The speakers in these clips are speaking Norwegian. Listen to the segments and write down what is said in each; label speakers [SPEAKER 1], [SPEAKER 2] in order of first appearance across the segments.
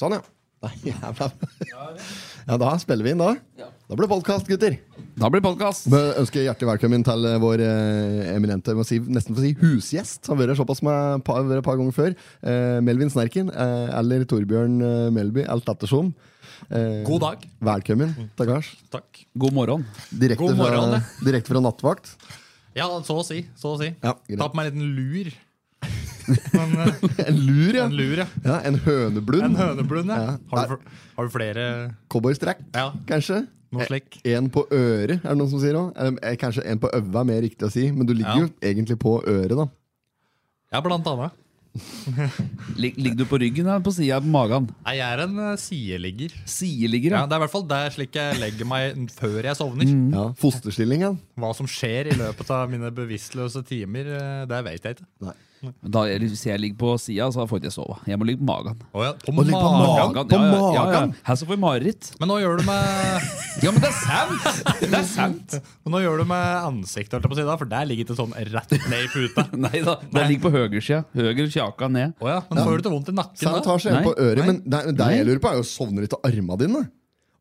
[SPEAKER 1] Sånn, ja. Nei, jævla. Ja, da spiller vi inn, da. Da blir det podkast, gutter.
[SPEAKER 2] Da blir podkast.
[SPEAKER 1] Vi ønsker hjertelig velkommen til eh, vår eh, eminente jeg må si, nesten for å si husgjest. Han har vært her såpass med et par, vært et par ganger før. Eh, Melvin Snerken, eh, eller Torbjørn eh, Melby, alt ettersom. Eh,
[SPEAKER 3] God dag.
[SPEAKER 1] Velkommen. Takkars.
[SPEAKER 3] Takk.
[SPEAKER 2] God morgen.
[SPEAKER 1] Direkte,
[SPEAKER 3] God morgen,
[SPEAKER 1] fra,
[SPEAKER 3] det.
[SPEAKER 1] direkte fra nattvakt.
[SPEAKER 3] Ja, så å si. Så å si.
[SPEAKER 1] Ja, greit.
[SPEAKER 3] Ta på meg en liten lur. Men, eh,
[SPEAKER 1] En lur, ja.
[SPEAKER 3] en lur, ja.
[SPEAKER 1] ja en høneblund.
[SPEAKER 3] En høneblund,
[SPEAKER 1] Ja.
[SPEAKER 3] ja. Har du, fl- har du flere
[SPEAKER 1] Cowboystrekk,
[SPEAKER 3] Ja,
[SPEAKER 1] kanskje.
[SPEAKER 3] noe slik?
[SPEAKER 1] En på øret, er det noen som sier òg? Kanskje en på øva er mer riktig å si, men du ligger
[SPEAKER 3] Ja.
[SPEAKER 1] jo egentlig på øret, da.
[SPEAKER 3] Ja, blant annet.
[SPEAKER 2] Lig- Ligger du på ryggen eller på sida på magen?
[SPEAKER 3] Nei, jeg er en eh, sideligger.
[SPEAKER 2] Sideligger,
[SPEAKER 3] Ja,
[SPEAKER 2] ja.
[SPEAKER 3] det er i hvert fall der slik jeg legger meg n- før jeg sovner.
[SPEAKER 2] Mm.
[SPEAKER 1] Ja, Fosterstillingen.
[SPEAKER 3] Hva som skjer i løpet av mine bevisstløse timer, eh, det vet jeg ikke.
[SPEAKER 2] Da, er- hvis jeg ligger på sida, så får jeg ikke sove. Jeg må ligge på magen.
[SPEAKER 3] Å ja, på
[SPEAKER 1] Å, ligge på
[SPEAKER 3] magen.
[SPEAKER 1] magen.
[SPEAKER 2] ja, ja,
[SPEAKER 1] På
[SPEAKER 2] ja, ja.
[SPEAKER 1] magen?
[SPEAKER 2] Her så får vi mareritt.
[SPEAKER 3] Men nå gjør du med,
[SPEAKER 2] Ja, men det er sant! Det er sant.
[SPEAKER 3] men nå gjør du med ansiktet, holdt jeg på å si, da, for der ligger det sånn rett ned i puta.
[SPEAKER 2] Nei da, det ligger på høyresida. Høyre kjaka ned.
[SPEAKER 3] Å ja, men får du ikke vondt i nakken da?
[SPEAKER 1] Sabotasje er
[SPEAKER 2] Nei.
[SPEAKER 1] på øret,
[SPEAKER 2] Nei.
[SPEAKER 1] men det, det jeg lurer på, er jo sovner litt av armene dine.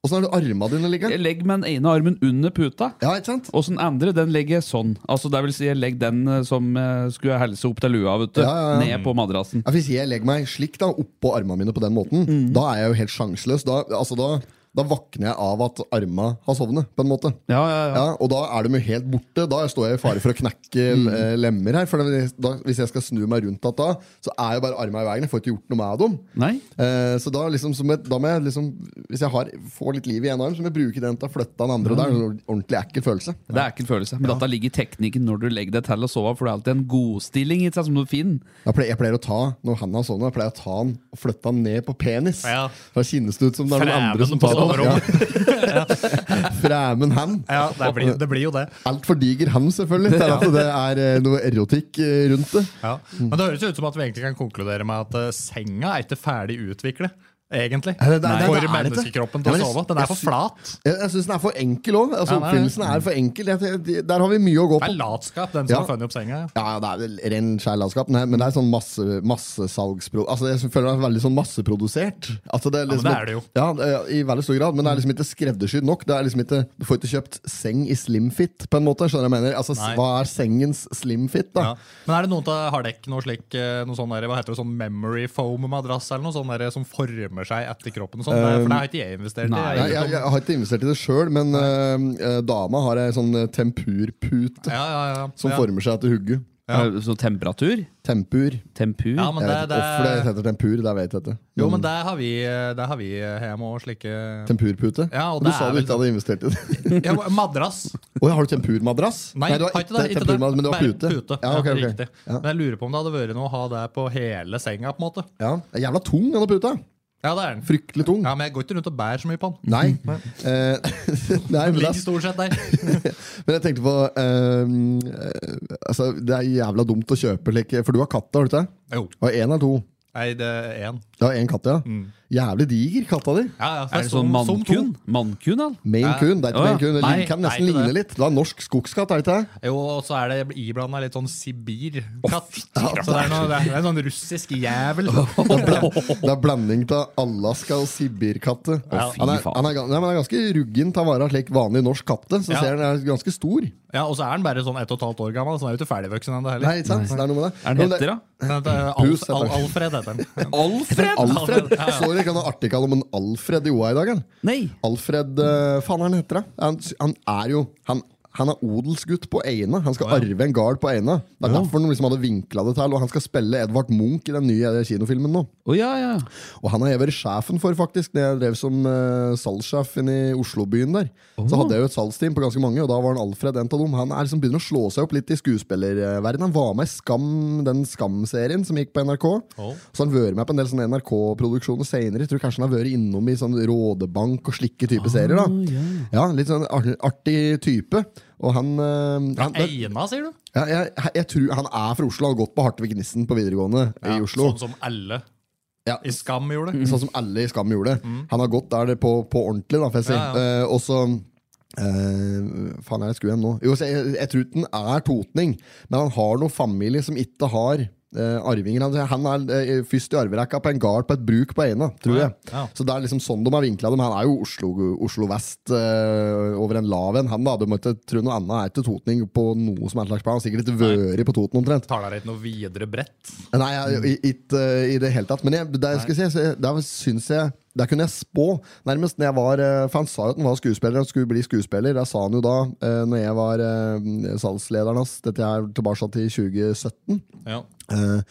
[SPEAKER 1] Åssen er det armene dine ligger?
[SPEAKER 2] Jeg legger med den ene armen under puta.
[SPEAKER 1] Ja, ikke sant?
[SPEAKER 2] Og så den andre den legger jeg sånn. Altså, det vil si, jeg legger den eh, som eh, skulle helse opp til lua, vet du.
[SPEAKER 1] Ja, ja, ja.
[SPEAKER 2] Ned på madrassen.
[SPEAKER 1] Ja, hvis jeg legger meg slik da, oppå armene mine på den måten,
[SPEAKER 2] Mm.
[SPEAKER 1] da er jeg jo helt sjanseløs. Da, altså, da, da våkner jeg av at armene har sovnet, på en måte.
[SPEAKER 2] Ja, ja, ja.
[SPEAKER 1] Ja, og da er de jo helt borte. Da står jeg i fare for å knekke
[SPEAKER 2] Mm.
[SPEAKER 1] eh, lemmer her. For da, hvis jeg skal snu meg rundt at da, så er jo bare armene i veien. Jeg får ikke gjort noe med dem.
[SPEAKER 2] Nei?
[SPEAKER 1] Eh, så da, liksom, som et, da må jeg liksom Hvis jeg har, får litt liv i en arm, så må jeg bruke den til å flytte den andre. Det er
[SPEAKER 3] Mm.
[SPEAKER 1] en ordentlig ekkel følelse.
[SPEAKER 2] Det er ekkel følelse. Men dette ligger i teknikken når du legger deg til å sove, for det er alltid en godstilling i seg som du finner.
[SPEAKER 1] Jeg pleier, jeg pleier å ta når han har sånn, jeg pleier å ta han og flytte han ned på penis.
[SPEAKER 3] Ja.
[SPEAKER 1] Da kjennes det ut som det er noen andre som
[SPEAKER 3] Fremen på
[SPEAKER 1] tar han. Ja. Fremen han.
[SPEAKER 3] Ja, det blir, det blir jo det.
[SPEAKER 1] Altfor diger han, selvfølgelig. Det er, at det er eh, noe erotikk eh, rundt det.
[SPEAKER 3] Ja. Men det høres jo ut som at vi egentlig kan konkludere med at eh, senga er ikke ferdig utviklet. Egentlig.
[SPEAKER 1] det- det- det-
[SPEAKER 3] for
[SPEAKER 1] det er det ikke.
[SPEAKER 3] menneskekroppen til
[SPEAKER 1] Ja,
[SPEAKER 3] å
[SPEAKER 1] men jeg-
[SPEAKER 3] sove. Den er
[SPEAKER 1] jeg
[SPEAKER 3] for
[SPEAKER 1] sy-
[SPEAKER 3] flat.
[SPEAKER 1] Jeg, jeg syns den er for enkel òg. Altså,
[SPEAKER 3] Ja, nei,
[SPEAKER 1] oppfinnelsen er for enkel. Jeg, jeg, der har vi mye å gå
[SPEAKER 3] Det
[SPEAKER 1] på.
[SPEAKER 3] er latskap, den som
[SPEAKER 1] Ja.
[SPEAKER 3] har funnet opp senga.
[SPEAKER 1] Ja, ja, det er vel ren skjærlandskap, men det er sånn masse, massesalgspro... Altså, jeg føler det er veldig sånn masseprodusert. Altså, det er
[SPEAKER 3] men
[SPEAKER 1] liksom,
[SPEAKER 3] det er det jo.
[SPEAKER 1] Ja, det- I veldig stor grad, men det er liksom ikke skreddersydd nok. Det er liksom ikke, du får ikke kjøpt seng i slimfit, på en måte. Skjønner du hva jeg mener? Altså, s-
[SPEAKER 3] Nei.
[SPEAKER 1] Hva er sengens slimfit, da?
[SPEAKER 3] Ja. Men er det noen av, har dere noe slik eh, noe sånn der, hva heter det, sånn memory foam-madrass eller noe sånn der, som former seg etter kroppen? og Sånn? Det- for det har ikke jeg investert
[SPEAKER 2] nei.
[SPEAKER 3] i.
[SPEAKER 1] Nei, jeg, jeg har ikke investert i det sjøl, men eh, eh, dama har ei sånn eh, tempurpute
[SPEAKER 3] Ja, ja, ja.
[SPEAKER 1] som
[SPEAKER 3] ja.
[SPEAKER 1] former seg etter hugget.
[SPEAKER 3] Ja.
[SPEAKER 2] Eh, Så temperatur.
[SPEAKER 1] Tempur.
[SPEAKER 2] Tempur.
[SPEAKER 3] Ja, men
[SPEAKER 1] Jeg
[SPEAKER 3] det,
[SPEAKER 1] vet ikke hvorfor det
[SPEAKER 3] det,
[SPEAKER 1] heter tempur, det vet jeg ikke.
[SPEAKER 3] jo, men det har vi, eh, det har vi eh, hjemme òg, slike
[SPEAKER 1] Tempurpute?
[SPEAKER 3] Ja, og
[SPEAKER 1] du
[SPEAKER 3] det
[SPEAKER 1] sa
[SPEAKER 3] er
[SPEAKER 1] du
[SPEAKER 3] vel
[SPEAKER 1] ikke hadde investert i det.
[SPEAKER 3] ja, Madrass.
[SPEAKER 1] Oi, har du tempurmadrass?
[SPEAKER 3] Nei,
[SPEAKER 1] du
[SPEAKER 3] har ikke det. Ikke det.
[SPEAKER 1] tempurmadrass, men du har
[SPEAKER 3] Bare
[SPEAKER 1] pute.
[SPEAKER 3] Ja,
[SPEAKER 1] Ja, ok, ok.
[SPEAKER 3] Riktig.
[SPEAKER 1] Ja.
[SPEAKER 3] Men jeg lurer på om det hadde vært noe å ha det på hele senga. på en måte
[SPEAKER 1] Ja, det er jævla tung, denne puta.
[SPEAKER 3] Ja, det er den.
[SPEAKER 1] Fryktelig tung.
[SPEAKER 3] Ja, Men jeg går ikke rundt og bærer så mye på den.
[SPEAKER 1] Nei. Eh, nei,
[SPEAKER 3] Den
[SPEAKER 1] men, det
[SPEAKER 3] ligger
[SPEAKER 1] er,
[SPEAKER 3] stort sett der.
[SPEAKER 1] men jeg tenkte på eh, eh, Altså, det er jævla dumt å kjøpe like, For du har katt, har du ikke det?
[SPEAKER 3] Jo.
[SPEAKER 1] Og én eller to?
[SPEAKER 3] Nei, det er én.
[SPEAKER 1] Ja, én katt, ja.
[SPEAKER 3] Mm.
[SPEAKER 1] Jævlig diger, katta di.
[SPEAKER 3] Ja, ja, så
[SPEAKER 2] Er det sånn
[SPEAKER 3] som- som to.
[SPEAKER 2] mannkun? Mannkun, al?
[SPEAKER 1] Maine Coon. Det er ikke
[SPEAKER 2] Å, ja.
[SPEAKER 1] Maine Coon. Det
[SPEAKER 3] Nei,
[SPEAKER 1] kan
[SPEAKER 3] nei,
[SPEAKER 1] nesten
[SPEAKER 3] ikke det.
[SPEAKER 1] ligne litt. Det er en norsk skogskatt, er det ikke det?
[SPEAKER 3] Jo, og så er det iblanda litt sånn Sibir-katt. Så det er, noe, det er en sånn russisk jævel.
[SPEAKER 1] Det er, bla- det er blanding av Alaska og sibirkatte.
[SPEAKER 3] Å, fy
[SPEAKER 1] han, er,
[SPEAKER 2] faen.
[SPEAKER 1] han, er, gan- nei, men han er ganske ruggen til å være slik vanlig norsk katte. Så
[SPEAKER 3] Ja.
[SPEAKER 1] ser han er ganske stor.
[SPEAKER 3] Ja, Og så er den bare sånn ett og et halvt år gammel, så den er jo ikke ferdigvoksen ennå
[SPEAKER 1] Nei,
[SPEAKER 3] heller.
[SPEAKER 1] ikke sant? Det er noe med det.
[SPEAKER 2] Er den
[SPEAKER 1] Men det-
[SPEAKER 2] heter, da?
[SPEAKER 3] Den heter
[SPEAKER 1] Pus
[SPEAKER 3] Alf,
[SPEAKER 1] heter
[SPEAKER 3] Al
[SPEAKER 1] den.
[SPEAKER 3] Alfred heter den.
[SPEAKER 2] Alfred?
[SPEAKER 1] Alfred. Så dere ikke noe artikkel om en Alfred i OA i dag? eller?
[SPEAKER 2] Nei.
[SPEAKER 1] Alfred eh, Faen, han heter det. Han, han er jo han, han er odelsgutt på Eina. Han skal arve en gard på Eina. Det er derfor han liksom hadde vinkla det til. Og han skal spille Edvard Munch i den nye eh, kinofilmen nå.
[SPEAKER 2] Å ja, ja.
[SPEAKER 1] Og han har jeg vært sjefen for, faktisk. Når jeg drev som uh, salgssjef inne i Oslobyen der. Så hadde jeg jo et salgsteam på ganske mange, og da var han Alfred en av dem. Han er liksom begynner å slå seg opp litt i skuespillerverdenen. Han var med i Skam, den Skam-serien som gikk på NRK.
[SPEAKER 3] Oh.
[SPEAKER 1] Så han har vært med på en del sånne NRK-produksjoner senere. Jeg tror kanskje han har vært innom i sånn Rådebank og slike type serier. da. Ja, Litt sånn ar- artig type. Og han, eh, han det-
[SPEAKER 3] Eina, sier du?
[SPEAKER 1] ja, jeg, jeg tror han er fra Oslo. Han har gått på Hartvig Nissen på videregående i Oslo.
[SPEAKER 3] Sånn som alle
[SPEAKER 1] Ja.
[SPEAKER 3] i Skam gjorde.
[SPEAKER 1] Sånn som alle i Skam gjorde. Han har gått der det på, på ordentlig, da, får jeg si.
[SPEAKER 3] Mm. Ja,
[SPEAKER 1] Eh, og så eh, faen er det jeg skulle igjen nå? Jo, så jeg, jeg tror den er totning, men han har noen familie som ikke har eh, arvinger. Han- Han er eh, først i arverekka på en gard på et bruk på Eina, tror jeg.
[SPEAKER 3] Ja.
[SPEAKER 1] Så det er liksom sånn de har vinkla dem. Han er jo Oslo, Oslo vest eh, over en lav en. Han da, du må ikke tro noe annet er til totning på noe som er slags plan. Han har Sikkert ikke vært på Toten omtrent.
[SPEAKER 3] Tar deg ikke noe videre bredt.
[SPEAKER 1] Nei, jeg- i- ikke eh, i det hele tatt. Men jeg, der, skal jeg si, så jeg- der syns jeg Der kunne jeg spå, nærmest. Når jeg var, eh, for han sa jo at han var skuespiller, han skulle bli skuespiller. Det sa han jo da eh, Når jeg var eh, salgslederen hans. Dette er tilbake til 2017.
[SPEAKER 3] Ja.
[SPEAKER 1] Eh,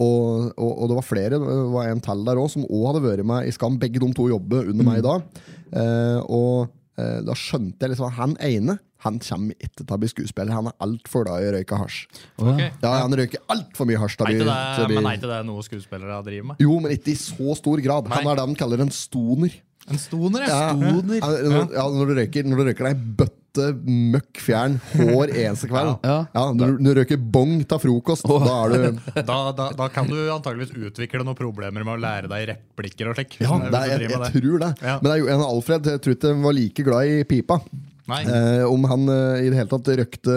[SPEAKER 1] og, og, og det var flere, det var en til der òg, som òg hadde vært med i Skam. Begge de to jobber under meg i dag. Eh, og eh, da skjønte jeg liksom at han ene han kommer ikke til å bli skuespiller. Han er altfor glad i å røyke hasj.
[SPEAKER 3] Ok.
[SPEAKER 1] Ja, Han røyker altfor mye hasj. til å
[SPEAKER 3] Er
[SPEAKER 1] bli-
[SPEAKER 3] ikke
[SPEAKER 1] til å
[SPEAKER 3] det,
[SPEAKER 1] bli-
[SPEAKER 3] men er ikke det noe skuespillere driver med?
[SPEAKER 1] jo, men ikke i så stor grad. Han
[SPEAKER 3] Nei.
[SPEAKER 1] er det de kaller en stoner.
[SPEAKER 3] En stoner,
[SPEAKER 1] Ja. Ja, når, ja, når du røyker Når du røyker deg bøtte møkk fjern hver eneste kveld.
[SPEAKER 2] Ja.
[SPEAKER 1] når, du- når du røyker bong til frokost, da er du
[SPEAKER 3] Da, da, da kan du antageligvis utvikle noen problemer med å lære deg replikker og slik.
[SPEAKER 1] Ja,
[SPEAKER 3] Sånn
[SPEAKER 1] det er, jeg,
[SPEAKER 3] hvis du driver
[SPEAKER 1] jeg
[SPEAKER 3] med det.
[SPEAKER 1] tror det.
[SPEAKER 3] Ja.
[SPEAKER 1] Men det er jo en av Alfred jeg tror ikke han var like glad i pipa.
[SPEAKER 3] Nei.
[SPEAKER 1] Eh, om han eh, i det hele tatt røkte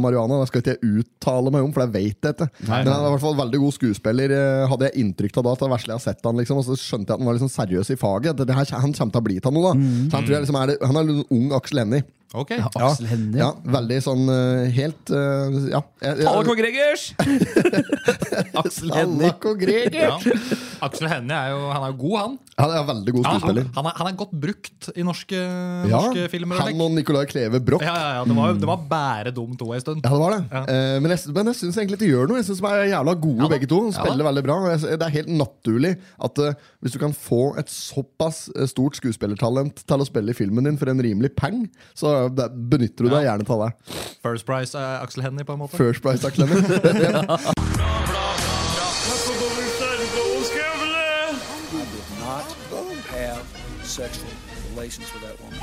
[SPEAKER 1] marihuana, det skal ikke jeg uttale meg om, for det vet jeg ikke.
[SPEAKER 3] Nei,
[SPEAKER 1] Men han er i hvert fall veldig god skuespiller, eh, hadde jeg inntrykk av da. at Det verste jeg har sett han liksom, Og så skjønte jeg at han var liksom seriøs i faget. Det, det her, han kommer til å bli til noe, da.
[SPEAKER 3] Mm.
[SPEAKER 1] Så han, tror jeg liksom er det, han er litt ung Aksel Hennie.
[SPEAKER 3] Ok.
[SPEAKER 1] Ja,
[SPEAKER 2] Aksel
[SPEAKER 3] Mm,
[SPEAKER 2] Hennie.
[SPEAKER 1] ja, veldig sånn eh, helt eh, Ja. Jeg- jeg-
[SPEAKER 2] Palle Kong Gregers! Aksel Hennie.
[SPEAKER 1] Alle kong Greger!
[SPEAKER 3] Ja. Aksel Hennie er jo han er jo god, han.
[SPEAKER 1] Han er veldig god
[SPEAKER 3] Han, han,
[SPEAKER 1] skuespiller.
[SPEAKER 3] han, er, han er godt brukt i norske,
[SPEAKER 1] Ja,
[SPEAKER 3] norske filmer. Og
[SPEAKER 1] han
[SPEAKER 3] slik.
[SPEAKER 1] og Nicolai Kleve Broch.
[SPEAKER 3] ja, ja, ja, det, var, det var bare dum to en stund.
[SPEAKER 1] Ja, det var det.
[SPEAKER 3] Ja.
[SPEAKER 1] Eh, men jeg, men jeg syns egentlig de gjør noe. Jeg synes De er jævla gode,
[SPEAKER 3] da.
[SPEAKER 1] begge to. De
[SPEAKER 3] Ja
[SPEAKER 1] Spiller veldig bra. og Jeg, det er helt naturlig at eh, hvis du kan få et såpass eh, stort skuespillertalent til å spille i filmen din for en rimelig peng, så eh, det, benytter du deg gjerne av det.
[SPEAKER 3] First Price er Aksel Hennie, på en måte.
[SPEAKER 1] First Price av Clemens.
[SPEAKER 4] not have sexual relations with that woman.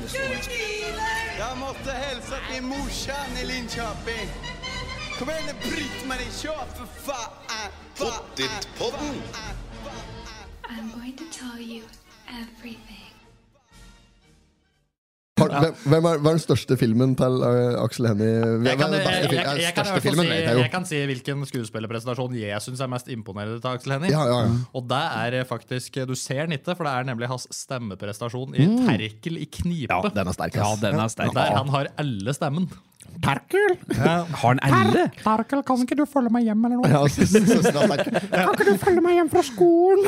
[SPEAKER 4] Miss Lewinsky.
[SPEAKER 5] Jeg måtte hilse til morsan i Linköping. Kom igjen, Britt-Marie, kjør, for faen! Pottitpodden!
[SPEAKER 6] I'm going to tell you everything.
[SPEAKER 1] Har- hvem, hvem er, hva er den største filmen til eh, Aksel Hennie? Hvem
[SPEAKER 3] Jeg
[SPEAKER 1] er
[SPEAKER 3] kan,
[SPEAKER 1] den
[SPEAKER 3] jeg,
[SPEAKER 1] beste
[SPEAKER 3] jeg,
[SPEAKER 1] fil- eh,
[SPEAKER 3] jeg, jeg, kan, i
[SPEAKER 1] største
[SPEAKER 3] hvert fall
[SPEAKER 1] filmen,
[SPEAKER 3] si,
[SPEAKER 1] vet jeg jo.
[SPEAKER 3] jeg kan si hvilken skuespillerpresentasjon jeg syns er mest imponerende til Aksel Hennie.
[SPEAKER 1] Ja, ja, ja.
[SPEAKER 3] Og det er eh, faktisk Du ser den ikke, for det er nemlig hans stemmeprestasjon i Terkel i knipe.
[SPEAKER 1] Mm. Ja, den er sterk,
[SPEAKER 2] Ja,
[SPEAKER 1] ass.
[SPEAKER 2] den er sterk.
[SPEAKER 3] Der han har alle stemmen.
[SPEAKER 2] Terkel? Har han elle?
[SPEAKER 7] Darkel, kan ikke du følge meg hjem eller noe?
[SPEAKER 1] Ja, jeg synes- synes den er sterk.
[SPEAKER 7] Kan ikke du følge meg hjem fra skolen?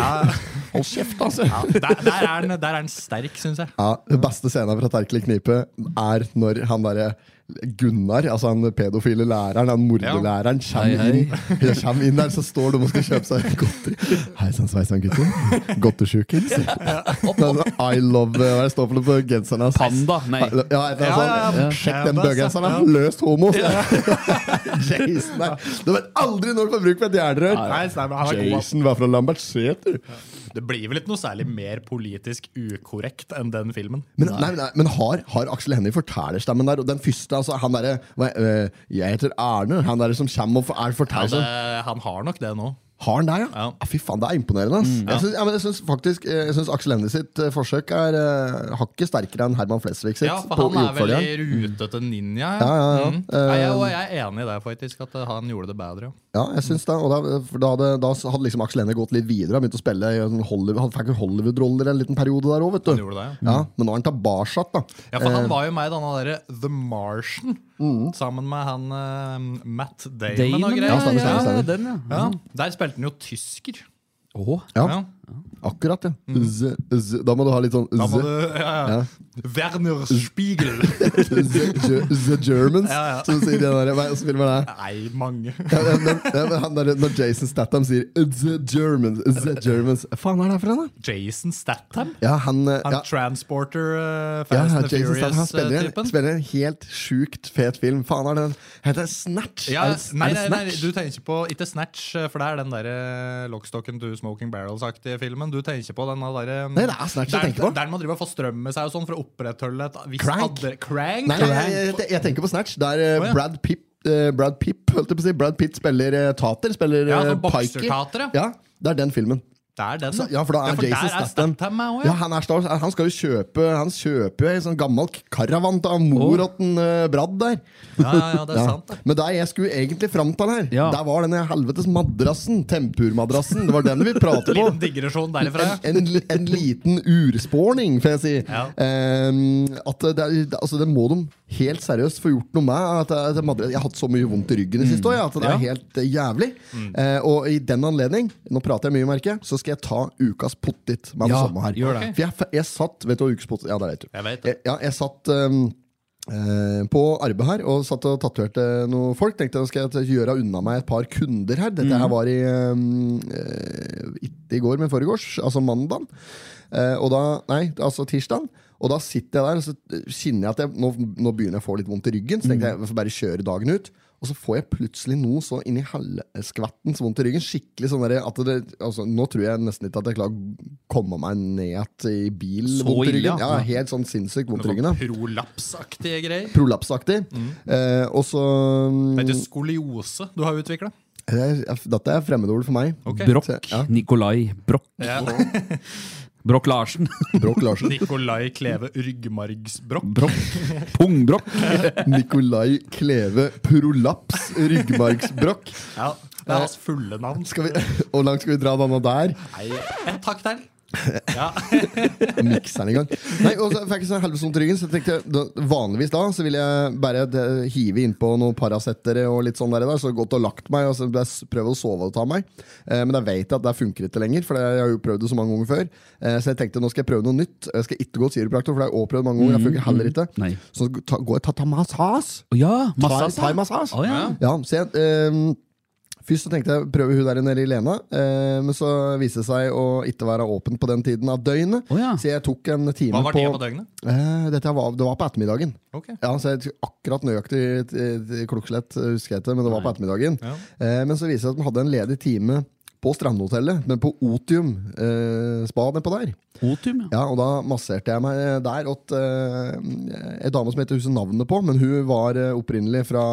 [SPEAKER 1] Hold kjeft, altså!
[SPEAKER 3] Der, der, er, han, der er han sterk, syns jeg.
[SPEAKER 1] Ja, Den beste scenen fra Terkel i knipe er når han derre Gunnar, altså han pedofile læreren, han mordelæreren, kommer
[SPEAKER 2] Hei, hei.
[SPEAKER 1] inn, Ja, kommer inn der, så står de og skal kjøpe seg godteri. Hei sann, sveisann, gutter. Godtersjuken. I love eh, Hva er det står for noe på genseren hans?
[SPEAKER 2] Panda, nei.
[SPEAKER 1] Ja, et eller annet
[SPEAKER 3] Ja, ja,
[SPEAKER 1] sånt.
[SPEAKER 3] ja.
[SPEAKER 1] Sjekk
[SPEAKER 3] Ja,
[SPEAKER 1] den
[SPEAKER 3] det er
[SPEAKER 1] bøggenseren,
[SPEAKER 3] sant,
[SPEAKER 1] da. løst homo! Jason, nei. Du vet aldri når du får bruk for et jernrør!
[SPEAKER 3] Nei, stemmer, han er god, ass.
[SPEAKER 1] Jason var fra Lambertseter.
[SPEAKER 3] Det blir vel ikke noe særlig mer politisk ukorrekt enn den filmen.
[SPEAKER 1] Men, nei. Nei, men har, har Aksel Hennie fortellerstemmen der? Og den første, altså, han derre hva- øh, Jeg heter Arne. Han derre som kommer og for- er
[SPEAKER 3] Ja, det,
[SPEAKER 1] forteller.
[SPEAKER 3] eh, han har nok det nå.
[SPEAKER 1] Har han der, ja?
[SPEAKER 3] Ja. Mm,
[SPEAKER 1] Ah, Fy faen, det er imponerende. ass. Jeg syns- ja, men jeg syns faktisk eh, Jeg synes Aksel Hennie sitt eh, forsøk er eh, hakket sterkere enn Herman Flesvig sitt.
[SPEAKER 3] Ja, for
[SPEAKER 1] på-
[SPEAKER 3] han er
[SPEAKER 1] i
[SPEAKER 3] vel
[SPEAKER 1] oppfølgeren.
[SPEAKER 3] i rutete ninja.
[SPEAKER 1] Ja, ja, ja. Um,
[SPEAKER 3] Mm. Nei, jeg, og jeg er enig i det, faktisk. At eh, han gjorde det bedre.
[SPEAKER 1] Ja, jeg synes det, og da, for da, hadde, da hadde liksom Aksel Hennie gått litt videre. Han begynte å spille i en sånn Hollywood, han fikk jo Hollywood-roller en liten periode der òg, vet
[SPEAKER 3] Han
[SPEAKER 1] du.
[SPEAKER 3] gjorde det, ja.
[SPEAKER 1] Ja, men nå er han tilbake igjen, da.
[SPEAKER 3] Ja, for han var jo med i denne derre The Martian,
[SPEAKER 1] Mm.
[SPEAKER 3] sammen med han eh, Matt Damon,
[SPEAKER 2] Damon,
[SPEAKER 3] og
[SPEAKER 2] ja,
[SPEAKER 3] greier.
[SPEAKER 1] stemmer, stemmer, stemmer.
[SPEAKER 2] den, ja.
[SPEAKER 3] Ja, Mhm. Der spilte han jo tysker.
[SPEAKER 2] Åh.
[SPEAKER 1] Ja,
[SPEAKER 3] Ja.
[SPEAKER 1] akkurat, ja. Z, z, da må du ha litt sånn
[SPEAKER 3] Mm. Da må
[SPEAKER 1] z,
[SPEAKER 3] du ja, ja. Werner Spiegel!
[SPEAKER 1] The, Ge- the Germans,
[SPEAKER 3] Ja, ja.
[SPEAKER 1] som sier det der. Hva er det som filmer det? er?
[SPEAKER 3] Nei, mange.
[SPEAKER 1] Ja, men, ja, men han der, når Jason Statham sier The Germans,
[SPEAKER 3] eh,
[SPEAKER 1] the Germans Hva faen er det for en, da?
[SPEAKER 3] Jason Statham?
[SPEAKER 1] Ja, han, eh,
[SPEAKER 3] Han
[SPEAKER 1] ja,
[SPEAKER 3] Transporter eh,
[SPEAKER 1] ja,
[SPEAKER 3] Fast and the
[SPEAKER 1] Jason Statham han spiller, en,
[SPEAKER 3] Furious-typen?
[SPEAKER 1] spiller en helt sjukt fet film. Faen, er det den? Heter det Snatch?
[SPEAKER 3] Ja,
[SPEAKER 1] er det,
[SPEAKER 3] nei,
[SPEAKER 1] er det
[SPEAKER 3] nei, nei,
[SPEAKER 1] Snatch?
[SPEAKER 3] du tenker på Ikke Snatch, eh, for det er den der eh, Lockstocken to Smoking Barrels-aktige filmen. Du tenker på den der eh,
[SPEAKER 1] Nei, det er Snatch jeg
[SPEAKER 3] der-
[SPEAKER 1] tenker på.
[SPEAKER 3] Der man driver og får strøm med seg og sånn for å opprettholde et visst
[SPEAKER 1] Crank.
[SPEAKER 3] adre- Crank?
[SPEAKER 1] Nei, nei, jeg, jeg- jeg tenker på Snatch. Der eh,
[SPEAKER 3] Å, ja.
[SPEAKER 1] Brad Pipp eh, Brad Pipp, holdt jeg på å si. Brad Pitt spiller eh, tater. Spiller
[SPEAKER 3] Ja,
[SPEAKER 1] eh,
[SPEAKER 3] sånn
[SPEAKER 1] Pikey.
[SPEAKER 3] boksertater, ja.
[SPEAKER 1] Ja, det er den filmen.
[SPEAKER 3] Det er den,
[SPEAKER 1] Så, ja, for da er
[SPEAKER 3] for
[SPEAKER 1] Jason
[SPEAKER 3] der er
[SPEAKER 1] Statham
[SPEAKER 3] Statham med også,
[SPEAKER 1] ja,
[SPEAKER 3] ja.
[SPEAKER 1] han, er stas, han skal jo kjøpe Han kjøper jo en sånn gammel karavan av morotten uh, Bradd der.
[SPEAKER 3] Ja, ja, ja, det er
[SPEAKER 1] Ja.
[SPEAKER 3] sant. det.
[SPEAKER 1] Men der jeg skulle egentlig fram til her,
[SPEAKER 2] Ja.
[SPEAKER 1] der var denne helvetes madrassen. Tempurmadrassen. Det var den vi pratet på.
[SPEAKER 3] Liten digresjon sånn derifra. ja.
[SPEAKER 1] En, en, en liten urspårning, får jeg si.
[SPEAKER 3] Ja.
[SPEAKER 1] Ehm, at det, er- altså det må de helt seriøst få gjort noe med. At det, at det, madre- jeg har hatt så mye vondt i ryggen det
[SPEAKER 3] Mm.
[SPEAKER 1] siste året at det er
[SPEAKER 2] Ja.
[SPEAKER 1] helt eh, jævlig. Eh, og i den anledning, nå prater jeg mye, merker jeg, så skal jeg ta ukas pottit med det
[SPEAKER 2] Ja,
[SPEAKER 1] samme her.
[SPEAKER 2] gjør det.
[SPEAKER 1] For jeg, jeg satt Vet du hva ukas pottit Ja, det vet du.
[SPEAKER 3] Jeg vet det.
[SPEAKER 1] Jeg, ja, jeg satt ehm, eh, på arbeid her og satt og tatoverte noen folk. Tenkte nå skal jeg gjøre unna meg et par kunder her. Dette
[SPEAKER 2] Mhm.
[SPEAKER 1] her var i ehm, eh, Ikke i går, men foregårs. Altså mandagen. Eh, og da, nei, altså tirsdagen. Og da sitter jeg der og så eh, kjenner jeg at jeg, nå, nå begynner jeg å få litt vondt i ryggen. Så
[SPEAKER 2] Mm.
[SPEAKER 1] tenkte jeg jeg får bare kjøre dagen ut. Og så får jeg plutselig noe så inni halvskvattens vondt i ryggen. Skikkelig sånn der, at det, altså, Nå tror jeg nesten ikke at jeg klarer å komme meg ned igjen i bil.
[SPEAKER 2] Så
[SPEAKER 1] vondt i
[SPEAKER 2] ille,
[SPEAKER 1] ryggen.
[SPEAKER 2] ja.
[SPEAKER 1] Ja, helt sånn sinnssykt vondt i
[SPEAKER 3] Noe
[SPEAKER 1] ryggen.
[SPEAKER 3] sånn
[SPEAKER 1] da.
[SPEAKER 3] prolapsaktige greier.
[SPEAKER 1] Prolapsaktig. Eh, og så mm,
[SPEAKER 3] Det heter skoliose du har utvikla.
[SPEAKER 1] det er- Dette er fremmedord for meg.
[SPEAKER 3] Ok.
[SPEAKER 2] Brokk.
[SPEAKER 1] Ja.
[SPEAKER 2] Nikolai Brokk.
[SPEAKER 3] Ja.
[SPEAKER 2] Brokk Larsen.
[SPEAKER 1] Bråk Larsen.
[SPEAKER 3] Nikolai Kleve Ryggmargsbrokk.
[SPEAKER 2] Brokk. Pungbrokk.
[SPEAKER 1] Nikolai Kleve Prolaps Ryggmargsbrokk.
[SPEAKER 3] Ja, det er hans fulle navn.
[SPEAKER 1] Skal vi- Hvor langt skal vi dra denne der?
[SPEAKER 3] Nei, en takk til. Ja.
[SPEAKER 1] mikseren i gang. Nei, og så fikk jeg sånn helvetes vondt i ryggen, så jeg tenkte da, vanligvis da så ville jeg bare eh, hive innpå noen Paracettere og litt sånn der, der så gått og lagt meg altså, og så jeg prøvd å sove og ta meg. Eh, men jeg vet at det funker ikke lenger, for jeg har jo prøvd det så mange ganger før. Eh, så jeg tenkte nå skal jeg prøve noe nytt. Jeg skal ikke gå til kiropraktor, for det har jeg også prøvd mange ganger. Jeg funker heller ikke.
[SPEAKER 2] Nei.
[SPEAKER 1] Så ta, går jeg ta, ta massas.
[SPEAKER 2] Å ja, massasje.
[SPEAKER 1] Thai- thai-massasje.
[SPEAKER 2] Å ja.
[SPEAKER 1] Ja, så jeg, ehm, Først så tenkte jeg prøve hun der nede i Lena, eh, men så viste det seg å ikke være åpent på den tiden av døgnet.
[SPEAKER 2] Å ja.
[SPEAKER 1] Så jeg tok en time
[SPEAKER 3] Hva var det på døgnet?
[SPEAKER 1] Eh, dette var, det var på ettermiddagen.
[SPEAKER 3] Ok.
[SPEAKER 1] Ja, så jeg tror akkurat nøyaktig eh, klokkeslett eh, husker jeg ikke, men det var på ettermiddagen.
[SPEAKER 3] Ja.
[SPEAKER 1] Eh, men så viser det seg at de hadde en ledig time på Strandhotellet, men på Otium eh, spa nedpå der.
[SPEAKER 2] Otium, ja.
[SPEAKER 1] Ja, Og da masserte jeg meg eh, der åt eh, ei dame som heter huset navnet på, men hun var eh, opprinnelig fra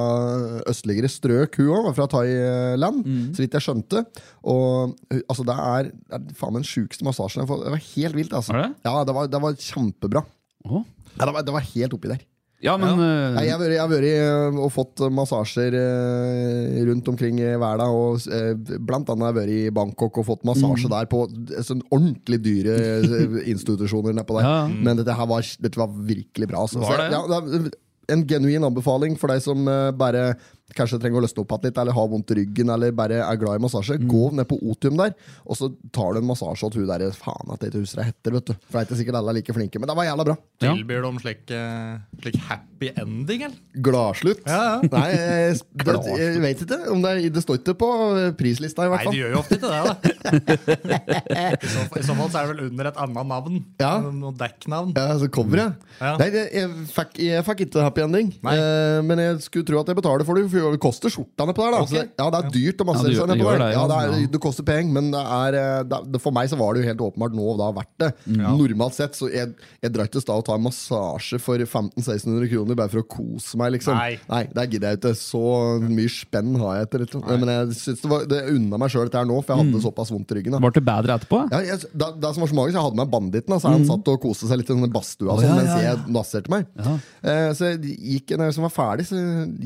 [SPEAKER 1] østligere strøk, hun òg, fra Thailand, så vidt jeg skjønte. Og eh, altså, det er, det er faen meg den sjukeste massasjen jeg har fått. Det var helt vilt, altså.
[SPEAKER 2] Er det?
[SPEAKER 1] Ja, det var, det var kjempebra.
[SPEAKER 2] Å.
[SPEAKER 1] Ja, det, var, det var helt oppi der.
[SPEAKER 2] Ja, men
[SPEAKER 1] Nei,
[SPEAKER 2] eh,
[SPEAKER 1] jeg har vært- jeg har vært eh, og fått massasjer eh, rundt omkring i verden. Og, eh, blant annet har jeg vært i Bangkok og fått
[SPEAKER 2] Mm.
[SPEAKER 1] massasje der på sånn ordentlig dyre eh, institusjoner. Nedpå der.
[SPEAKER 2] Ja, ja.
[SPEAKER 1] Men dette, her var, dette var virkelig bra. Altså.
[SPEAKER 2] Var det?
[SPEAKER 1] Så, ja, det er en genuin anbefaling for deg som eh, bare kanskje trenger å løsne opp igjen litt, eller har vondt i ryggen, eller bare er glad i massasje.
[SPEAKER 2] Mm.
[SPEAKER 1] Gå ned på Otium der, og så tar du en massasje åt hun der. Faen at jeg ikke husker hva hun heter, vet du. For det er ikke sikkert alle er like flinke, men det var jævla bra.
[SPEAKER 2] Ja.
[SPEAKER 3] Tilbyr de slik, eh, slik happy ending, eller?
[SPEAKER 1] Gladslutt?
[SPEAKER 3] Ja, ja.
[SPEAKER 1] Nei, jeg, det, jeg vet ikke. Om det, er, det står ikke på prislista, i
[SPEAKER 3] Nei,
[SPEAKER 1] hvert
[SPEAKER 3] de
[SPEAKER 1] fall.
[SPEAKER 3] gjør jo ofte ikke det, da. I så, I så fall så er det vel under et annet navn.
[SPEAKER 1] Ja.
[SPEAKER 3] Noe dekknavn.
[SPEAKER 1] Ja, så coveret.
[SPEAKER 3] Mm. Ja.
[SPEAKER 1] Nei, det, jeg, fikk, jeg fikk ikke happy ending.
[SPEAKER 3] Nei.
[SPEAKER 1] Eh, men jeg skulle tro at jeg betaler for det, for det koster skjorta nedpå der. Da.
[SPEAKER 3] Ok.
[SPEAKER 1] Så det- Ja, det er dyrt å masse
[SPEAKER 2] Ja, det gjør-
[SPEAKER 1] seg nedpå
[SPEAKER 2] det gjør
[SPEAKER 1] der.
[SPEAKER 2] det,
[SPEAKER 1] ja,
[SPEAKER 2] ja.
[SPEAKER 1] det, er,
[SPEAKER 2] Ja.
[SPEAKER 1] det koster penger, men det er, eh, det, det, for meg så var det jo helt åpenbart nå da verdt det.
[SPEAKER 2] Mm.
[SPEAKER 1] Normalt sett så jeg, jeg drar ikke til stad og tar en massasje for 1500-1600 kroner bare for å kose meg, liksom.
[SPEAKER 3] Nei.
[SPEAKER 1] der gidder jeg ikke. Så mye spenn har jeg ikke. rett og slett. Men jeg synes det, var, det unna meg sjøl dette her nå, for jeg hadde
[SPEAKER 2] Mm.
[SPEAKER 1] såpass vondt i ryggen. Da.
[SPEAKER 2] ble eh, det bedre etterpå?
[SPEAKER 1] Ja, jeg, da, det som var så magisk, jeg hadde med banditten. Altså, Han satt og koste seg litt i denne badstua
[SPEAKER 2] Mm. Å,
[SPEAKER 1] sånn,
[SPEAKER 2] ja,
[SPEAKER 1] mens
[SPEAKER 2] ja, ja.
[SPEAKER 1] jeg masserte meg. Eh, så jeg gikk, når jeg som var ferdig, så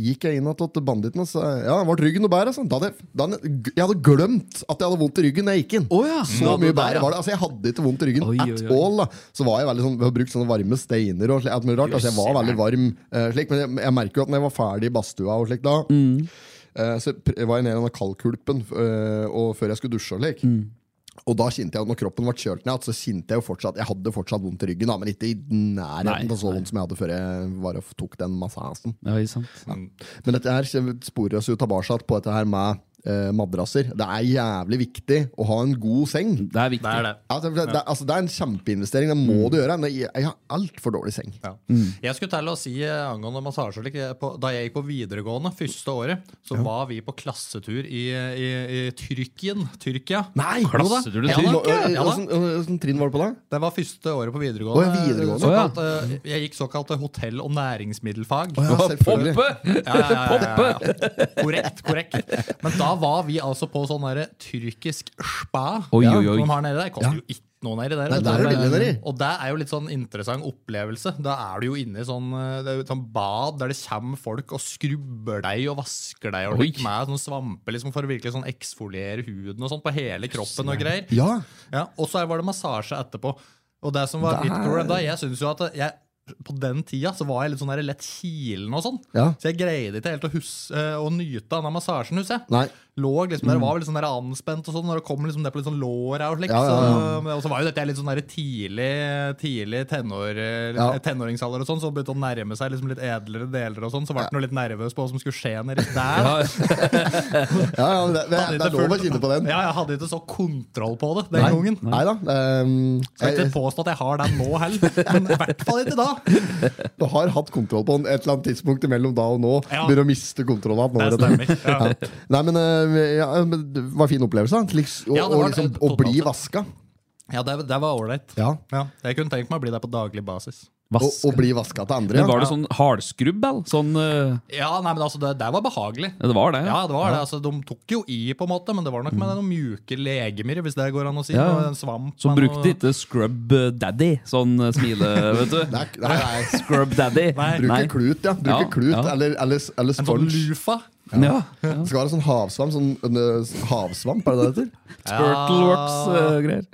[SPEAKER 1] gikk jeg inn og til banditten og sa ja, ble ryggen noe bedre. Altså. Da hadde, jeg- da hadde, jeg- jeg hadde glemt at jeg hadde vondt i ryggen da jeg gikk inn.
[SPEAKER 2] Å, ja.
[SPEAKER 1] Så
[SPEAKER 2] Ja,
[SPEAKER 1] mye
[SPEAKER 2] det der,
[SPEAKER 1] bedre
[SPEAKER 2] ja.
[SPEAKER 1] var det. Altså, jeg hadde ikke vondt i ryggen
[SPEAKER 2] Oi,
[SPEAKER 1] at
[SPEAKER 2] oi, oi.
[SPEAKER 1] all. Da. Så var jeg veldig sånn, vi har brukt sånne varme steiner og slik, alt mulig rart. Altså, jeg var veldig varm, eh, slik, men jeg, jeg merker jo at når jeg var ferdig i badstua og slik da,
[SPEAKER 2] Mm.
[SPEAKER 1] eh, så pr- var jeg nede i denne kaldkulpen eh, og før jeg skulle dusje og slik.
[SPEAKER 2] Mm.
[SPEAKER 1] Og da kjente jeg at når kroppen ble kjølt ned, så kjente jeg jo fortsatt Jeg hadde fortsatt vondt i ryggen, da, men ikke i
[SPEAKER 2] Nei,
[SPEAKER 1] nærheten av så vondt som jeg hadde før jeg var og tok den massasjen.
[SPEAKER 2] Ja, ikke sant.
[SPEAKER 1] Men dette her sporer oss jo tilbake på dette her med eh, madrasser. Det er jævlig viktig å ha en god seng.
[SPEAKER 2] Det er viktig.
[SPEAKER 3] Det er det.
[SPEAKER 1] Ja, det, det, det, altså, det er en kjempeinvestering. Det
[SPEAKER 3] Mm.
[SPEAKER 1] må du gjøre. Men jeg, jeg har altfor dårlig seng.
[SPEAKER 3] Ja. Jeg skulle til å si eh, angående massasje like, på- Da jeg gikk på videregående første året, så var vi på klassetur i, i, i Tyrkien. Tyrkia.
[SPEAKER 1] Nei!
[SPEAKER 2] Klasse, du, du
[SPEAKER 3] Ja,
[SPEAKER 2] sier.
[SPEAKER 3] da. Ja, da.
[SPEAKER 1] øh, Åssen trinn var det på da?
[SPEAKER 3] Det var første året på videregående.
[SPEAKER 1] Å, ja, videregående.
[SPEAKER 3] Såkalt, eh, jeg gikk såkalt hotell- og næringsmiddelfag.
[SPEAKER 1] Ja, selvfølgelig.
[SPEAKER 2] Poppe!
[SPEAKER 3] Ja, ja, ja, ja, ja. Korrekt, korrekt. Men da da var vi altså på sånn derre tyrkisk spa.
[SPEAKER 2] Oi,
[SPEAKER 3] Ja,
[SPEAKER 2] oi, oi.
[SPEAKER 3] som de har nede der. Koster jo ikke noe nedi
[SPEAKER 1] Nei,
[SPEAKER 3] der. vet du.
[SPEAKER 1] der er det billig nedi.
[SPEAKER 3] og det er jo litt sånn interessant opplevelse. Da er du jo inne i sånn, eh, det er jo et sånn bad der det kommer folk og skrubber deg og vasker deg og
[SPEAKER 2] Oi.
[SPEAKER 3] litt med sånne svamper liksom, for å virkelig sånn eksfoliere huden og sånn på hele kroppen og greier.
[SPEAKER 1] Ja,
[SPEAKER 3] Ja, og så var det massasje etterpå. Og det som var
[SPEAKER 1] Der-
[SPEAKER 3] mitt problem da, jeg synes jo at jeg, på den tida så var jeg litt sånn der lett kilen og sånn.
[SPEAKER 1] Ja.
[SPEAKER 3] Så jeg greide ikke helt å, hus- eh, å nyte denne massasjen, husker jeg.
[SPEAKER 1] Nei. Mm.
[SPEAKER 3] Lå liksom der, var vel litt sånn der anspent og sånn, når det kom liksom det på litt sånn låra og slik.
[SPEAKER 1] Ja, ja, ja.
[SPEAKER 3] Så, men- og så var jo dette litt sånn der tidlig, tidlig tenår, eh,
[SPEAKER 1] Ja.
[SPEAKER 3] tenåringsalder og sånn, så begynte å nærme seg liksom litt edlere deler og sånn, så ble jeg noe litt nervøs på hva som skulle skje nedi der.
[SPEAKER 2] Ja,
[SPEAKER 1] ja, ja det, det,
[SPEAKER 3] Hadde
[SPEAKER 1] det er
[SPEAKER 3] ikke
[SPEAKER 1] lov å
[SPEAKER 3] fullt-
[SPEAKER 1] være inne på den.
[SPEAKER 3] Ja, jeg hadde ikke så kontroll på det den gangen.
[SPEAKER 1] Nei da. ehm,
[SPEAKER 3] Skal
[SPEAKER 1] jeg,
[SPEAKER 3] ikke påstå at jeg har den nå heller, men i hvert fall ikke da.
[SPEAKER 1] du har hatt kontroll på den et eller annet tidspunkt mellom da og nå.
[SPEAKER 3] Ja.
[SPEAKER 1] Begynner å miste kontrollen. av den over og til.
[SPEAKER 3] Ja.
[SPEAKER 1] Nei, men, eh, ja, men Det var en fin opplevelse. da. Liks, og,
[SPEAKER 3] Ja, det var
[SPEAKER 1] og liksom,
[SPEAKER 3] det,
[SPEAKER 1] å bli
[SPEAKER 3] totalt
[SPEAKER 1] vaska.
[SPEAKER 3] Ja, det, det var ålreit.
[SPEAKER 1] Ja.
[SPEAKER 3] Ja, jeg kunne tenkt meg å bli der på daglig basis.
[SPEAKER 1] Og,
[SPEAKER 2] vask.
[SPEAKER 1] og bli vaska til andre. Ja.
[SPEAKER 2] Men var det sånn hardskrubb, eller? Sånn, eh,
[SPEAKER 3] Ja, nei, men altså, det, det var behagelig.
[SPEAKER 2] ja, det var det?
[SPEAKER 3] Ja, det var det. Altså, de tok jo i, på en måte, men det var nok med
[SPEAKER 1] Mm.
[SPEAKER 3] noen mjuke legemer, hvis det går an å si.
[SPEAKER 2] Ja.
[SPEAKER 3] Noe- En svamp.
[SPEAKER 2] Så
[SPEAKER 3] med noe-
[SPEAKER 2] brukte ikke Scrub Daddy sånn eh, smile, vet du?
[SPEAKER 1] Nei, nei, nei.
[SPEAKER 2] Scrub Daddy.
[SPEAKER 3] Nei.
[SPEAKER 1] Bruke klut, ja. Bruke
[SPEAKER 2] Ja,
[SPEAKER 1] klut
[SPEAKER 2] ja.
[SPEAKER 1] Eller, eller, eller
[SPEAKER 3] En sånn
[SPEAKER 1] sponge.
[SPEAKER 3] lufa.
[SPEAKER 2] Ja. ja.
[SPEAKER 1] Det skal være sånn havsvamp. Sånn, øh, havsvamp, er det det det heter?
[SPEAKER 2] Turtleworks-greier.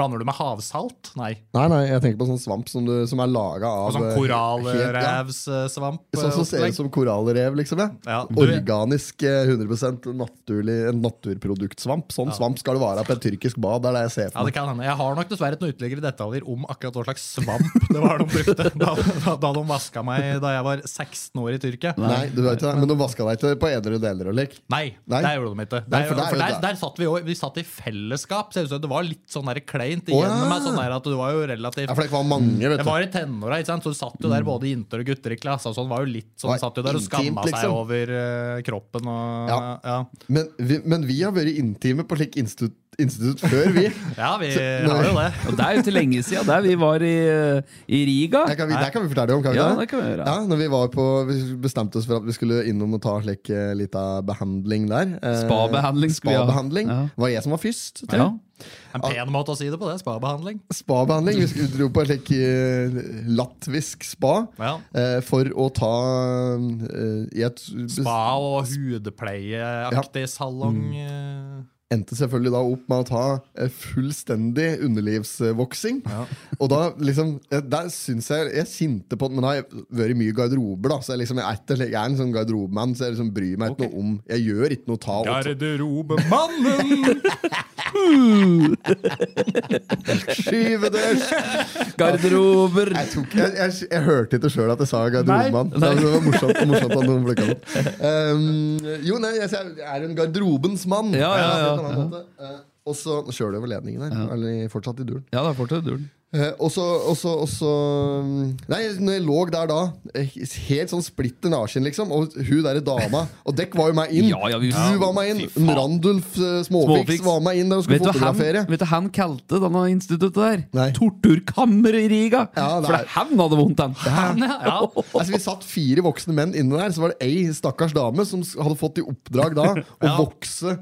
[SPEAKER 3] Blander du med havsalt? Nei.
[SPEAKER 1] Nei, nei, jeg tenker på sånn svamp som, du, som er laga av
[SPEAKER 3] Og sånn
[SPEAKER 1] øh,
[SPEAKER 3] eh,
[SPEAKER 1] helt- ja,
[SPEAKER 3] korallrevssvamp?
[SPEAKER 1] Sånn som ser ut som korallrev, liksom. ja,
[SPEAKER 3] Ja, du-
[SPEAKER 1] Organisk, eh, 100 naturlig En naturproduktsvamp. Sånn svamp skal det være på et tyrkisk bad. Det er det jeg ser
[SPEAKER 3] Ja,
[SPEAKER 1] for meg.
[SPEAKER 3] det kan hende. Jeg har nok dessverre ikke noen ytterligere detaljer om akkurat hva slags svamp det var de brukte da, da, da de vaska meg da jeg var 16 år i Tyrkia. Nei,
[SPEAKER 1] Nei, du vet ikke, men de vaska deg ikke på edre deler og lek. Nei.
[SPEAKER 3] det gjorde de ikke.
[SPEAKER 1] Nei,
[SPEAKER 3] Der,
[SPEAKER 1] for
[SPEAKER 3] for
[SPEAKER 1] der er
[SPEAKER 3] der,
[SPEAKER 1] jo
[SPEAKER 3] der,
[SPEAKER 1] det.
[SPEAKER 3] satt vi, jo- vi satt i fellesskap. Ser ut som det var litt sånn der kleint
[SPEAKER 1] Å,
[SPEAKER 3] igjennom
[SPEAKER 1] ja.
[SPEAKER 3] meg. Sånn der at du var jo
[SPEAKER 1] Ja,
[SPEAKER 3] relativt
[SPEAKER 1] for det var mange, vet
[SPEAKER 3] Mm. Jeg
[SPEAKER 1] du.
[SPEAKER 3] var i tenåra, ikke sant? så du satt jo der både jenter og gutter i klassen. Sånn var jo litt sånn,
[SPEAKER 1] Var
[SPEAKER 3] satt jo der og
[SPEAKER 1] intimt,
[SPEAKER 3] skamma
[SPEAKER 1] liksom.
[SPEAKER 3] seg over eh, kroppen og ja.
[SPEAKER 1] Ja.
[SPEAKER 3] Ja.
[SPEAKER 1] Men vi, men vi har vært intime på slik institutt, institutt før, vi.
[SPEAKER 3] vi
[SPEAKER 1] Så-
[SPEAKER 3] har jo det.
[SPEAKER 2] Og det er jo ikke lenge siden der vi var i, eh, i Riga.
[SPEAKER 1] Det kan vi, det kan vi fortelle om, kan vi
[SPEAKER 2] Ja,
[SPEAKER 1] ikke
[SPEAKER 2] det kan vi gjøre.
[SPEAKER 1] Ja, når vi, var på, vi bestemte oss for at vi skulle innom og ta slik eh, lita behandling der. Eh,
[SPEAKER 2] Spabehandling skulle vi ha.
[SPEAKER 1] spabehandling.
[SPEAKER 2] Ja.
[SPEAKER 1] Det var jeg som var først. tror jeg.
[SPEAKER 2] Ja.
[SPEAKER 3] En pen måte å si det på, det. Spabehandling.
[SPEAKER 1] Spabehandling. Vi skulle- dro på et slik eh, latvisk spa
[SPEAKER 3] Ja.
[SPEAKER 1] eh, for å ta eh, i et
[SPEAKER 3] Spa og hudpleieaktig salong.
[SPEAKER 1] Mm.
[SPEAKER 3] eh.
[SPEAKER 1] endte selvfølgelig da opp med å ta eh, fullstendig underlivsvoksing. Og da liksom eh, Der syns jeg Jeg kjente på det, men da har jeg vært mye i garderober, da. Så jeg, liksom, jeg, er ikke- jeg er en sånn garderobemann, så jeg liksom bryr meg ikke noe om Jeg gjør ikke noe ta og
[SPEAKER 3] eh. Garderobemannen!
[SPEAKER 1] skyve dørs!
[SPEAKER 2] Garderober.
[SPEAKER 1] Jeg, tok, jeg, jeg, jeg hørte ikke sjøl at jeg sa garderobemann. Det
[SPEAKER 2] Nei.
[SPEAKER 1] var morsomt, morsomt at noen plukka det opp. Ehm, jo, nei, jeg, jeg er en garderobens mann.
[SPEAKER 2] Ja, ja,
[SPEAKER 1] Jeg
[SPEAKER 2] ja.
[SPEAKER 1] sier på en annen måte. Eh, Og så kjører du over ledningen der. Eller fortsatt i duren.
[SPEAKER 2] Ja, da fortsatt duren.
[SPEAKER 1] Eh, Og så, og så, og så mm, Nei, når jeg lå der da, eh, helt sånn splitter naken, liksom, og hun derre dama Og dekk var jo meg inn!
[SPEAKER 2] Ja, ja, vi-
[SPEAKER 1] du var meg inn!
[SPEAKER 2] Fy faen.
[SPEAKER 1] Randulf eh, Småfiks,
[SPEAKER 2] Småfiks.
[SPEAKER 1] var meg inn da hun skulle
[SPEAKER 2] Vet du hva han,
[SPEAKER 1] fotografere.
[SPEAKER 2] vet du hva han kalte denne instituttet der?
[SPEAKER 1] Nei.
[SPEAKER 2] Torturkammer i Riga!
[SPEAKER 1] Ja, det
[SPEAKER 2] For
[SPEAKER 1] er-
[SPEAKER 2] det han hadde vondt, han.
[SPEAKER 3] Han, ja.
[SPEAKER 1] Altså, vi satt fire voksne menn inne der, så var det ei stakkars dame som s- hadde fått i oppdrag da å vokse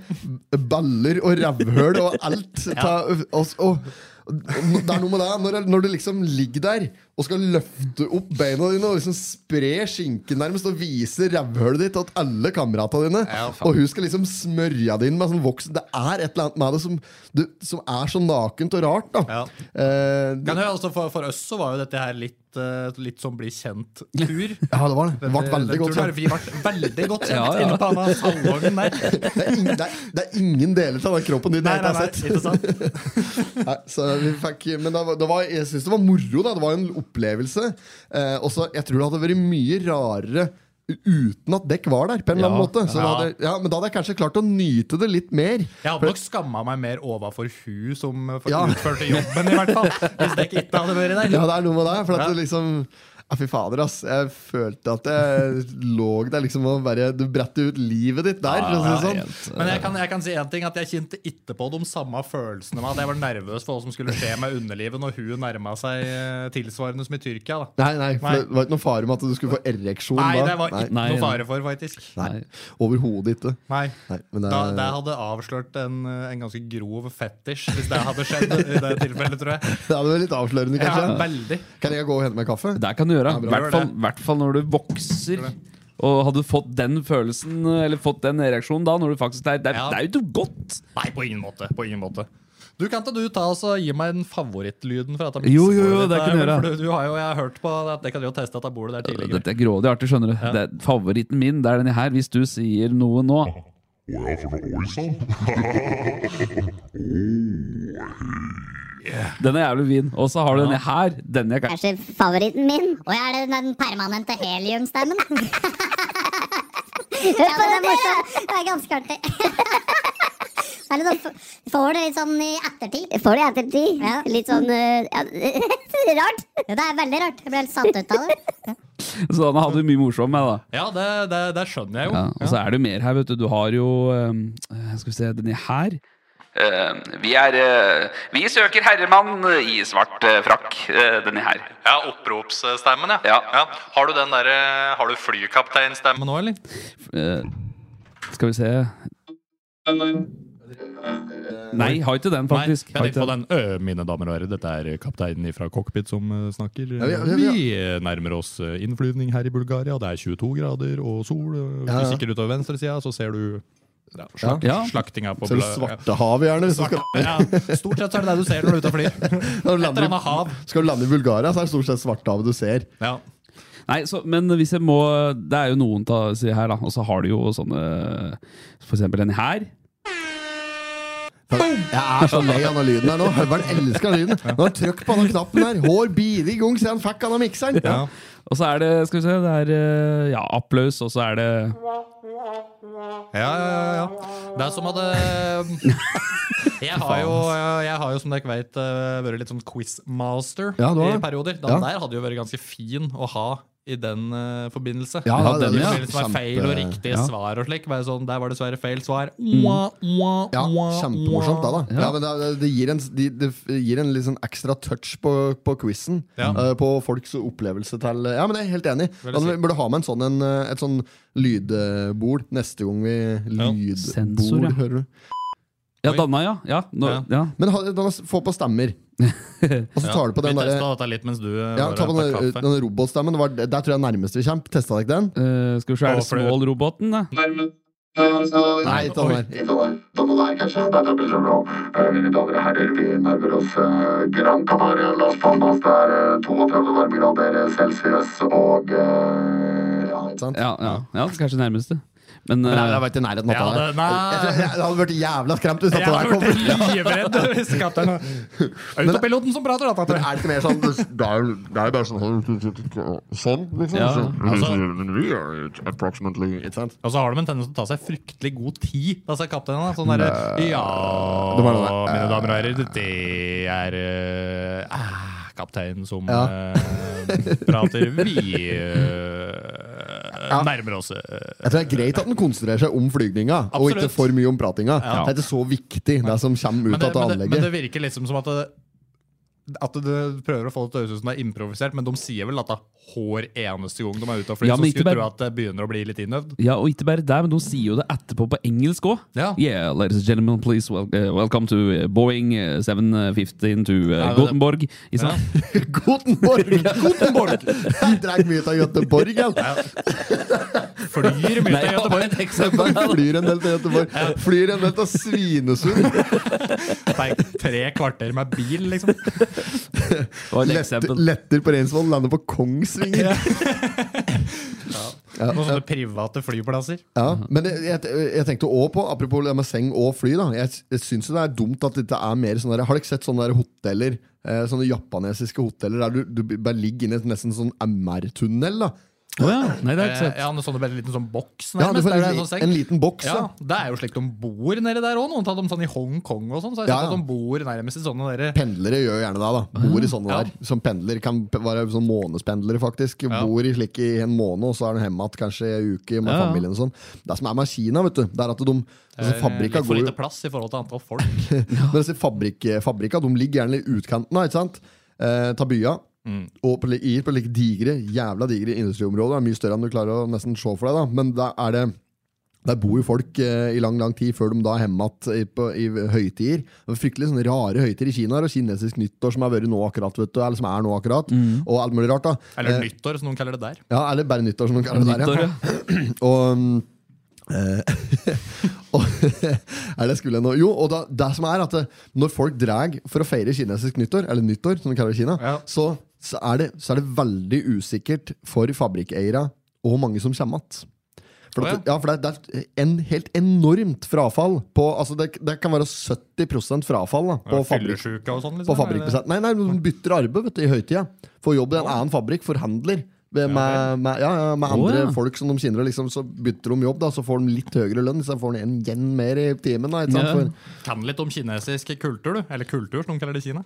[SPEAKER 1] baller og rævhøl og alt. Ta, og, og, det er noe med det når, det- når du liksom ligger der og skal løfte opp beina dine og liksom spre skinken nærmest og vise rævhølet ditt til alle kameratene dine, og hun skal liksom smørje deg inn med sånn voksen Det er et eller annet med det som, du, som er så nakent og rart, da.
[SPEAKER 3] Ja.
[SPEAKER 1] Eh, det,
[SPEAKER 3] Kan du, altså for, for oss så var jo dette her litt, eh, litt sånn bli kjent-tur.
[SPEAKER 1] ja, det var det. Det ble veldig godt.
[SPEAKER 3] Vi ble veldig godt kjent
[SPEAKER 2] Ja, ja.
[SPEAKER 3] inne på denne salongen der.
[SPEAKER 1] Det er, ingen, det, er, det er ingen deler av den kroppen din
[SPEAKER 3] Nei,
[SPEAKER 1] jeg
[SPEAKER 3] nei,
[SPEAKER 1] ikke
[SPEAKER 3] nei,
[SPEAKER 1] har sett.
[SPEAKER 3] ikke sant?
[SPEAKER 1] Nei, så vi fikk, men det var, det var, jeg syns det var moro. Da. Det var en opplevelse. Eh, også, jeg tror det hadde vært mye rarere uten at dekk var der. på en eller annen
[SPEAKER 2] Ja.
[SPEAKER 1] måte så da
[SPEAKER 3] Ja.
[SPEAKER 1] hadde, ja, Men da hadde jeg kanskje klart å nyte det litt mer.
[SPEAKER 3] Jeg hadde nok skamma meg mer overfor hun som eh, for-
[SPEAKER 1] Ja.
[SPEAKER 3] utførte jobben, i hvert fall. Hvis det ikke hadde vært der.
[SPEAKER 1] Ja, det er noe med det. For at
[SPEAKER 3] Ja.
[SPEAKER 1] det liksom Ja, fy fader, ass. Jeg følte at jeg lå der liksom og bare Du brettet ut livet ditt der, for å si det sånn.
[SPEAKER 3] Men jeg kan, jeg kan si en ting, at jeg kjente ikke på de samme følelsene med at jeg var nervøs for hva som skulle skje med underlivet når hun nærma seg eh, tilsvarende som i Tyrkia. Da.
[SPEAKER 1] Nei, nei, for
[SPEAKER 3] Nei.
[SPEAKER 1] det var ikke noen fare med at du skulle få ereksjon
[SPEAKER 3] Nei,
[SPEAKER 1] da.
[SPEAKER 3] det var ikke
[SPEAKER 1] nei,
[SPEAKER 2] Nei,
[SPEAKER 3] noe
[SPEAKER 2] nei.
[SPEAKER 3] fare for, faktisk.
[SPEAKER 1] nei. Overhodet ikke.
[SPEAKER 3] Nei.
[SPEAKER 1] Nei, men eh, det,
[SPEAKER 3] Da, det hadde avslørt en, eh, en ganske grov fetisj, hvis det hadde skjedd i det tilfellet, tror jeg.
[SPEAKER 1] det er vel litt avslørende,
[SPEAKER 3] Ja,
[SPEAKER 1] kanskje.
[SPEAKER 3] veldig.
[SPEAKER 1] Kan jeg gå og hente meg kaffe?
[SPEAKER 2] Det kan du gjøre. I
[SPEAKER 3] bra.
[SPEAKER 2] hvert fall- hvert fall når du vokser. Og hadde du fått den følelsen Eller fått den reaksjonen da når du faktisk Det, er- det, er-
[SPEAKER 3] Ja.
[SPEAKER 2] det er jo ikke godt!
[SPEAKER 3] Nei, på ingen måte. På ingen måte. Du, Kan ikke du ta oss og gi meg den favorittlyden? fra dette
[SPEAKER 2] Jo, jo, jo,
[SPEAKER 3] miksebordet ditt
[SPEAKER 2] det kan jeg
[SPEAKER 3] der,
[SPEAKER 2] gjøre.
[SPEAKER 3] for Du, du har jo, jeg har hørt på at det kan du jo teste at jeg bor der tidligere.
[SPEAKER 2] Dette er grådig artig, skjønner du. Det er favoritten min det er denne her. Hvis du sier noe nå
[SPEAKER 8] Å ja, for noe oi sann!
[SPEAKER 2] Den er jævlig fin. Og så har du denne her. Denne jeg kan
[SPEAKER 9] er ikke favoritten min. Og jeg er det den permanente heliumstemmen. Hør på det, morsomt. Det er ganske artig. Det er litt sånn, f- får det litt sånn i ettertid. Får det i ettertid. Ja. Litt sånn rart. Ja, det er veldig rart. Jeg ble helt satt ut av det.
[SPEAKER 2] Så den hadde du mye morsomt med, da.
[SPEAKER 3] Ja, det, det, det skjønner jeg jo.
[SPEAKER 2] Ja, og så er det jo mer her, vet du. Du har jo ehm, Skal vi se, denne her. Ehm, vi er eh, Vi søker herremann i svart eh, frakk. denne her.
[SPEAKER 3] Ja, oppropsstemmen, ja.
[SPEAKER 2] Ja.
[SPEAKER 3] Har du den derre Har du flykapteinstemmen nå, eller?
[SPEAKER 2] Eh, skal vi se Nei, har ikke den, faktisk.
[SPEAKER 3] Nei,
[SPEAKER 2] Har
[SPEAKER 3] jeg tenkte
[SPEAKER 2] ikke
[SPEAKER 3] på den. Ø, mine damer og herrer, dette er eh, kapteinen fra cockpit som eh, snakker.
[SPEAKER 1] ja, ja, ja.
[SPEAKER 3] Vi eh, nærmer oss eh, innflyvning her i Bulgaria. Det er 22 grader og sol. eh, Hvis
[SPEAKER 1] Ja, ja.
[SPEAKER 3] du kikker utover venstresida, så ser du ja, slakt,
[SPEAKER 2] Ja.
[SPEAKER 3] slaktinga på
[SPEAKER 1] Ser du
[SPEAKER 3] bla-
[SPEAKER 1] Svartehavet, gjerne? Hvis du skal,
[SPEAKER 3] Ja, stort sett så er det det du ser når du er ute og flyr. Et
[SPEAKER 1] når du
[SPEAKER 3] eller
[SPEAKER 1] lander,
[SPEAKER 3] annet hav.
[SPEAKER 1] i- skal du lande i Bulgaria, så er det stort sett Svartehavet du ser.
[SPEAKER 3] Ja.
[SPEAKER 2] Nei, så, men hvis jeg må Det er jo noen ta, si her, da. Og så har du jo sånne For eksempel denne her.
[SPEAKER 1] Jeg er så lei av den lyden her nå. Høveren elsker den lyden. Nå har han trykk på den knappen her. Hår bide i gang siden han fikk denne mikseren.
[SPEAKER 3] Ja.
[SPEAKER 2] Og så er det Skal vi se, det er eh, Ja, applaus, og så er det
[SPEAKER 3] Ja, ja, ja, ja. Det er som at eh, jeg har, jo, jeg har jo, som dere vet, eh, vært litt sånn quizmaster
[SPEAKER 1] Ja, du har
[SPEAKER 3] i
[SPEAKER 1] det.
[SPEAKER 3] perioder. Den
[SPEAKER 1] Ja.
[SPEAKER 3] der hadde jo vært ganske fin å ha i den eh, forbindelse.
[SPEAKER 1] Ja,
[SPEAKER 2] Ja, den,
[SPEAKER 3] I
[SPEAKER 2] ja.
[SPEAKER 3] forbindelse med feil og
[SPEAKER 1] Kjempe-
[SPEAKER 3] riktige
[SPEAKER 2] ja.
[SPEAKER 3] svar og slik. Bare sånn, der var dessverre feil svar. Mwah, mwah,
[SPEAKER 1] Ja,
[SPEAKER 3] mwah,
[SPEAKER 1] Kjempemorsomt, da.
[SPEAKER 3] mwah.
[SPEAKER 1] da. Ja, men det, det, gir en, de, det gir en litt sånn ekstra touch på, på quizen.
[SPEAKER 3] Ja.
[SPEAKER 1] eh, på folks opplevelse til Ja, men jeg er helt enig. Altså, vi burde ha med en sånn, en, eh, et sånn lydbord neste gang vi Lydbord,
[SPEAKER 2] Sensor, ja.
[SPEAKER 1] hører du.
[SPEAKER 2] Ja,
[SPEAKER 3] Oi.
[SPEAKER 2] Danna, ja. Ja, nå,
[SPEAKER 3] Ja.
[SPEAKER 2] ja.
[SPEAKER 1] Men ha, da, få på stemmer. Og så tar du på den
[SPEAKER 3] Vi
[SPEAKER 1] derre
[SPEAKER 3] testa dette litt mens du eh,
[SPEAKER 1] ja,
[SPEAKER 3] var
[SPEAKER 1] ta på
[SPEAKER 3] og
[SPEAKER 1] den,
[SPEAKER 3] hentet
[SPEAKER 1] der- den robotstemmen. Det var, der tror jeg nærmest vi kommer. Testa dere den?
[SPEAKER 2] Eh, skal vi se, er
[SPEAKER 3] Å,
[SPEAKER 2] det
[SPEAKER 3] for det-
[SPEAKER 2] Small-roboten, da?
[SPEAKER 1] Nei, ta den der.
[SPEAKER 2] Ja, ja, ja, kanskje det nærmeste. Men,
[SPEAKER 1] Men jeg,
[SPEAKER 2] eh,
[SPEAKER 1] jeg var ikke i nærheten
[SPEAKER 3] Ja,
[SPEAKER 1] av det.
[SPEAKER 3] det- nei.
[SPEAKER 1] Jeg, tror jeg, jeg hadde vært jævla skremt hvis dette der
[SPEAKER 3] Jeg
[SPEAKER 1] kom.
[SPEAKER 3] ble livredd hvis kapteinen Autopiloten som prater,
[SPEAKER 1] Men
[SPEAKER 3] da. Tante.
[SPEAKER 1] er det ikke mer sånn
[SPEAKER 8] Det er jo det er bare sånn Sånn, liksom.
[SPEAKER 2] Ja.
[SPEAKER 8] Så-
[SPEAKER 3] Altså-
[SPEAKER 8] We are approximately
[SPEAKER 1] Ikke sant?
[SPEAKER 3] Og så har de en tendens til å ta seg fryktelig god tid. Da sa kapteinen da. sånn derre Ja,
[SPEAKER 1] Det var noe der.
[SPEAKER 3] mine damer og herrer, det er eh, ah, kapteinen som
[SPEAKER 1] Ja.
[SPEAKER 3] eh, prater. Vi eh, nærmer oss eh,
[SPEAKER 1] Jeg tror det er greit at den konsentrerer seg om flygninga, og
[SPEAKER 3] Absolutt.
[SPEAKER 1] ikke for mye om pratinga. Det er ikke så viktig, det som kommer
[SPEAKER 3] men
[SPEAKER 1] ut
[SPEAKER 3] det,
[SPEAKER 1] av
[SPEAKER 3] men, det, men
[SPEAKER 1] anlegget.
[SPEAKER 3] det virker liksom som at det, at du prøver å få det til å høres ut som det er improvisert, men de sier vel at det er hver eneste gang de er ute og flyr,
[SPEAKER 2] Ja,
[SPEAKER 3] så
[SPEAKER 2] men ikke
[SPEAKER 3] skulle du
[SPEAKER 2] bare-
[SPEAKER 3] tro at det begynner å bli litt innøvd.
[SPEAKER 2] ja, og ikke bare der, men de sier jo det etterpå på engelsk òg.
[SPEAKER 3] Ja.
[SPEAKER 2] Yeah, ladies and gentlemen, please wel eh, welcome to eh, Boeing eh, 715 to eh, Gothenburg. Ikke sant?
[SPEAKER 1] Gotenborg! Gotenborg! Jeg drar mye ut av Göteborg, jeg.
[SPEAKER 3] Flyr mye
[SPEAKER 2] Nei,
[SPEAKER 3] til
[SPEAKER 2] det var
[SPEAKER 3] Göteborg.
[SPEAKER 2] et eksempel.
[SPEAKER 1] Jeg Flyr en del til Göteborg. Flyr en del til Svinesund.
[SPEAKER 3] Tenk, Tre kvarter med bil, liksom.
[SPEAKER 2] Det var et
[SPEAKER 1] Letter,
[SPEAKER 2] eksempel.
[SPEAKER 1] letter på Reinsvoll, lander på Kongsvinger.
[SPEAKER 3] Noen sånne private flyplasser.
[SPEAKER 1] Ja, men jeg, jeg, jeg tenkte også på, apropos det med seng og fly, da. Jeg, jeg syns jo det er dumt at det er mer sånn der Har dere ikke sett sånne der hoteller? eh, Sånne japanesiske hoteller der du, du bare ligger inne i et nesten sånn MR-tunnel. da
[SPEAKER 2] Å ja. Nei, det er ikke
[SPEAKER 3] Eh,
[SPEAKER 2] sett.
[SPEAKER 3] Ja, en sånn en liten sånn boks,
[SPEAKER 1] Ja, du
[SPEAKER 3] nærmest.
[SPEAKER 1] får
[SPEAKER 3] der det er
[SPEAKER 1] en,
[SPEAKER 3] sånn seng.
[SPEAKER 1] en liten sånn. boks, ja.
[SPEAKER 3] ja, Det er jo slik de bor nedi der òg. Noen tar dem sånn i Hongkong og sånn. Så jeg
[SPEAKER 1] Ja,
[SPEAKER 3] ja,
[SPEAKER 1] ja.
[SPEAKER 3] at de bor nærmest i sånne der, eh,
[SPEAKER 1] Pendlere gjør jo gjerne det. da Bor i sånne
[SPEAKER 3] Ah. Ja.
[SPEAKER 1] der. Som pendler kan p- være sånn månedspendlere, faktisk.
[SPEAKER 3] Ja.
[SPEAKER 1] Bor i slik i en måned, og så er de hjemme igjen kanskje en uke med
[SPEAKER 2] Ja, ja.
[SPEAKER 1] familien. og sånn Det som er med Kina, vet du Det er at de altså,
[SPEAKER 3] eh,
[SPEAKER 1] Fabrikka
[SPEAKER 3] litt for
[SPEAKER 1] går jo
[SPEAKER 3] lite plass i forhold til antall folk.
[SPEAKER 1] Men disse fabrik, fabrikka de ligger gjerne i utkanten av, ikke sant? Eh, ta bya. Og på, li- i på like digre, jævla digre industriområder. Det er mye større enn du klarer å nesten se for deg, da. Men da er det der bor jo folk eh, i lang lang tid før de da er hjemme igjen i, på- i høytider. Det er Fryktelig sånne rare høytider i Kina. Og kinesisk nyttår som har vært nå akkurat. vet du Eller som er nå akkurat Og alt mulig rart. da
[SPEAKER 3] Eller
[SPEAKER 1] Eh,
[SPEAKER 3] nyttår, som noen kaller det der.
[SPEAKER 1] ja, eller bare nyttår, som noen kaller eh, det der.
[SPEAKER 2] Nyttår,
[SPEAKER 1] ja. og um, eh, og er det skulle jeg nå? Jo, og da, det som er at eh, når folk drar for å feire kinesisk nyttår, eller nyttår, som de kaller det i Kina,
[SPEAKER 3] Ja.
[SPEAKER 1] så, så, er det, så er det veldig usikkert for fabrikkeiere og hvor mange som kommer igjen. For,
[SPEAKER 3] Å,
[SPEAKER 1] at, ja, for det, det er en helt enormt frafall på altså det, det kan være 70 frafall da, på,
[SPEAKER 3] Ja,
[SPEAKER 1] fabrikk,
[SPEAKER 3] Fyllesjuke og sånn.
[SPEAKER 1] på
[SPEAKER 3] Liksom,
[SPEAKER 1] fabrikkbesett. Nei, nei, de bytter arbeid vet du, i høytida. Får jobb i en annen fabrikk, forhandler. Med, med, med, ja, ja, med
[SPEAKER 2] Å,
[SPEAKER 1] andre
[SPEAKER 2] ja.
[SPEAKER 1] folk som de kjenner, og liksom, så bytter de jobb, da, så får de litt høyere lønn. Så får de en yen mer i timen. Da, ikke sant?
[SPEAKER 2] Ja.
[SPEAKER 1] For,
[SPEAKER 3] Eller, kan litt om kinesisk kultur, du. Eller kultur, som noen kaller det i Kina.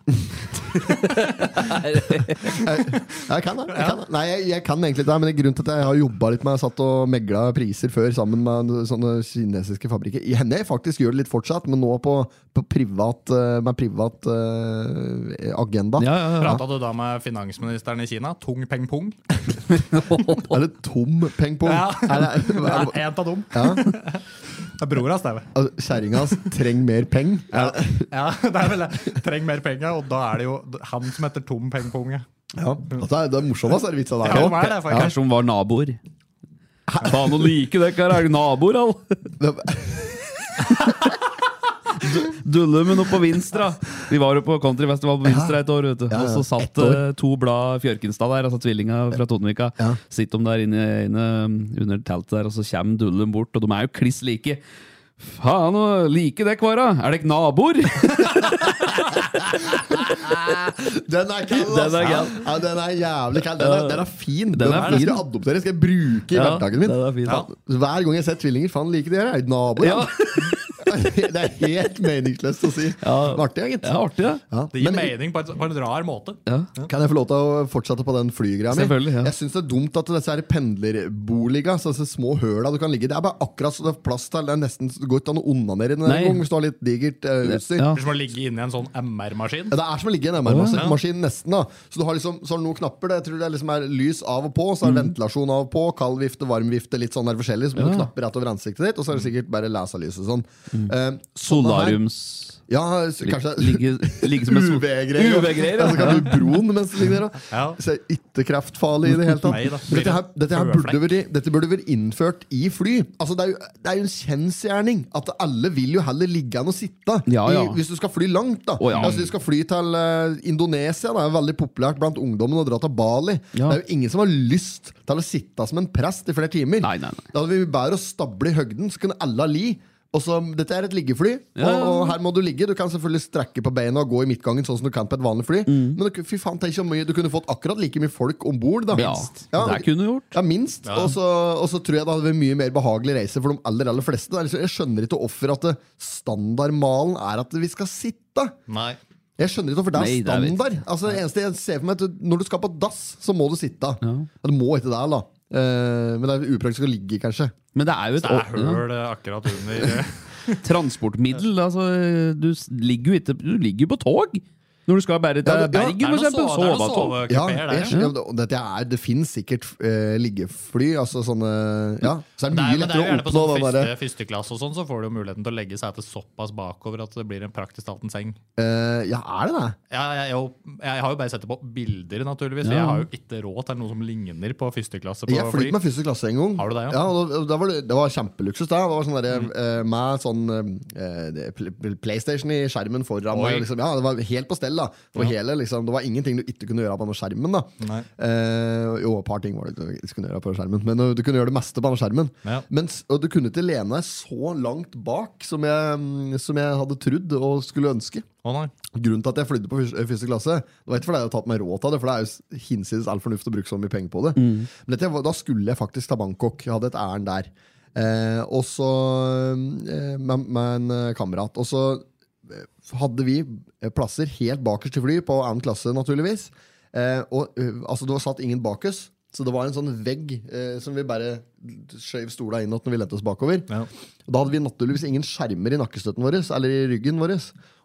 [SPEAKER 1] jeg kan det. Jeg kan, det. Nei, jeg, jeg kan egentlig ikke det, men grunnen til at jeg har jobba litt med satt og megla priser før sammen med sånne kinesiske fabrikker Jeg hender jeg faktisk gjør det litt fortsatt, men nå på, på privat, eh, med privat eh, agenda.
[SPEAKER 2] Ja, ja, ja.
[SPEAKER 3] Prata du da med finansministeren i Kina? Tung Peng Pung?
[SPEAKER 1] Er det tom pengpong?
[SPEAKER 3] Ja.
[SPEAKER 1] Er det-
[SPEAKER 3] Det er en av dem.
[SPEAKER 1] Ja.
[SPEAKER 3] Det er bror hans, det. er vel.
[SPEAKER 1] Altså, Kjerringa hans trenger mer penger.
[SPEAKER 3] Ja. ja, det er vel det. Trenger mer penger, og da er det jo han som heter Tom Peng Pung. ja.
[SPEAKER 1] Ja. Altså, det er morsommest, er det vitsa der
[SPEAKER 3] Ja,
[SPEAKER 1] også.
[SPEAKER 3] hva er det, faktisk?
[SPEAKER 2] Kanskje hun var naboer. Faen å like det, kar. Er du naboer, all? Dulle med noe på Vinstra. Vi var jo på countryfestival på Vinstra et år. vet du
[SPEAKER 1] ja.
[SPEAKER 2] Og så satt
[SPEAKER 1] Ett år.
[SPEAKER 2] eh, to blad Fjørkenstad der, altså tvillinga fra Tonvika.
[SPEAKER 1] Ja.
[SPEAKER 2] Sitter de der inne, inne under teltet der, og så kommer Dullum bort, og de er jo kliss like. Faen å like det, kara. Er dere naboer?
[SPEAKER 1] Den er kald, ass.
[SPEAKER 2] Den er kald.
[SPEAKER 1] Ja, den er jævlig kald. Den er, den er fin. Den,
[SPEAKER 2] er
[SPEAKER 1] skal
[SPEAKER 2] fin.
[SPEAKER 1] jeg adoptere, skal jeg bruke i
[SPEAKER 2] Ja,
[SPEAKER 1] hverdagen min.
[SPEAKER 2] den er fin.
[SPEAKER 1] Faen, Hver gang jeg ser tvillinger, faen liker de her. Er de naboer?
[SPEAKER 2] Ja.
[SPEAKER 1] ja? det er helt meningsløst å si.
[SPEAKER 2] Ja.
[SPEAKER 1] Men Artig, ja, gitt.
[SPEAKER 2] Det er artig, det.
[SPEAKER 1] Ja.
[SPEAKER 3] Det gir
[SPEAKER 1] Men-
[SPEAKER 3] mening på, et, på en rar måte.
[SPEAKER 2] Ja.
[SPEAKER 1] Kan jeg få lov til å fortsette på den flygreia mi?
[SPEAKER 2] Selvfølgelig, ja.
[SPEAKER 1] Jeg syns det er dumt at disse her pendlerboligene, så disse små høla du kan ligge i, det er bare akkurat så det er plass til. Det er nesten det går ikke an å onanere inn
[SPEAKER 2] Nei.
[SPEAKER 1] en gang hvis du har litt digert eh, utstyr.
[SPEAKER 2] Ja.
[SPEAKER 3] Det er Som å ligge inne i en sånn MR-maskin.
[SPEAKER 1] Ja, det er som å ligge i en MR-maskin nesten. da Så du har liksom så har du noen knapper. Det, jeg tror det er liksom er lys av og på, så er det ventilasjon av og på, kald vifte, varm vifte, litt sånn der forskjellig. Så blir det knapper rett over ansiktet ditt, og så er det sikkert bare laserlys og sånn. Eh, sånne her-
[SPEAKER 2] Solariums...
[SPEAKER 1] Ja, så kanskje
[SPEAKER 2] Ligge, ligge som en sol-
[SPEAKER 1] UV-greier.
[SPEAKER 2] UV-greier,
[SPEAKER 1] ja.
[SPEAKER 2] ja.
[SPEAKER 1] Så kan du broen mens du ligger der. da.
[SPEAKER 3] Ja.
[SPEAKER 1] Så er ikke kreftfarlig i det hele
[SPEAKER 3] Nei da.
[SPEAKER 1] tatt. Dette, her, dette, her burde vært, dette burde vært innført i fly. Altså, det, er jo, det er jo en kjensgjerning at alle vil jo heller ligge enn å sitte.
[SPEAKER 2] Ja, ja.
[SPEAKER 1] I, hvis du skal fly langt, da.
[SPEAKER 2] Å, ja.
[SPEAKER 1] Altså, du skal fly til eh, Indonesia. Det er jo veldig populært blant ungdommen å dra til Bali.
[SPEAKER 2] Ja.
[SPEAKER 1] Det er jo ingen som har lyst til å sitte som en prest i flere timer.
[SPEAKER 2] Nei, nei, nei.
[SPEAKER 1] Da hadde vi bedre å stable i høgden, så kunne alle ha li. Og så, Dette er et liggefly,
[SPEAKER 2] Ja.
[SPEAKER 1] og, og her må du ligge. Du kan selvfølgelig strekke på beina og gå i midtgangen, sånn som du kan på et vanlig fly.
[SPEAKER 2] Mm.
[SPEAKER 1] Men du, fy faen, tenk så mye du kunne fått akkurat like mye folk om bord.
[SPEAKER 2] Ja, det kunne du gjort.
[SPEAKER 1] Ja, minst. Og, så, og så tror jeg det hadde vært mye mer behagelig reise for de aller aller fleste. Det er liksom- Jeg skjønner ikke hvorfor at det- standardmalen er at vi skal sitte.
[SPEAKER 3] Nei.
[SPEAKER 1] Jeg skjønner ikke hvorfor det er
[SPEAKER 2] Nei, det er vi
[SPEAKER 1] standard. altså, det eneste jeg ser for meg er at du- Når du skal på dass, så må du sitte. Ja, Du må ikke det, da. Eh, men det er upraktisk å ligge, kanskje.
[SPEAKER 2] Men det er jo et
[SPEAKER 3] Det er
[SPEAKER 2] ja,
[SPEAKER 3] høl eh, akkurat under
[SPEAKER 2] transportmiddel. Altså, du s- ligger jo ikke Du ligger jo på tog! Når du skal bare til
[SPEAKER 1] Ja, det- ja,
[SPEAKER 2] Bergen,
[SPEAKER 3] Det er
[SPEAKER 2] for
[SPEAKER 3] noe
[SPEAKER 2] eksempel.
[SPEAKER 3] sove- det er noe
[SPEAKER 2] Sovetog.
[SPEAKER 1] Ja,
[SPEAKER 3] sovekupeer der,
[SPEAKER 1] jeg,
[SPEAKER 3] ja.
[SPEAKER 1] skjønner- og dette er, det finnes sikkert eh, liggefly, altså sånne Ja, så er det mye
[SPEAKER 3] Det er, men det er jo
[SPEAKER 1] lettere å
[SPEAKER 3] gjerne på
[SPEAKER 1] oppnå
[SPEAKER 3] sånn
[SPEAKER 1] den
[SPEAKER 3] første,
[SPEAKER 1] derre
[SPEAKER 3] første klasse og sånn, så får du jo muligheten til å legge setet såpass bakover at det blir en praktisk talt en seng.
[SPEAKER 1] eh, Ja, er det det?
[SPEAKER 3] Ja, jeg, jeg, jeg har jo bare sett det på bilder, naturligvis.
[SPEAKER 2] Ja.
[SPEAKER 3] Jeg har jo ikke råd til noe som ligner på første klasse på
[SPEAKER 1] Jeg fløy
[SPEAKER 3] fly.
[SPEAKER 1] med første klasse en gang.
[SPEAKER 3] Har du det, ja?
[SPEAKER 1] ja? og da, da var det, det var kjempeluksus. Da. Det var sånn der, eh, Med sånn eh, det- pl- pl- PlayStation i skjermen foran
[SPEAKER 3] Oi.
[SPEAKER 1] meg. Liksom. Ja, det var helt på stell. selv. da For hele liksom, Det var ingenting du ikke kunne gjøre på denne skjermen. da
[SPEAKER 3] Nei.
[SPEAKER 1] Eh, Jo, et par ting var det du ikke kunne gjøre på skjermen, men uh, du kunne gjøre det meste på denne skjermen.
[SPEAKER 3] Ja.
[SPEAKER 1] Mens, og du kunne ikke lene deg så langt bak som jeg, mm, som jeg hadde trodd og skulle ønske.
[SPEAKER 3] Å nei.
[SPEAKER 1] Grunnen til at jeg flydde på fyr- første klasse, det var ikke fordi jeg hadde tatt meg råd til det, for det er jo s- hinsides all fornuft å bruke så mye penger på det. Men dette, var- da skulle jeg faktisk til Bangkok. Jeg hadde et ærend der. Eh, og så eh, med, med en eh, kamerat. Og så eh, hadde vi eh, plasser helt bakerst i fly, på annen klasse, naturligvis. Eh, og eh, altså, det var satt ingen bak oss, så det var en sånn vegg eh, som vi bare skjøv stola inn at når vi lente oss bakover.
[SPEAKER 3] Ja.
[SPEAKER 1] Da hadde vi naturligvis ingen skjermer i nakkestøtten vår, eller i ryggen vår.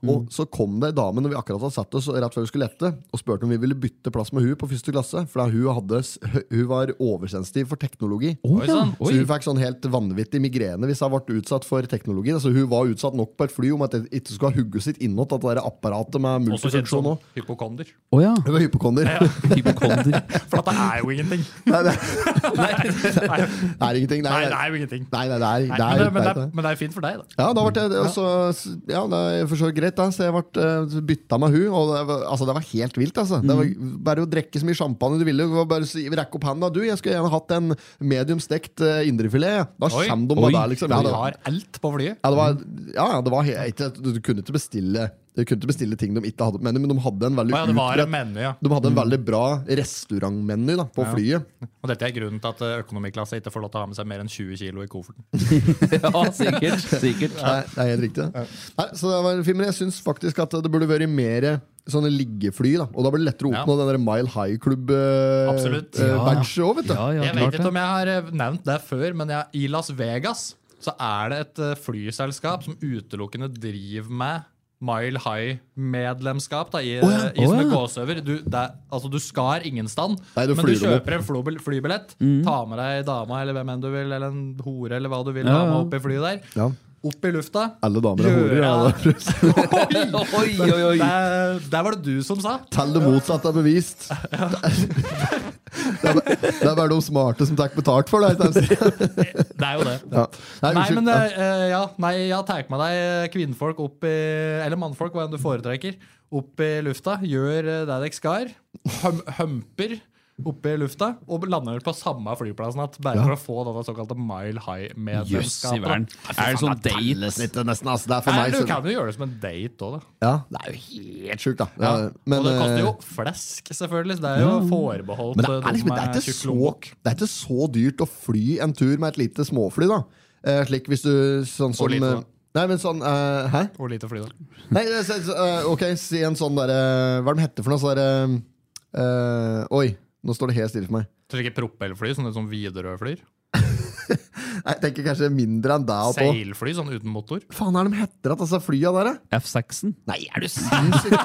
[SPEAKER 3] Mm.
[SPEAKER 1] Og så kom det ei dame når vi akkurat hadde satt oss rett før vi skulle lette, og spurte om vi ville bytte plass med hun på første klasse. For da hun, hadde, s- hun var oversensitiv for teknologi.
[SPEAKER 3] Oi sann.
[SPEAKER 1] Så hun fikk sånn helt vanvittig migrene hvis hun ble utsatt for teknologi. Altså, hun var utsatt nok på et fly om at det ikke skulle ha hugget sitt innåt, at det der apparatet med
[SPEAKER 3] Også kjent som
[SPEAKER 1] multifunksjon òg.
[SPEAKER 3] hypokonder.
[SPEAKER 2] Å ja.
[SPEAKER 1] Hun var hypokonder.
[SPEAKER 2] Hypokonder.
[SPEAKER 3] For at det er jo ingenting.
[SPEAKER 1] Nei, det
[SPEAKER 3] Nei,
[SPEAKER 1] det er ingenting. Nei,
[SPEAKER 3] nei, det
[SPEAKER 1] nei.
[SPEAKER 3] er jo ingenting.
[SPEAKER 1] Nei, nei, det er, det
[SPEAKER 3] Nei, men,
[SPEAKER 1] er,
[SPEAKER 3] det, men, det,
[SPEAKER 1] det er-
[SPEAKER 3] er- men det er fint for deg, da.
[SPEAKER 1] Ja, da ble det og så- ja, det er for så vidt greit, da. Så jeg ble eh, bytta med hun. Og det var, altså, det var helt vilt, altså. Det
[SPEAKER 3] Mhm.
[SPEAKER 1] var bare å drikke så mye champagne du ville. det var Bare å si- rekke opp handa. Du, jeg skulle gjerne hatt en medium stekt eh, indrefilet. jeg. Da
[SPEAKER 3] Oi.
[SPEAKER 1] kommer de med
[SPEAKER 2] Oi.
[SPEAKER 1] det, liksom. Ja,
[SPEAKER 3] Vi
[SPEAKER 1] det,
[SPEAKER 3] har alt på flyet.
[SPEAKER 1] ja, det var, ja, ja, det var helt, du, du kunne ikke bestille Du kunne ikke bestille ting de ikke hadde på menu, men de hadde en veldig
[SPEAKER 3] Å ja, det var en Mm.
[SPEAKER 1] utbredt-
[SPEAKER 3] menu, ja.
[SPEAKER 1] de hadde en veldig bra restaurantmeny da, på flyet.
[SPEAKER 3] Og dette er grunnen til at eh, økonomiklasse ikke får lov til å ha med seg mer enn 20 kilo i kofferten.
[SPEAKER 2] Ja, sikkert. sikkert.
[SPEAKER 1] Nei, det er helt riktig. det. Nei, så det var en film, men Jeg syns faktisk at det burde vært mer sånne liggefly. da Og da blir det lettere å
[SPEAKER 3] Ja.
[SPEAKER 1] oppnå den der Mile High eh,
[SPEAKER 3] Absolutt.
[SPEAKER 1] Club-badget
[SPEAKER 3] Ja.
[SPEAKER 1] òg, vet du.
[SPEAKER 2] Ja, ja,
[SPEAKER 3] Jeg
[SPEAKER 2] klart
[SPEAKER 3] vet ikke
[SPEAKER 2] det.
[SPEAKER 3] om jeg har eh, nevnt det før, men jeg, i Las Vegas så er det et eh, flyselskap som utelukkende driver med Mile High-medlemskap da, i, eh,
[SPEAKER 2] ja.
[SPEAKER 3] i sånne
[SPEAKER 2] Å ja.
[SPEAKER 3] gåseøver. Du, det, er- altså, du skar ingen stand,
[SPEAKER 1] Nei, du
[SPEAKER 3] men du
[SPEAKER 1] flyr dem opp.
[SPEAKER 3] kjøper en flobel- flybillett, tar med deg dama eller hvem enn du vil, eller en hore eller hva du vil,
[SPEAKER 2] Ja,
[SPEAKER 3] ha med
[SPEAKER 2] ja.
[SPEAKER 3] opp i flyet der.
[SPEAKER 1] Ja.
[SPEAKER 3] Opp i lufta.
[SPEAKER 1] Alle damer er horer. Ja, da.
[SPEAKER 2] Oi, oi, oi.
[SPEAKER 3] Der, der var det du som sa.
[SPEAKER 1] Tell det motsatte er bevist. Det er, bare- det er bare de smarte som tar betalt for det. ikke sant?
[SPEAKER 3] Det er jo det.
[SPEAKER 1] Ja. Nei,
[SPEAKER 3] Nei,
[SPEAKER 1] unnskyld.
[SPEAKER 3] men eh, ja, nei, ja, tar med deg eh, kvinnfolk opp i Eller mannfolk, hva enn du foretrekker. Opp i lufta. Gjør eh, det dere skal. Hum, humper opp i lufta og lander på samme flyplassen igjen. Bare for å få denne såkalte Mile
[SPEAKER 2] Jøss i verden.
[SPEAKER 3] High-medlemskapet.
[SPEAKER 2] Er det sånn date?
[SPEAKER 1] Litt, nesten, altså. Det er for
[SPEAKER 3] Nei,
[SPEAKER 1] meg
[SPEAKER 3] Du
[SPEAKER 1] så-
[SPEAKER 3] kan jo gjøre det som en date òg, da.
[SPEAKER 1] Ja, det er jo helt sjukt, da.
[SPEAKER 3] Ja.
[SPEAKER 1] Ja, men,
[SPEAKER 3] og det koster jo
[SPEAKER 1] eh,
[SPEAKER 3] flesk, selvfølgelig. Så det er jo forbeholdt
[SPEAKER 1] men det
[SPEAKER 3] eh,
[SPEAKER 1] er,
[SPEAKER 3] de
[SPEAKER 1] liksom,
[SPEAKER 3] som
[SPEAKER 1] det, er
[SPEAKER 3] er
[SPEAKER 1] ikke
[SPEAKER 3] tjukk
[SPEAKER 1] så,
[SPEAKER 3] lommebok.
[SPEAKER 1] det er ikke så dyrt å fly en tur med et lite småfly, da. Eh, slik hvis du sånn som
[SPEAKER 3] lite, da.
[SPEAKER 1] eh, Nei, men sånn eh, Hæ?
[SPEAKER 3] Hvor lite fly, da?
[SPEAKER 1] Nei, det, så, så, eh, ok, si en sånn derre Hva er det de heter for noe? Så derre eh, Oi, nå står det helt stille for meg.
[SPEAKER 3] Tror du ikke propellfly, sånn som Widerøe flyr?
[SPEAKER 1] Nei, Jeg tenker kanskje mindre enn deg. og på.
[SPEAKER 3] Seilfly, sånn uten motor?
[SPEAKER 1] Faen, er de heter at disse flya der, da?
[SPEAKER 2] F6-en?
[SPEAKER 1] Nei, er du sinnssyk?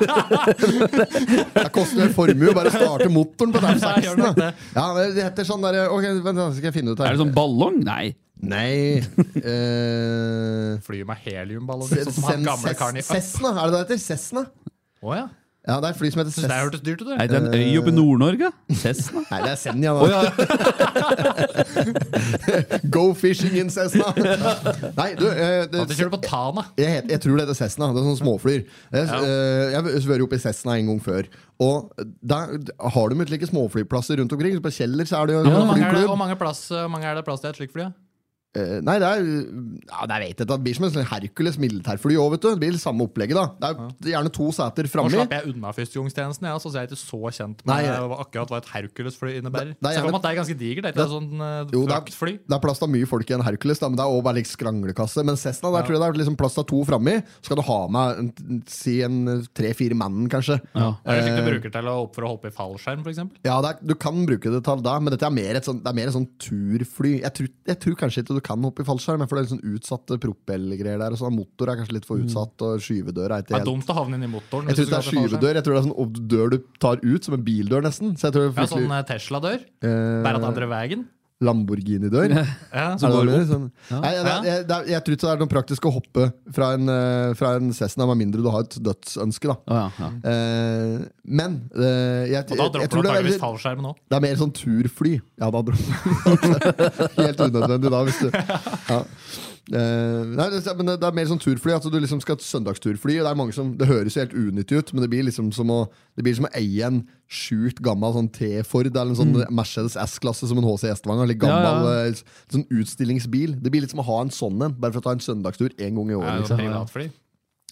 [SPEAKER 1] det koster jo en formue bare å starte motoren på den
[SPEAKER 3] Nei, gjør nok
[SPEAKER 1] 16.
[SPEAKER 3] det.
[SPEAKER 1] Ja, men det heter sånn derre Ok, vent, da skal jeg finne ut her.
[SPEAKER 2] Er det sånn ballong? Nei.
[SPEAKER 1] Nei eh,
[SPEAKER 3] Flyr med heliumballonger, sånn som han gamle karen i
[SPEAKER 1] Ses- Cessna, er det det heter? Cessna?
[SPEAKER 3] Å ja.
[SPEAKER 1] Ja, det er et fly som heter
[SPEAKER 3] Synes det
[SPEAKER 1] Cessna.
[SPEAKER 3] hørtes dyrt ut,
[SPEAKER 2] Er
[SPEAKER 3] det.
[SPEAKER 2] det en øy oppe i Nord-Norge? Cessna?
[SPEAKER 1] Nei, det er Senja. da. Go fishing in Cessna! Nei, du eh, det,
[SPEAKER 3] At de kjører på Tana.
[SPEAKER 1] jeg, het- jeg tror det heter Cessna. Det er sånn småflyr. Jeg
[SPEAKER 3] Ja.
[SPEAKER 1] eh, jeg har vært oppe i Cessna en gang før. Og der har de slike småflyplasser rundt omkring. Så på Kjeller så er det jo
[SPEAKER 3] Hvor
[SPEAKER 1] en
[SPEAKER 3] mange, er det,
[SPEAKER 1] flyklubb.
[SPEAKER 3] hvor mange plass, eh, hvor mange er det plass til et slikt fly? da?
[SPEAKER 1] Eh, Nei, det er ja, det vet jeg, ikke. det blir som en sånn Hercules militærfly òg, vet du. Det blir samme opplegget, da. Det er gjerne to seter
[SPEAKER 3] Nå
[SPEAKER 1] framme.
[SPEAKER 3] slapp jeg unna førstegangstjenesten, ja, så jeg er ikke så kjent med
[SPEAKER 1] Nei, jeg-
[SPEAKER 3] hva- akkurat hva et Hercules-fly innebærer.
[SPEAKER 1] Det- det er
[SPEAKER 3] Så jeg får
[SPEAKER 1] gjerne-
[SPEAKER 3] med at det er ganske digert. Det er ikke sånn eh,
[SPEAKER 1] Jo, det er-
[SPEAKER 3] fraktfly.
[SPEAKER 1] Det er plass til mye folk i en Hercules, da, men det er også bare litt skranglekasse. Men Cessna, der tror jeg det er liksom plass til to framme. Så skal du ha med en, si en eh, tre-fire mann, kanskje.
[SPEAKER 2] Ja.
[SPEAKER 3] Er det slik du bruker til å, opp for å hoppe i fallskjerm, f.eks.?
[SPEAKER 1] Ja, Eh, det er, Du kan bruke det til da, men dette er mer et sånn, det er mer et sånn turfly. Jeg tror, jeg tror kanskje ikke du kan hoppe i fallskjerm, for det er litt sånn utsatte propellgreier der. og sånn. Motor er kanskje litt for utsatt, og skyvedøra er
[SPEAKER 3] Mm. Det
[SPEAKER 1] ikke
[SPEAKER 3] er
[SPEAKER 1] helt
[SPEAKER 3] dumt å havne inn i
[SPEAKER 1] Jeg tror
[SPEAKER 3] motoren. hvis du
[SPEAKER 1] ikke det er
[SPEAKER 3] skal til fallskjerm.
[SPEAKER 1] skyvedør, jeg tror det er sånn ob- dør du tar ut, som en bildør, nesten. Så jeg tror
[SPEAKER 3] Ja,
[SPEAKER 1] fryktelig
[SPEAKER 3] sånn eh, Tesla-dør.
[SPEAKER 1] eh,
[SPEAKER 3] Bare at andre veien.
[SPEAKER 1] Lamborghini-dør.
[SPEAKER 3] Ja.
[SPEAKER 1] Er det det du mener? Sånn. Nei, det,
[SPEAKER 3] Altså, Ja.
[SPEAKER 1] er- jeg, det, er- jeg tror ikke det er noe praktisk å hoppe fra en, eh, fra en Cessna, med mindre du har et dødsønske. da.
[SPEAKER 2] Å ja, ja.
[SPEAKER 1] Eh, men eh, jeg, jeg,
[SPEAKER 3] Og da
[SPEAKER 1] jeg
[SPEAKER 3] dropper
[SPEAKER 1] tror
[SPEAKER 3] du
[SPEAKER 1] det er,
[SPEAKER 3] antakeligvis
[SPEAKER 1] det
[SPEAKER 3] fallskjermen òg.
[SPEAKER 1] er mer sånn turfly. Ja, da dropper Helt unødvendig da, hvis du ja. Eh, nei, det, men det, det er mer sånn turfly. At du liksom skal et søndagsturfly. og Det er mange som, det høres jo helt unyttig ut, men det blir liksom som å, det blir som å eie en sjukt gammel sånn T-Ford eller en sånn Mercedes S-klasse som en HC Gjestvanger. Litt gammel
[SPEAKER 3] Mm. Ja,
[SPEAKER 1] eh, sånn utstillingsbil. Det blir litt som å ha en sånn en, bare for å ta en søndagstur én gang i
[SPEAKER 3] Det er
[SPEAKER 1] året.
[SPEAKER 3] jo
[SPEAKER 1] Liksom.
[SPEAKER 3] privatfly.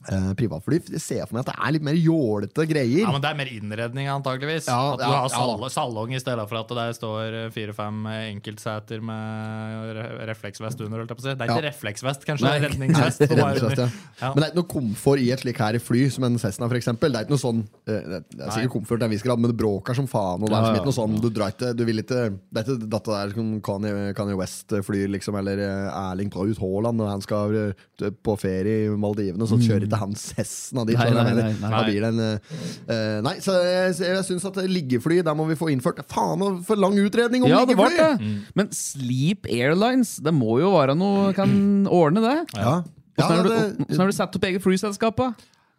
[SPEAKER 1] Eh, privatfly det ser jeg for meg at det er litt mer jålete greier.
[SPEAKER 3] Ja, men Det er mer innredning, antakeligvis.
[SPEAKER 1] Ja,
[SPEAKER 3] At du
[SPEAKER 1] ja,
[SPEAKER 3] har
[SPEAKER 1] ja.
[SPEAKER 3] sal salong i stedet for at det der står eh, fire-fem eh, enkeltseter med re- refleksvest under. Holdt jeg på å si. Det er ikke refleksvest, kanskje. det er redningsvest. som er
[SPEAKER 1] Redningsvest,
[SPEAKER 3] under.
[SPEAKER 1] ja.
[SPEAKER 3] Ja.
[SPEAKER 1] Men det er ikke noe komfort i et slik her i fly som en Cessna for eksempel. Det er ikke noe sånn eh, Det det er sikkert komfort til en viss grad, men det bråker som faen. Og det er liksom ikke noe sånn, du drar ikke, du vil ikke Det er ikke dette der som Kanye, Kanye West flyr, liksom, eller eh, Erling Braut Haaland når han skal eh, på ferie i Maldivene, så kjører ikke han Cessna dit.
[SPEAKER 10] Mm. Nei,
[SPEAKER 1] skjønner du hva
[SPEAKER 10] nei,
[SPEAKER 1] jeg mener?
[SPEAKER 10] nei,
[SPEAKER 1] Da blir det en eh, eh, Nei, så jeg, jeg syns at liggefly, der må vi få innført Faen, for lang utredning om
[SPEAKER 10] Ja, det var
[SPEAKER 1] liggefly!
[SPEAKER 10] det. Men Sleep Airlines, det må jo være noe Kan ordne det?
[SPEAKER 1] Ja. Ja,
[SPEAKER 10] Hvordan har
[SPEAKER 1] det,
[SPEAKER 10] du, hvordan har du satt opp eget flyselskap? da?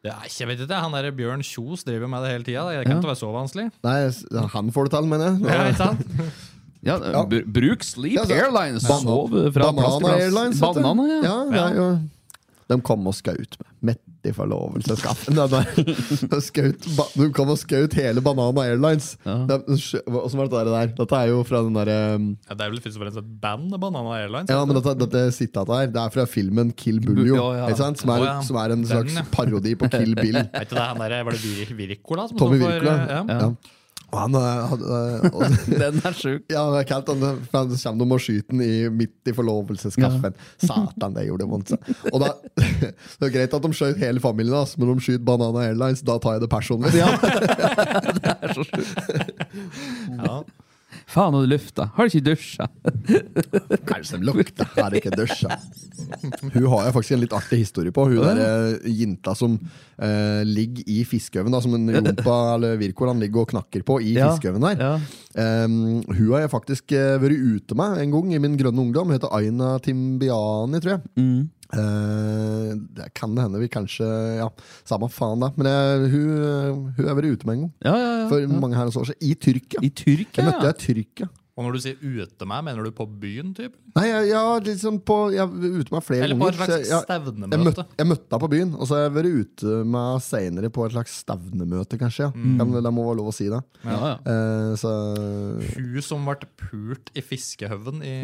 [SPEAKER 3] Det er, ikke- jeg vet ikke, Han der Bjørn Kjos driver med det hele tida. Det kan ikke være så vanskelig.
[SPEAKER 1] nei, han får det til, mener jeg.
[SPEAKER 3] Ja, ikke sant?
[SPEAKER 10] Ja, br- Bruk Sleep
[SPEAKER 1] Ja, så-
[SPEAKER 10] Airlines!
[SPEAKER 1] Altså, Ban-
[SPEAKER 10] Sov fra plass til
[SPEAKER 1] Banana
[SPEAKER 10] plass.
[SPEAKER 1] Airlines. vet du.
[SPEAKER 10] Banana, ja.
[SPEAKER 1] ja. det er jo- De kom og skaut meg. Mett i forlovelsesskaffen. De der. De skaut ba- de kom og skaut hele Banana Airlines.
[SPEAKER 10] Ja.
[SPEAKER 1] De- skjø- hva- Åssen var dette der? Dette er jo fra den derre um,
[SPEAKER 3] Ja, det er vel først og fremst et band, Banana Airlines.
[SPEAKER 1] ja, men dette, dette sitatet her, det er fra filmen Kill Buljo,
[SPEAKER 10] Ja, ja.
[SPEAKER 1] ikke sant? Som,
[SPEAKER 3] Å,
[SPEAKER 1] er,
[SPEAKER 3] ja.
[SPEAKER 1] som er en
[SPEAKER 3] Den,
[SPEAKER 1] slags
[SPEAKER 3] ja.
[SPEAKER 1] parodi på Kill Bill.
[SPEAKER 3] Er ikke det han der, Var det Vir Virkola? som
[SPEAKER 1] Tommy
[SPEAKER 3] står for,
[SPEAKER 1] Wirkola.
[SPEAKER 3] eh, ja.
[SPEAKER 1] Ja. Og han eh, hadde og-
[SPEAKER 10] Den er sjuk.
[SPEAKER 1] Ja, det er kaldt, han, for han kommer de og skyter den i, midt i forlovelseskaffen. Satan, det gjorde vondt. sa. Og da, det er greit at de skjøt hele familien, ass, men de skyter Banana Airlines. Da tar jeg det personlig.
[SPEAKER 3] Ja.
[SPEAKER 10] Faen, og du lufta. Har du ikke dusja?
[SPEAKER 1] Kanskje de lukter her, ikke dusja. Hun har jeg faktisk en litt artig historie på. Hun der eh, jinta som eh, ligger i fiskeøven, da, som en jompa eller Virkolan ligger og knakker på i
[SPEAKER 10] Ja,
[SPEAKER 1] fiskeøven der.
[SPEAKER 10] ja.
[SPEAKER 1] Em, Ehm, hun har jeg faktisk eh, vært ute med en gang i min grønne ungdom. Hun heter Aina Timbiani, tror jeg.
[SPEAKER 10] Mm.
[SPEAKER 1] Eh, det kan hende vi kanskje Ja, samme faen, da. Men jeg, hun, hun har jeg vært ute med en gang.
[SPEAKER 10] Ja, ja, ja.
[SPEAKER 1] For mange herrens år siden. I Tyrkia.
[SPEAKER 10] I Tyrkia,
[SPEAKER 1] Jeg møtte
[SPEAKER 10] ja.
[SPEAKER 1] henne i Tyrkia.
[SPEAKER 3] Og når du sier ute meg, mener du på byen? Typ?
[SPEAKER 1] Nei, jeg, jeg var liksom på Jeg var ute med flere
[SPEAKER 3] Eller på et
[SPEAKER 1] ganger, så
[SPEAKER 3] slags
[SPEAKER 1] jeg- jeg, jeg, møtte,
[SPEAKER 3] stevnemøte?
[SPEAKER 1] jeg møtte henne på byen, og så har jeg vært ute med senere på et slags stevnemøte, kanskje. Ja. Kan, det må være lov å si det.
[SPEAKER 10] Mm. Ja, ja.
[SPEAKER 1] Eh, så
[SPEAKER 3] Hun som ble pult i fiskehøven i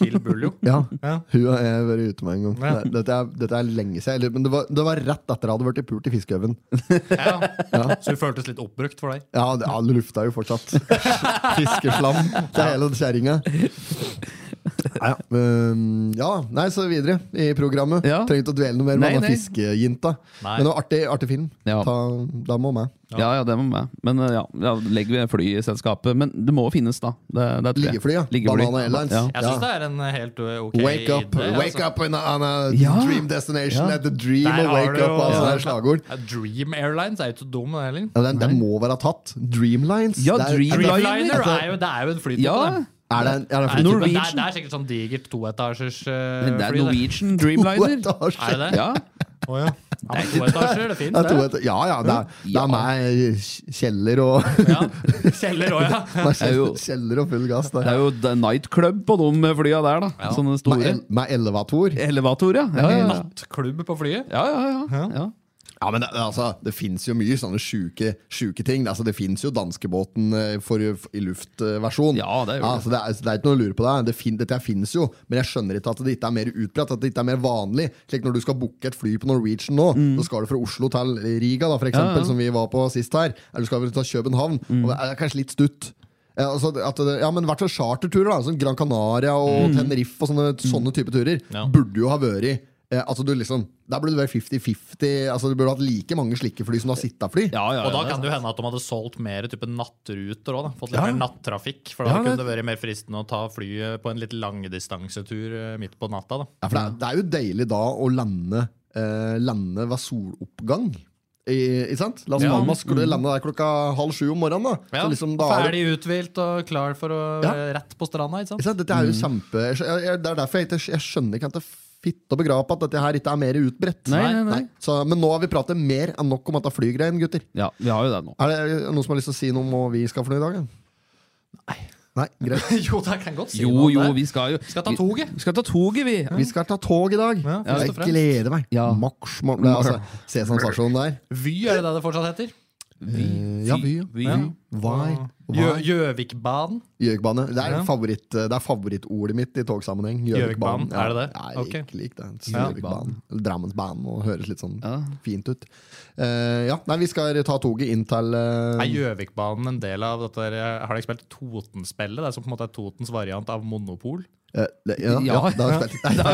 [SPEAKER 3] Kiel Buljo?
[SPEAKER 1] ja.
[SPEAKER 3] Ja.
[SPEAKER 1] Hun har jeg vært ute med en gang.
[SPEAKER 3] Ja.
[SPEAKER 1] Det- Dette, er, dette er lenge siden. eller- Men det var, det var rett etter jeg hadde vært i pult i fiskeøven.
[SPEAKER 3] Ja. Så hun føltes litt oppbrukt for deg?
[SPEAKER 1] Ja, det, ja, det lufta jo fortsatt. Fiskeslam til hele kjerringa. Ja, um, ja, nei, så videre i programmet.
[SPEAKER 10] Ja.
[SPEAKER 1] Trenger ikke å dvele noe mer
[SPEAKER 10] Nei,
[SPEAKER 1] med
[SPEAKER 10] nei.
[SPEAKER 1] den fiskejinta.
[SPEAKER 3] Nei.
[SPEAKER 1] Men det var artig, artig film.
[SPEAKER 10] Ja.
[SPEAKER 1] Ta, da må med.
[SPEAKER 10] Ja, ja, det må med. Men eh, ja, ja legger vi flyselskapet. Men det må jo finnes, da. Det, det tror jeg.
[SPEAKER 1] Liggefly, ja.
[SPEAKER 10] Liggefly.
[SPEAKER 1] Banana Airlines.
[SPEAKER 10] Ja.
[SPEAKER 3] Jeg syns det er en eh, helt ø, ok altså-
[SPEAKER 1] Wake up
[SPEAKER 3] idé.
[SPEAKER 1] wake up in a, on a
[SPEAKER 10] Ja.
[SPEAKER 1] dream destination
[SPEAKER 10] Ja.
[SPEAKER 1] at the dream of
[SPEAKER 3] Der har
[SPEAKER 1] wake
[SPEAKER 3] du
[SPEAKER 1] up.
[SPEAKER 3] jo-
[SPEAKER 1] Altså,
[SPEAKER 3] Ja.
[SPEAKER 1] det er slagord.
[SPEAKER 3] Ja, Dream Airlines er jo ikke så dum, den heller.
[SPEAKER 1] Ja, den, den må være tatt. Dreamlines.
[SPEAKER 10] Ja,
[SPEAKER 1] Det er-
[SPEAKER 10] Dreamliner.
[SPEAKER 3] Dreamliner er jo, det er jo en flytype.
[SPEAKER 10] ja.
[SPEAKER 3] det.
[SPEAKER 1] Er det en, er det en
[SPEAKER 3] Er det- men Det, er,
[SPEAKER 10] Norwegian.
[SPEAKER 3] det er sikkert sånn digert toetasjers uh,
[SPEAKER 10] Det er
[SPEAKER 3] fly. det.
[SPEAKER 10] Norwegian Dreamliner.
[SPEAKER 3] Er det det?
[SPEAKER 10] Ja.
[SPEAKER 3] Å ja. ja men toetasjer, det fins,
[SPEAKER 1] Jeg tror
[SPEAKER 3] det.
[SPEAKER 1] at- Ja ja, det er, det
[SPEAKER 10] Ja.
[SPEAKER 1] er meg, Kjeller og
[SPEAKER 3] Ja. Kjeller òg, ja.
[SPEAKER 1] Med
[SPEAKER 10] er jo-
[SPEAKER 1] kjeller og full gass.
[SPEAKER 10] Det
[SPEAKER 1] Der.
[SPEAKER 10] er jo The Nightclub på de flya der, da. Sånne
[SPEAKER 1] Med,
[SPEAKER 10] store
[SPEAKER 1] el med elevator.
[SPEAKER 10] elevator, ja. Ja, ja, ja.
[SPEAKER 3] Klubb på flyet.
[SPEAKER 10] ja, ja, ja. ja.
[SPEAKER 1] Ja, men Det, altså, det fins jo mye sånne sjuke, sjuke ting. Altså, det fins jo danskebåten eh, for, i luftversjon.
[SPEAKER 10] Ja, det gjør det.
[SPEAKER 1] altså, det, er, så det er ikke noe å lure på. Det. Det fin, dette fins jo, men jeg skjønner ikke at det ikke er mer utbredt. At det ikke er mer vanlig. Slik Når du skal booke et fly på Norwegian nå, så skal du fra Oslo til Riga, da, for
[SPEAKER 10] Mm.
[SPEAKER 1] eksempel,
[SPEAKER 10] ja. Mm.
[SPEAKER 1] som vi var på sist her. Eller du skal vel til København. Og det er kanskje litt stutt. Eh, Altså, at det, ja, men i hvert fall charterturer, da, som Gran Canaria
[SPEAKER 10] Mm.
[SPEAKER 1] og Tenerife og sånne, sånne type turer,
[SPEAKER 3] Ja.
[SPEAKER 1] burde jo ha vært eh, altså du liksom, Der burde det være 50-50. Altså Du burde hatt like mange slike fly som du har sittafly.
[SPEAKER 10] ja, ja, ja.
[SPEAKER 3] Og da kan det jo hende at de hadde solgt mer type nattruter òg. Fått litt
[SPEAKER 1] Ja.
[SPEAKER 3] mer nattrafikk. For da
[SPEAKER 1] Ja, det-
[SPEAKER 3] kunne det vært mer fristende å ta flyet på en litt langdistansetur eh, midt på natta. da
[SPEAKER 1] Ja, for det, er, det er jo deilig da å lande, eh, lande ved soloppgang. I, ikke sant? La oss
[SPEAKER 3] Ja. Mm.
[SPEAKER 1] Palmas skulle lande der klokka halv sju om morgenen. Da.
[SPEAKER 3] Ja,
[SPEAKER 1] Så liksom, da er det-
[SPEAKER 3] Ferdig uthvilt og klar for å
[SPEAKER 1] Ja.
[SPEAKER 3] rett på stranda. ikke
[SPEAKER 1] Ikke
[SPEAKER 3] sant?
[SPEAKER 1] sant? Dette er
[SPEAKER 3] Mm.
[SPEAKER 1] jo kjempe jeg, skjø- jeg, Det er derfor jeg, ikke, jeg skjønner ikke at det fitte og begrape at dette her ikke er mer utbredt.
[SPEAKER 10] Nei, nei, nei.
[SPEAKER 1] Så, men nå har vi pratet mer enn nok om dette flygreien, gutter.
[SPEAKER 10] ja, vi har jo det nå.
[SPEAKER 1] Er det noen som har lyst til å si noe om hva vi skal for noe i dag? Nei. Nei, greit.
[SPEAKER 3] jo, da kan jeg godt si
[SPEAKER 10] Jo,
[SPEAKER 3] noe om
[SPEAKER 10] jo,
[SPEAKER 3] det.
[SPEAKER 10] vi skal jo
[SPEAKER 3] Skal ta toget.
[SPEAKER 10] Vi skal ta toget, vi.
[SPEAKER 1] Vi skal ta tog i dag.
[SPEAKER 3] Ja, først
[SPEAKER 1] jeg
[SPEAKER 3] og fremst. Mm.
[SPEAKER 1] gleder meg.
[SPEAKER 10] Ja.
[SPEAKER 1] Max Morten. Det er altså Sesam stasjon der.
[SPEAKER 3] Vy er det det det fortsatt heter.
[SPEAKER 10] Vi.
[SPEAKER 1] Eh, Ja, Vy.
[SPEAKER 10] Vi.
[SPEAKER 3] Ja.
[SPEAKER 1] Vai.
[SPEAKER 3] Gjø-
[SPEAKER 1] Vai.
[SPEAKER 3] Gjøvikbanen.
[SPEAKER 1] Gjøvikbane. Det er,
[SPEAKER 3] Ja.
[SPEAKER 1] favoritt, eh, det er favorittordet mitt i togsammenheng.
[SPEAKER 3] Gjøvikbanen,
[SPEAKER 1] Ja.
[SPEAKER 3] er det det?
[SPEAKER 1] Nei,
[SPEAKER 3] Ok.
[SPEAKER 1] ikke lik det.
[SPEAKER 3] Ja.
[SPEAKER 1] Gjøvikbanen. Eller Drammensbanen. Og høres litt sånn
[SPEAKER 10] Ja.
[SPEAKER 1] fint ut. Eh, ja, nei, vi skal ta toget inn til eh,
[SPEAKER 3] Er Gjøvikbanen en del av dette der, Har dere spilt Totenspillet? Det er som på en måte er Totens variant av Monopol.
[SPEAKER 1] eh, det, ja, ja,
[SPEAKER 10] Ja.
[SPEAKER 1] det har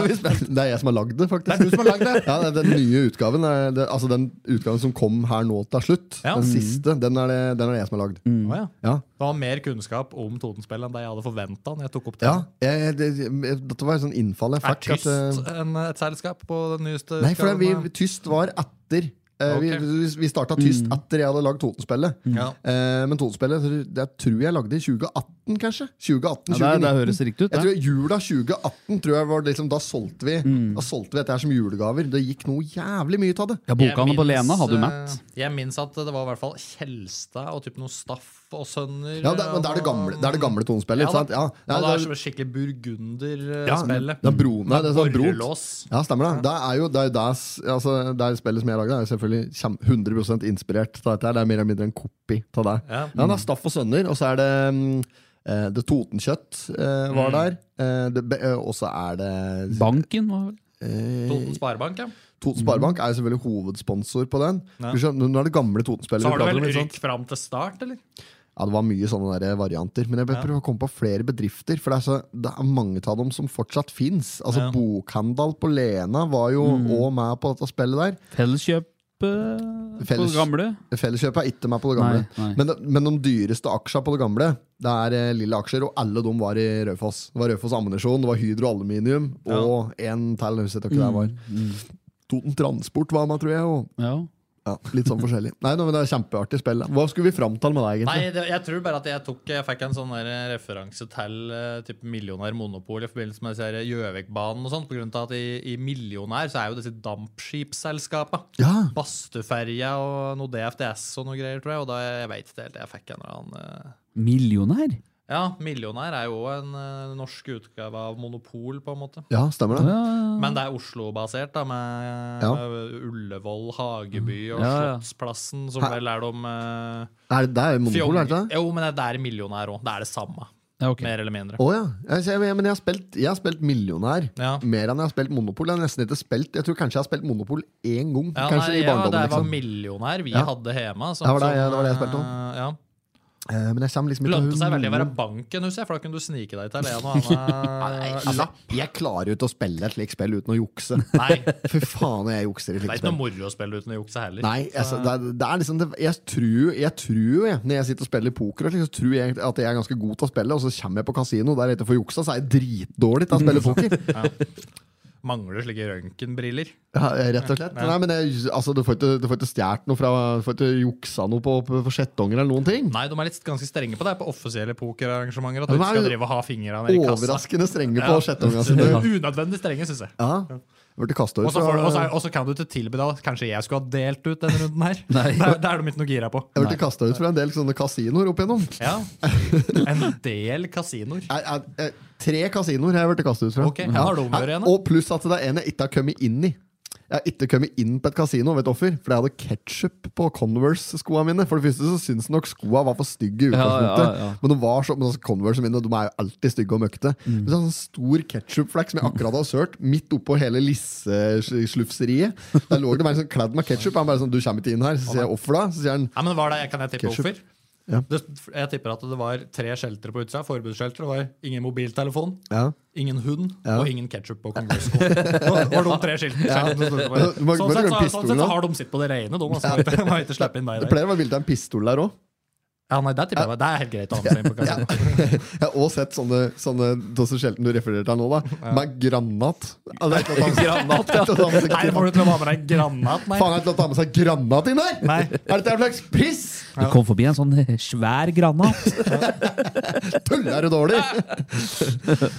[SPEAKER 1] vi spilt. Det er jeg som har lagd det, faktisk.
[SPEAKER 3] Det er du som har lagd det.
[SPEAKER 1] Ja, det er Den nye utgaven er, det, Altså den utgaven som kom her nå til slutt,
[SPEAKER 3] Ja.
[SPEAKER 1] den siste, den er, det, den er det jeg som har lagd.
[SPEAKER 3] Å ja.
[SPEAKER 1] Ja.
[SPEAKER 3] Du har mer kunnskap om Totenspillet enn det jeg hadde forventa. Jeg tok opp det.
[SPEAKER 1] Ja, jeg, det, jeg, dette var et sånn innfall jeg
[SPEAKER 3] Er
[SPEAKER 1] fikk.
[SPEAKER 3] Tyst
[SPEAKER 1] at, eh,
[SPEAKER 3] en, et selskap på den nyeste
[SPEAKER 1] Nei, for det,
[SPEAKER 3] utgaven
[SPEAKER 1] vi,
[SPEAKER 3] av-
[SPEAKER 1] Tyst var etter. Eh,
[SPEAKER 3] Ok.
[SPEAKER 1] Vi, vi- vi starta Tyst
[SPEAKER 10] Mm.
[SPEAKER 1] etter jeg hadde lagd Totenspillet.
[SPEAKER 3] Ja.
[SPEAKER 1] Eh, men Totenspillet det tror jeg lagde i 2018, kanskje. 2018,
[SPEAKER 10] Ja, det,
[SPEAKER 1] 2019.
[SPEAKER 10] det høres riktig ut. det.
[SPEAKER 1] jeg tror Jula 2018 tror jeg var liksom, da solgte vi
[SPEAKER 10] Mm.
[SPEAKER 1] Da solgte vi dette her som julegaver. Det gikk noe jævlig mye av det.
[SPEAKER 10] Ja, Bokhandelen på
[SPEAKER 3] Jeg
[SPEAKER 10] Lena hadde du
[SPEAKER 3] minnes,
[SPEAKER 10] mett.
[SPEAKER 3] eh, Jeg minnes at det var i hvert fall Kjelstad og typ noe Staff og Sønner.
[SPEAKER 1] Ja, det, men det er det gamle, det, er det gamle Totenspillet.
[SPEAKER 3] Ja,
[SPEAKER 1] ikke
[SPEAKER 3] da.
[SPEAKER 1] sant? Ja,
[SPEAKER 3] Ja,
[SPEAKER 1] ja,
[SPEAKER 3] det er
[SPEAKER 1] det-
[SPEAKER 3] som et skikkelig
[SPEAKER 1] Ja,
[SPEAKER 3] burgunderspillet.
[SPEAKER 1] det er bro- nei, det er sånn brot.
[SPEAKER 3] Borrelås.
[SPEAKER 1] Ja, stemmer det. Det er jo det, er jo det, s- altså, det er spillet som jeg lagde, er jo selvfølgelig kjem- 100 inspirert av dette. her. Det er mer eller mindre en kopi av det.
[SPEAKER 3] Ja.
[SPEAKER 1] Ja, det er Staff og Sønner, og så er det mm, eh, Det Totenkjøtt eh,
[SPEAKER 3] Mm.
[SPEAKER 1] var der. Eh, det be- eh, og så er det
[SPEAKER 10] Banken var vel
[SPEAKER 1] eh,
[SPEAKER 3] Toten Sparebank, ja.
[SPEAKER 1] Toten Sparebank er jo selvfølgelig hovedsponsor på den.
[SPEAKER 3] Ja.
[SPEAKER 1] Skal vi se, Nå nå er det gamle Totenspillet. vi
[SPEAKER 3] Så har du
[SPEAKER 1] prater
[SPEAKER 3] vel
[SPEAKER 1] om, ikke sant?
[SPEAKER 10] sånn?
[SPEAKER 3] rykk fram til start, eller?
[SPEAKER 1] Ja, det var mye sånne der varianter. Men jeg bør
[SPEAKER 3] Ja.
[SPEAKER 1] prøve å komme på flere bedrifter, for det er, så, det er mange av dem som fortsatt fins. Altså,
[SPEAKER 3] Ja. Mm.
[SPEAKER 1] Bokhandel på Lena var jo òg med på dette spillet der.
[SPEAKER 10] Felleskjøp eh, på
[SPEAKER 1] Felles-
[SPEAKER 10] gamle?
[SPEAKER 1] Felleskjøpet er ikke med på det
[SPEAKER 10] Nei,
[SPEAKER 1] gamle.
[SPEAKER 10] nei.
[SPEAKER 1] Men, de- men de dyreste aksjene på det gamle, det er eh, lille aksjer, og alle de var i Raufoss. Det var Raufoss Ammunisjon, det var Hydro Aluminium og en til. Jeg husker ikke hva det var.
[SPEAKER 10] Mm,
[SPEAKER 1] Toten Transport var med, tror jeg. Og,
[SPEAKER 10] Ja.
[SPEAKER 1] ja, litt sånn forskjellig. Nei, nå, men Det er kjempeartig spill. da. Hva skulle vi fram til med deg, egentlig?
[SPEAKER 3] Nei, det, jeg tror bare at jeg tok Jeg fikk en sånn der referanse til eh, typ Millionær Monopol i forbindelse med disse her Gjøvikbanen og sånt, på grunn av at i, i Millionær så er jo disse dampskipsselskapa.
[SPEAKER 1] Ja,
[SPEAKER 3] Bastuferja og noe DFDS og noe greier, tror jeg. Og da jeg veit ikke helt. Jeg fikk en eller annen eh,
[SPEAKER 10] Millionær?
[SPEAKER 3] Ja, Millionær er jo også en eh, norsk utgave av Monopol, på en måte.
[SPEAKER 1] ja stemmer det.
[SPEAKER 10] Ja,
[SPEAKER 3] Men det er Oslo-basert, da, med
[SPEAKER 1] Ja. Mm.
[SPEAKER 3] med Ullevål, Hageby og
[SPEAKER 10] Ja, ja.
[SPEAKER 3] Slottsplassen, som
[SPEAKER 1] Hæ?
[SPEAKER 3] vel er de eh,
[SPEAKER 1] Er det, det er jo monopol, er det ikke det?
[SPEAKER 3] Jo, men det er millionær òg. Det er det samme,
[SPEAKER 10] ja, ok.
[SPEAKER 3] mer eller mindre.
[SPEAKER 1] Å ja. Jeg, ser- men jeg har spilt, jeg har spilt millionær.
[SPEAKER 3] Ja.
[SPEAKER 1] Mer enn jeg har spilt Monopol. Jeg har nesten ikke spilt Jeg tror kanskje jeg har spilt Monopol én gang.
[SPEAKER 3] Ja,
[SPEAKER 1] kanskje i
[SPEAKER 3] nei, ja, det
[SPEAKER 1] barndommen
[SPEAKER 3] var
[SPEAKER 1] liksom.
[SPEAKER 3] millionær vi
[SPEAKER 1] Ja.
[SPEAKER 3] hadde hjemme. som-
[SPEAKER 1] Det var det-
[SPEAKER 3] som,
[SPEAKER 1] ja, det var det jeg spilte
[SPEAKER 3] eh, Ja.
[SPEAKER 1] Eh, Men jeg kommer liksom ikke
[SPEAKER 3] Lønte
[SPEAKER 1] til
[SPEAKER 3] seg veldig å
[SPEAKER 1] Monopol.
[SPEAKER 3] være banken, husker jeg, for da kunne du snike deg til en og annen
[SPEAKER 1] Altså,
[SPEAKER 3] Eh, lapp.
[SPEAKER 1] jeg klarer jo ikke å spille et slikt spill uten å jukse.
[SPEAKER 3] Nei, det
[SPEAKER 1] Fy faen, jeg jukser i
[SPEAKER 3] er
[SPEAKER 1] slike
[SPEAKER 3] ikke noe
[SPEAKER 1] spill.
[SPEAKER 3] moro å spille uten å jukse heller.
[SPEAKER 1] Nei, altså, det, er, det er liksom det, Jeg tror, jeg tror jo, jeg, når jeg sitter og spiller poker, og slik, så tror jeg at jeg er ganske god til å spille, og så kommer jeg på kasino der jeg ikke får juksa, så er jeg dritdårlig til å spille poker.
[SPEAKER 3] Mangler slike røntgenbriller.
[SPEAKER 1] Ja, rett og slett. Nei, men jeg, altså, du får ikke, du får ikke stjålet noe fra Du får ikke juksa noe på, på, på skjettonger eller noen ting.
[SPEAKER 3] Nei, de er litt ganske strenge på det på offisielle pokerarrangementer. At
[SPEAKER 1] Ja,
[SPEAKER 3] du
[SPEAKER 1] de
[SPEAKER 3] ikke skal
[SPEAKER 1] er jo
[SPEAKER 3] drive og ha fingrene ned i kassa.
[SPEAKER 1] Overraskende strenge
[SPEAKER 3] Ja.
[SPEAKER 1] på skjettonga sine.
[SPEAKER 3] Unødvendig strenge, syns jeg.
[SPEAKER 1] Ja. Jeg Ble kastet
[SPEAKER 3] Og
[SPEAKER 1] ut
[SPEAKER 3] så får du- og
[SPEAKER 1] fra-
[SPEAKER 3] så- og så kan du ikke tilby deg at Kanskje jeg skulle ha delt ut denne runden her.
[SPEAKER 10] Nei.
[SPEAKER 3] Det er- Det er de ikke noe gira på.
[SPEAKER 1] jeg ble kastet ut fra en del sånne kasinoer opp igjennom.
[SPEAKER 3] Ja. En del kasinoer.
[SPEAKER 1] Jeg, jeg, jeg, tre kasinoer har jeg blitt kastet ut fra. Mhm.
[SPEAKER 3] Ok, hva har de vært igjen da?
[SPEAKER 1] Og pluss at det er en jeg ikke har kommet inn i. Jeg har ikke kommet inn på et kasino ved et offer, for jeg hadde ketchup på Converse-skoa mine. For det første så syns nok skoa var for stygge i
[SPEAKER 10] Ja,
[SPEAKER 1] utgangspunktet.
[SPEAKER 10] Mm. ja, ja.
[SPEAKER 1] Men de var så, men altså, Converse mine de er jo alltid stygge og møkkete. Men så er det en stor ketchupflekk som jeg akkurat har sølt, midt oppå hele lisseslufseriet. Der lå det bare sånn kledd med ketchup. Han bare sånn 'Du kommer ikke inn her.' Så sier jeg 'Offer', da. Så sier han
[SPEAKER 3] Ja, men var det, Kan jeg tippe
[SPEAKER 1] Ketchup.
[SPEAKER 3] hvorfor?
[SPEAKER 1] Ja.
[SPEAKER 3] Det, jeg tipper at det var tre skjelter på utsida. Forbudsskjelter. Det var ingen mobiltelefon,
[SPEAKER 1] ja.
[SPEAKER 3] ingen hund
[SPEAKER 1] Ja.
[SPEAKER 3] og ingen ketsjup på Congress. Det var det de tre skiltene. skjeltene som sto på.
[SPEAKER 1] Ja, du må-
[SPEAKER 3] Sånn
[SPEAKER 1] må
[SPEAKER 3] sett
[SPEAKER 1] du glemme
[SPEAKER 3] så, sånn
[SPEAKER 1] pistolen,
[SPEAKER 3] sett
[SPEAKER 1] da?
[SPEAKER 3] så har de sitt på det rene, de. Altså. Må ikke- Må ikke slippe inn
[SPEAKER 1] Det
[SPEAKER 3] deg der.
[SPEAKER 1] pleier å være bilde av en pistol der òg.
[SPEAKER 3] Ja, nei, der tipper jeg meg. Det er helt greit å ha med seg inn på kasino.
[SPEAKER 1] Jeg har også sett sånne, sånne Dosse Shelton du refererer til nå, da. Med granat. Altså, det er ikke lov til å ta med- ikke lov til å
[SPEAKER 3] Granat, ja.
[SPEAKER 1] ta med seg
[SPEAKER 3] Nei, får du
[SPEAKER 1] granat.
[SPEAKER 3] til å ha med deg
[SPEAKER 1] Faen, er
[SPEAKER 3] granat? Nei.
[SPEAKER 1] det ikke lov til å ta med seg granat inn her?!
[SPEAKER 3] Nei.
[SPEAKER 1] Er dette en slags piss?!
[SPEAKER 10] Det kom forbi en sånn eh, svær granat.
[SPEAKER 1] Tuller du dårlig?!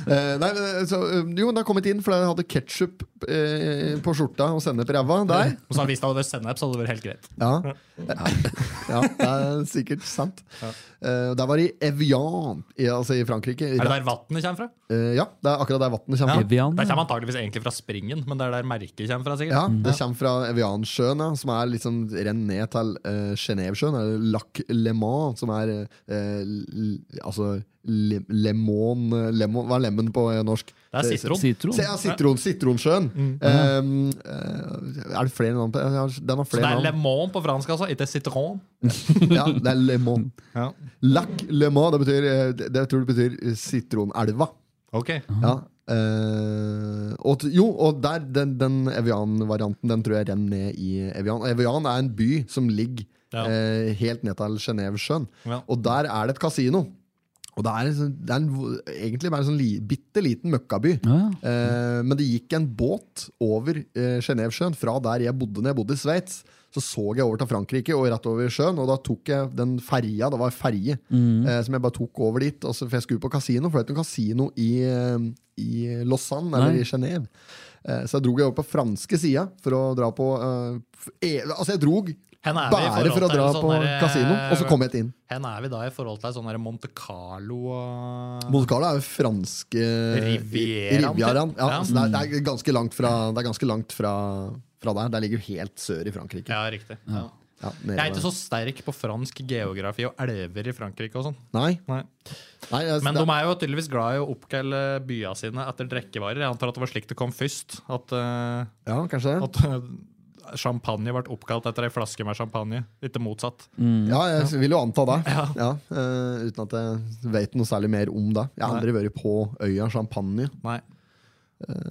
[SPEAKER 1] Eh, nei, men, så, eh, jo, det har kommet inn, for jeg hadde ketsjup på skjorta og sennep i ræva. Der.
[SPEAKER 3] Og så hvis det hadde vært sennep, så hadde det vært helt greit.
[SPEAKER 1] Ja. ja, det er sikkert sant. sant? Eh, der var det i Evian, i, altså i Frankrike.
[SPEAKER 3] Er det der vannet kommer fra?
[SPEAKER 1] Eh, ja, det er akkurat der vannet kommer
[SPEAKER 3] Ja.
[SPEAKER 1] fra.
[SPEAKER 3] Det kommer antageligvis egentlig fra springen, men det er der merket kommer fra. sikkert.
[SPEAKER 1] Ja, Det kommer fra Eviansjøen, ja, som er liksom renn ned til uh, Genévesjøen. Eller Lac Le Mans, som er eh, l- Altså le, lemon, eh, lemon Hva er lemen på eh, norsk?
[SPEAKER 3] Det er sitron. Sitron.
[SPEAKER 1] Se, ja, sitron, Sitronsjøen.
[SPEAKER 3] Mm.
[SPEAKER 1] Um, eh, er det flere navn på ja, Den har
[SPEAKER 3] Så det
[SPEAKER 1] flere
[SPEAKER 3] er
[SPEAKER 1] navn.
[SPEAKER 3] lemon på fransk, altså? Ikke citron?
[SPEAKER 1] ja, det er lemon. Lac Le Mans, det betyr eh, det, det tror jeg betyr sitronelva.
[SPEAKER 3] Ok.
[SPEAKER 1] Ja. eh, og, t- jo, og der, den, den Evian-varianten Den tror jeg renner ned i Evian. Og Evian er en by som ligger
[SPEAKER 3] Ja.
[SPEAKER 1] eh, helt ned til Genévesjøen.
[SPEAKER 3] Ja.
[SPEAKER 1] Og der er det et kasino. Og det er, en sånn- det er en, vo- egentlig bare en sånn li, bitte liten møkkaby. Eh, men det gikk en båt over eh, Genévesjøen fra der jeg bodde når jeg bodde i Sveits. Så så jeg over til Frankrike og rett over sjøen, og da tok jeg den ferja. Det var en ferje eh, som jeg bare tok over dit. Og så, for jeg skulle på kasino, for det er ikke noe kasino i, eh, i Lausanne eller
[SPEAKER 10] Nei.
[SPEAKER 1] i Genève. Eh, så jeg dro jeg over på franske sida for å dra på eh, f- e Altså, jeg drog
[SPEAKER 3] Hen er vi i
[SPEAKER 1] bare
[SPEAKER 3] forhold
[SPEAKER 1] for å
[SPEAKER 3] til
[SPEAKER 1] dra
[SPEAKER 3] sånn
[SPEAKER 1] på
[SPEAKER 3] der,
[SPEAKER 1] kasino,
[SPEAKER 3] eh,
[SPEAKER 1] og så kom jeg ikke inn.
[SPEAKER 3] Hen er vi da i forhold til sånn der Monte Carlo og
[SPEAKER 1] Monte Carlo er jo franske
[SPEAKER 3] Rivieraen,
[SPEAKER 1] Rivieraen. Ja,
[SPEAKER 3] ja. Mm.
[SPEAKER 1] Så det, er, det er ganske langt, fra, det er ganske langt fra, fra der. Det ligger jo helt sør i Frankrike.
[SPEAKER 3] Ja, riktig. Ja.
[SPEAKER 1] Ja, nede
[SPEAKER 3] Jeg er ikke
[SPEAKER 1] der.
[SPEAKER 3] så sterk på fransk geografi og elver i Frankrike og sånn.
[SPEAKER 1] Nei.
[SPEAKER 3] Nei.
[SPEAKER 1] Nei altså,
[SPEAKER 3] Men
[SPEAKER 1] det-
[SPEAKER 3] de er jo tydeligvis glad i å oppkalle bya sine etter drikkevarer. Jeg antar at det var slik det kom først. At, eh,
[SPEAKER 1] Ja, kanskje det.
[SPEAKER 3] at eh, champagne ble oppkalt etter ei flaske med champagne. Ikke motsatt.
[SPEAKER 1] Ja, jeg vil jo anta det. Ja. eh, uten at jeg vet noe særlig mer om det. Jeg har aldri vært på øya Champagne.
[SPEAKER 3] Nei.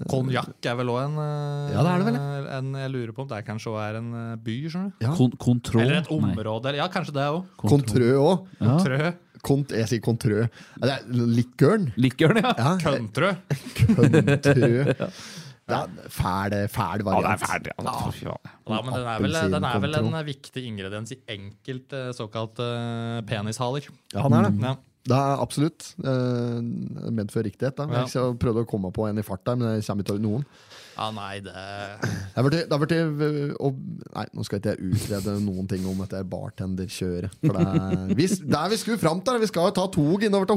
[SPEAKER 3] Konjakk er vel òg en eh,
[SPEAKER 1] Eh, Ja, det er det vel,
[SPEAKER 3] En, jeg lurer på om det kanskje også er en eh, by, skjønner du.
[SPEAKER 1] Ja.
[SPEAKER 10] Kon kontroll
[SPEAKER 3] Eller et
[SPEAKER 10] Nei.
[SPEAKER 3] område. eller- Ja, kanskje det òg.
[SPEAKER 1] Contrø òg.
[SPEAKER 10] Ja.
[SPEAKER 3] Trø.
[SPEAKER 1] Kont, jeg sier Contrø. Ja, det er Likørn.
[SPEAKER 10] Likørn, ja.
[SPEAKER 1] Ja,
[SPEAKER 3] Køntrø.
[SPEAKER 1] Contrø. Det er fæl, fæl variant.
[SPEAKER 8] altså.
[SPEAKER 3] Ja, men den er, vel, den er vel en
[SPEAKER 1] Appelsinkontroll.
[SPEAKER 3] viktig ingrediens i enkelte såkalte penishaler.
[SPEAKER 1] Ja, den er det.
[SPEAKER 3] Ja.
[SPEAKER 1] Det er absolutt. eh, Medfører riktighet. Da.
[SPEAKER 3] Ja.
[SPEAKER 1] Jeg skal- prøvde å komme på en i farta, men jeg kommer ikke over noen.
[SPEAKER 3] ja, nei, det
[SPEAKER 1] Det har vært- det har vært eh, og- Nei, nå skal ikke jeg utrede noen ting om dette bartenderkjøret. For det er, vi, der vi skulle fram til! da. Vi skal jo ta tog innover til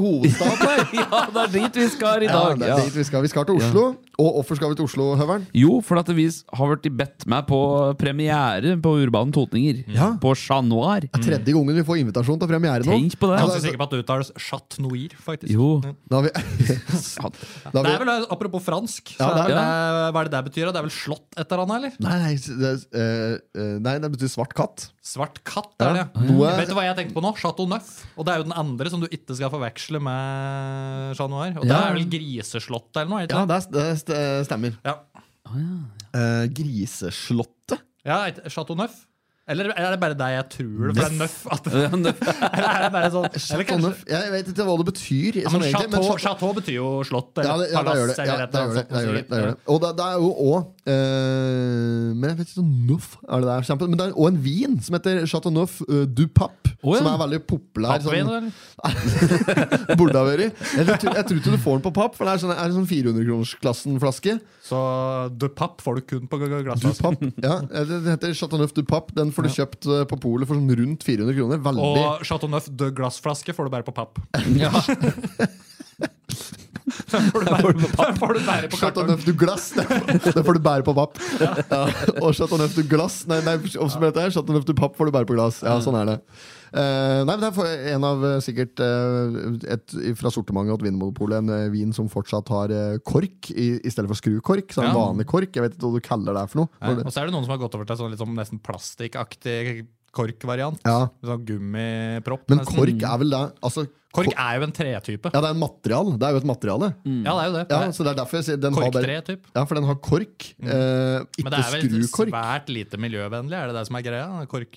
[SPEAKER 1] hovedstaden.
[SPEAKER 10] ja, det er dit vi skal i
[SPEAKER 1] Ja,
[SPEAKER 10] dag.
[SPEAKER 1] det
[SPEAKER 10] Ja.
[SPEAKER 1] er dit vi, skal. vi skal til Oslo. Og hvorfor skal vi til Oslo, Høveren?
[SPEAKER 10] Jo, for at vi har vært i bedt med på premiere på Urban Totninger.
[SPEAKER 1] Ja.
[SPEAKER 10] På Chat Noir.
[SPEAKER 1] Tredje gangen vi får invitasjon til premiere nå.
[SPEAKER 10] Tenk på det!
[SPEAKER 3] Jeg er
[SPEAKER 1] Ja,
[SPEAKER 3] ganske sikker på at det uttales chat noir, faktisk.
[SPEAKER 10] Jo.
[SPEAKER 1] Da har vi, da
[SPEAKER 3] Det
[SPEAKER 1] har
[SPEAKER 3] er
[SPEAKER 1] vi
[SPEAKER 3] vel eh, Apropos fransk, så
[SPEAKER 1] Ja,
[SPEAKER 3] er
[SPEAKER 1] det
[SPEAKER 3] vel det, eh, hva er det det betyr? da? Det er vel slått et eller annet, eller?
[SPEAKER 1] Nei, nei, det, eh, eh, nei, det betyr svart katt.
[SPEAKER 3] Svart katt,
[SPEAKER 1] Ja,
[SPEAKER 3] er det.
[SPEAKER 1] noe-
[SPEAKER 3] Vet du hva jeg tenkte på nå? Chateau Neuf. Og det er jo den andre som du ikke skal forveksle med Chat Noir. Og det
[SPEAKER 1] Ja.
[SPEAKER 3] er vel griseslått eller noe? er det
[SPEAKER 1] Ja,
[SPEAKER 3] Ikke?
[SPEAKER 1] det, er- det st- stemmer.
[SPEAKER 3] det? Ja.
[SPEAKER 1] Eh, Griseslottet?
[SPEAKER 3] Ja, er det Chateau Neuf. Eller er det bare deg jeg tror det, for det er Neuf? At, eller er det bare sånn eller
[SPEAKER 1] Chateau
[SPEAKER 3] kanskje,
[SPEAKER 1] Neuf? Jeg vet ikke hva det betyr.
[SPEAKER 3] ja,
[SPEAKER 1] sånn egentlig,
[SPEAKER 3] men chateau,
[SPEAKER 1] men Chateau-
[SPEAKER 3] chateau betyr jo slott
[SPEAKER 1] Ja,
[SPEAKER 3] eller
[SPEAKER 1] det, ja, det gjør det.
[SPEAKER 3] palass
[SPEAKER 1] Ja, det, gjør
[SPEAKER 3] eller et eller
[SPEAKER 1] det, det, gjør
[SPEAKER 3] annet
[SPEAKER 1] det,
[SPEAKER 3] sånt.
[SPEAKER 1] det, gjør det. Og det, det er jo òg Men jeg vet ikke om Neuf er det der kommer fra, Men det er òg en vin som heter Chateau Neuf eh, du Pape,
[SPEAKER 10] Å, ja.
[SPEAKER 1] som er veldig populær.
[SPEAKER 3] Pappvin,
[SPEAKER 1] Sånn,
[SPEAKER 3] eller?
[SPEAKER 1] burde ha vært. Jeg, tror- jeg tror ikke du får den på papp, for det er sånn, er det sånn 400-kronersklassen-flaske.
[SPEAKER 3] Så du papp får du kun på
[SPEAKER 1] Du
[SPEAKER 3] glassflaske.
[SPEAKER 1] Pape, ja, eh, det det heter Chateau Neuf du Pape. Den får du kjøpt eh, på polet for sånn rundt 400 kroner. Veldig
[SPEAKER 3] Og Chateau Neuf de glassflaske får du bare på papp.
[SPEAKER 10] Ja.
[SPEAKER 3] Får du bare, får du bare på
[SPEAKER 1] Chateau
[SPEAKER 3] kartong.
[SPEAKER 1] Neuf du glass, det får- det får du bære på papp. Ja. Og Chateau Neuf du glass Nei, nei oppsummer dette her. Chateau Neuf du papp får du bære på glass. Ja, sånn er det. Eh, nei, men Det er for- en av eh, sikkert eh, et, fra sortimentet og Vinmonopolet en eh, vin som fortsatt har eh, kork i, i stedet for skrukork. Så er det en
[SPEAKER 3] Ja.
[SPEAKER 1] vanlig kork. Jeg vet ikke hva du kaller det her for noe.
[SPEAKER 3] Nei, Og så er det noen som har gått over til sånn litt sånn nesten plastikkaktig korkvariant.
[SPEAKER 1] Ja.
[SPEAKER 3] Sånn gummipropp.
[SPEAKER 1] Men
[SPEAKER 3] nesten.
[SPEAKER 1] kork er vel det altså,
[SPEAKER 3] kork Mm. er jo en tretype.
[SPEAKER 1] Ja, det er en material. Det er jo et materiale.
[SPEAKER 3] Ja, det er jo det.
[SPEAKER 1] Ja, så det er derfor jeg sier den har bare,
[SPEAKER 3] Korktre, typ.
[SPEAKER 1] ja, for den har kork. Eh,
[SPEAKER 3] Mm. Men det
[SPEAKER 1] ikke
[SPEAKER 3] er vel
[SPEAKER 1] skrukork.
[SPEAKER 3] svært lite miljøvennlig, er det det som er greia? Kork,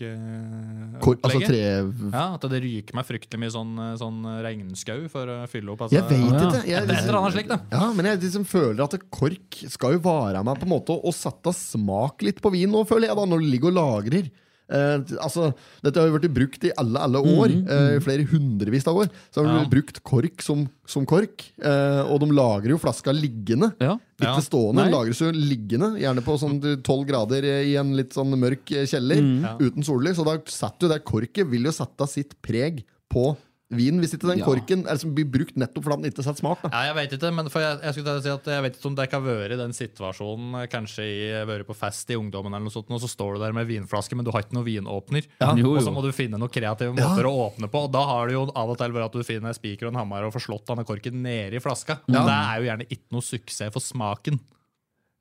[SPEAKER 1] Kork, altså
[SPEAKER 3] opplegget?
[SPEAKER 1] tre
[SPEAKER 3] Ja, At det ryker meg fryktelig mye sånn, sånn regnskau for å fylle opp. Altså.
[SPEAKER 1] Jeg vet
[SPEAKER 10] ja.
[SPEAKER 1] ikke. Jeg, liksom-
[SPEAKER 3] Et eller annet slikt, da.
[SPEAKER 1] ja, men jeg liksom føler at kork skal jo vare meg på en måte og sette smak litt på vin nå, føler jeg, da, når du ligger og lagrer. Eh, altså, dette har jo vært brukt i alle, alle år, eh, flere hundrevis av år. Så har
[SPEAKER 3] Ja.
[SPEAKER 1] du brukt kork som, som kork, eh, og de lagrer jo flaska liggende.
[SPEAKER 10] Ja.
[SPEAKER 1] Ikke
[SPEAKER 3] Ja.
[SPEAKER 1] stående,
[SPEAKER 10] Nei.
[SPEAKER 1] den lagres jo liggende, gjerne på sånn 12 grader eh, i en
[SPEAKER 3] Mm.
[SPEAKER 1] litt sånn mørk eh, kjeller, uten sollys. Og da setter jo det korket vil jo sette sitt preg på vin hvis ikke den
[SPEAKER 3] Ja.
[SPEAKER 1] korken er liksom blir brukt nettopp fordi den ikke setter smak. Da.
[SPEAKER 3] Ja, jeg vet ikke, men for jeg, jeg skulle til å si at jeg vet ikke om det kan være i den situasjonen eh, Kanskje i, være på fest i ungdommen, eller noe sånt, og så står du der med vinflaske, men du har ikke noen vinåpner.
[SPEAKER 10] Ja. Jo, jo.
[SPEAKER 3] Og så må du finne noen kreative
[SPEAKER 10] Ja.
[SPEAKER 3] måter å åpne på. Og da har du jo av og til bare at du finner en spiker og en hammer og får slått denne korken nedi flaska.
[SPEAKER 1] Ja.
[SPEAKER 3] Men Det er jo gjerne ikke noe suksess for smaken.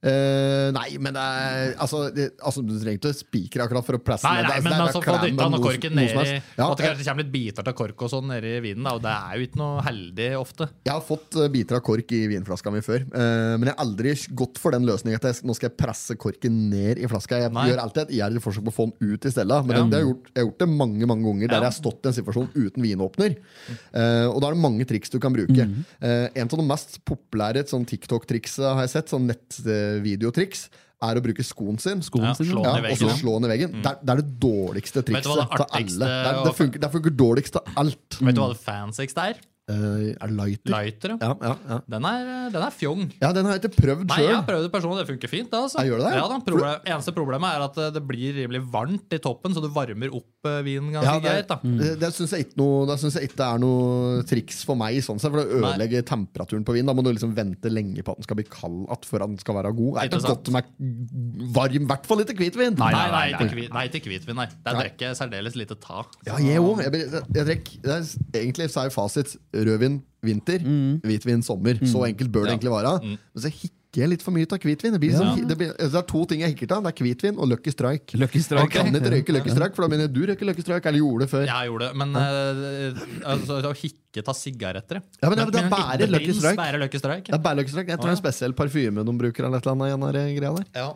[SPEAKER 1] Eh, nei, men det er altså, det, altså, Du trenger ikke spikre akkurat for å plasse
[SPEAKER 3] Nei,
[SPEAKER 1] ned.
[SPEAKER 3] nei,
[SPEAKER 1] Det er-
[SPEAKER 3] men
[SPEAKER 1] det er
[SPEAKER 3] altså, få
[SPEAKER 1] klem med
[SPEAKER 3] dytta den
[SPEAKER 1] noe-
[SPEAKER 3] korken
[SPEAKER 1] noe som
[SPEAKER 3] nedi
[SPEAKER 1] helst. Ja,
[SPEAKER 3] At det kanskje kommer litt biter av kork og sånn nedi vinen, da, og det er jo ikke noe heldig ofte.
[SPEAKER 1] Jeg har fått eh, biter av kork i vinflaska mi før, eh, men jeg har aldri gått for den løsningen at jeg, sk- nå skal jeg presse korken ned i flaska. Jeg
[SPEAKER 3] Nei.
[SPEAKER 1] gjør alltid et iherdig forsøk på å få den ut i stedet. Men
[SPEAKER 3] Ja.
[SPEAKER 1] det, har jeg, gjort, jeg har gjort det mange mange ganger der
[SPEAKER 3] Ja.
[SPEAKER 1] jeg har stått i en situasjon uten vinåpner. Eh, og da er det mange triks du kan bruke.
[SPEAKER 3] Mhm.
[SPEAKER 1] Eh, en av de mest populære sånn TikTok-triksa har jeg sett, sånn nettvideotriks, er å bruke skoen sin.
[SPEAKER 10] Skoen sin,
[SPEAKER 1] ja,
[SPEAKER 10] ja.
[SPEAKER 1] og så slå den i veggen. Det, er, det er det dårligste
[SPEAKER 3] Mm. Vet
[SPEAKER 1] trikset
[SPEAKER 3] du hva det
[SPEAKER 1] av alle.
[SPEAKER 3] artigste
[SPEAKER 1] Det, er- det,
[SPEAKER 3] og-
[SPEAKER 1] funker, det funker dårligst av alt.
[SPEAKER 3] Vet du hva det fancyeste er?
[SPEAKER 1] Eh, er det lighter?
[SPEAKER 3] Lighter.
[SPEAKER 1] Ja, ja, ja.
[SPEAKER 3] Den er, den er fjong.
[SPEAKER 1] Ja, den har jeg ikke prøvd
[SPEAKER 3] Nei, jeg
[SPEAKER 1] sjøl.
[SPEAKER 3] har prøvd det personlig, det funker fint. Det, altså.
[SPEAKER 1] Ja, gjør det det?
[SPEAKER 3] Ja, da, problem, eneste problemet er at eh, det blir rimelig varmt i toppen, så du varmer opp eh, vinen ganske
[SPEAKER 1] Ja, det, Mm.
[SPEAKER 3] greit. Da.
[SPEAKER 1] det, det syns jeg ikke noe Det synes jeg ikke er noe triks for meg, sånn sett, for det ødelegger temperaturen på vinen. Da må du liksom vente lenge på at den skal bli kald igjen før den skal være god. Er det ikke
[SPEAKER 3] Ikke sant?
[SPEAKER 1] godt med varm, i hvert fall ikke hvitvin?
[SPEAKER 3] Nei, nei, nei, ikke hvit- nei, ikke hvitvin. Nei. Der drikker jeg særdeles lite ta.
[SPEAKER 1] Ja, jeg òg. Jeg, blir- jeg, jeg drekk- det er s- Egentlig så er jo fasit rødvin vinter, hvitvin sommer. Så enkelt bør det
[SPEAKER 3] Mm. Ja. Mm.
[SPEAKER 1] egentlig være. Men så hikker jeg litt for mye av hvitvin. Det, blir sånn, det, blir, det er to ting jeg hikker av. Det er hvitvin og Lucky Strike.
[SPEAKER 10] Lucky Strike,
[SPEAKER 1] Jeg kan
[SPEAKER 10] ja.
[SPEAKER 1] ikke røyke Lucky Strike, for da mener jeg du røyker Lucky Strike. Eller gjorde det før.
[SPEAKER 3] Jeg gjorde det, men eh, altså, å hikke av sigaretter
[SPEAKER 1] Ja, men det- det er bare Lucky Strike.
[SPEAKER 3] Bare Lucky Strike.
[SPEAKER 1] Det er Bæreløk Strike. Jeg tror det er en spesiell parfyme de bruker. Eller et eller annet, igjen, her, eh, greia der.
[SPEAKER 3] Ja.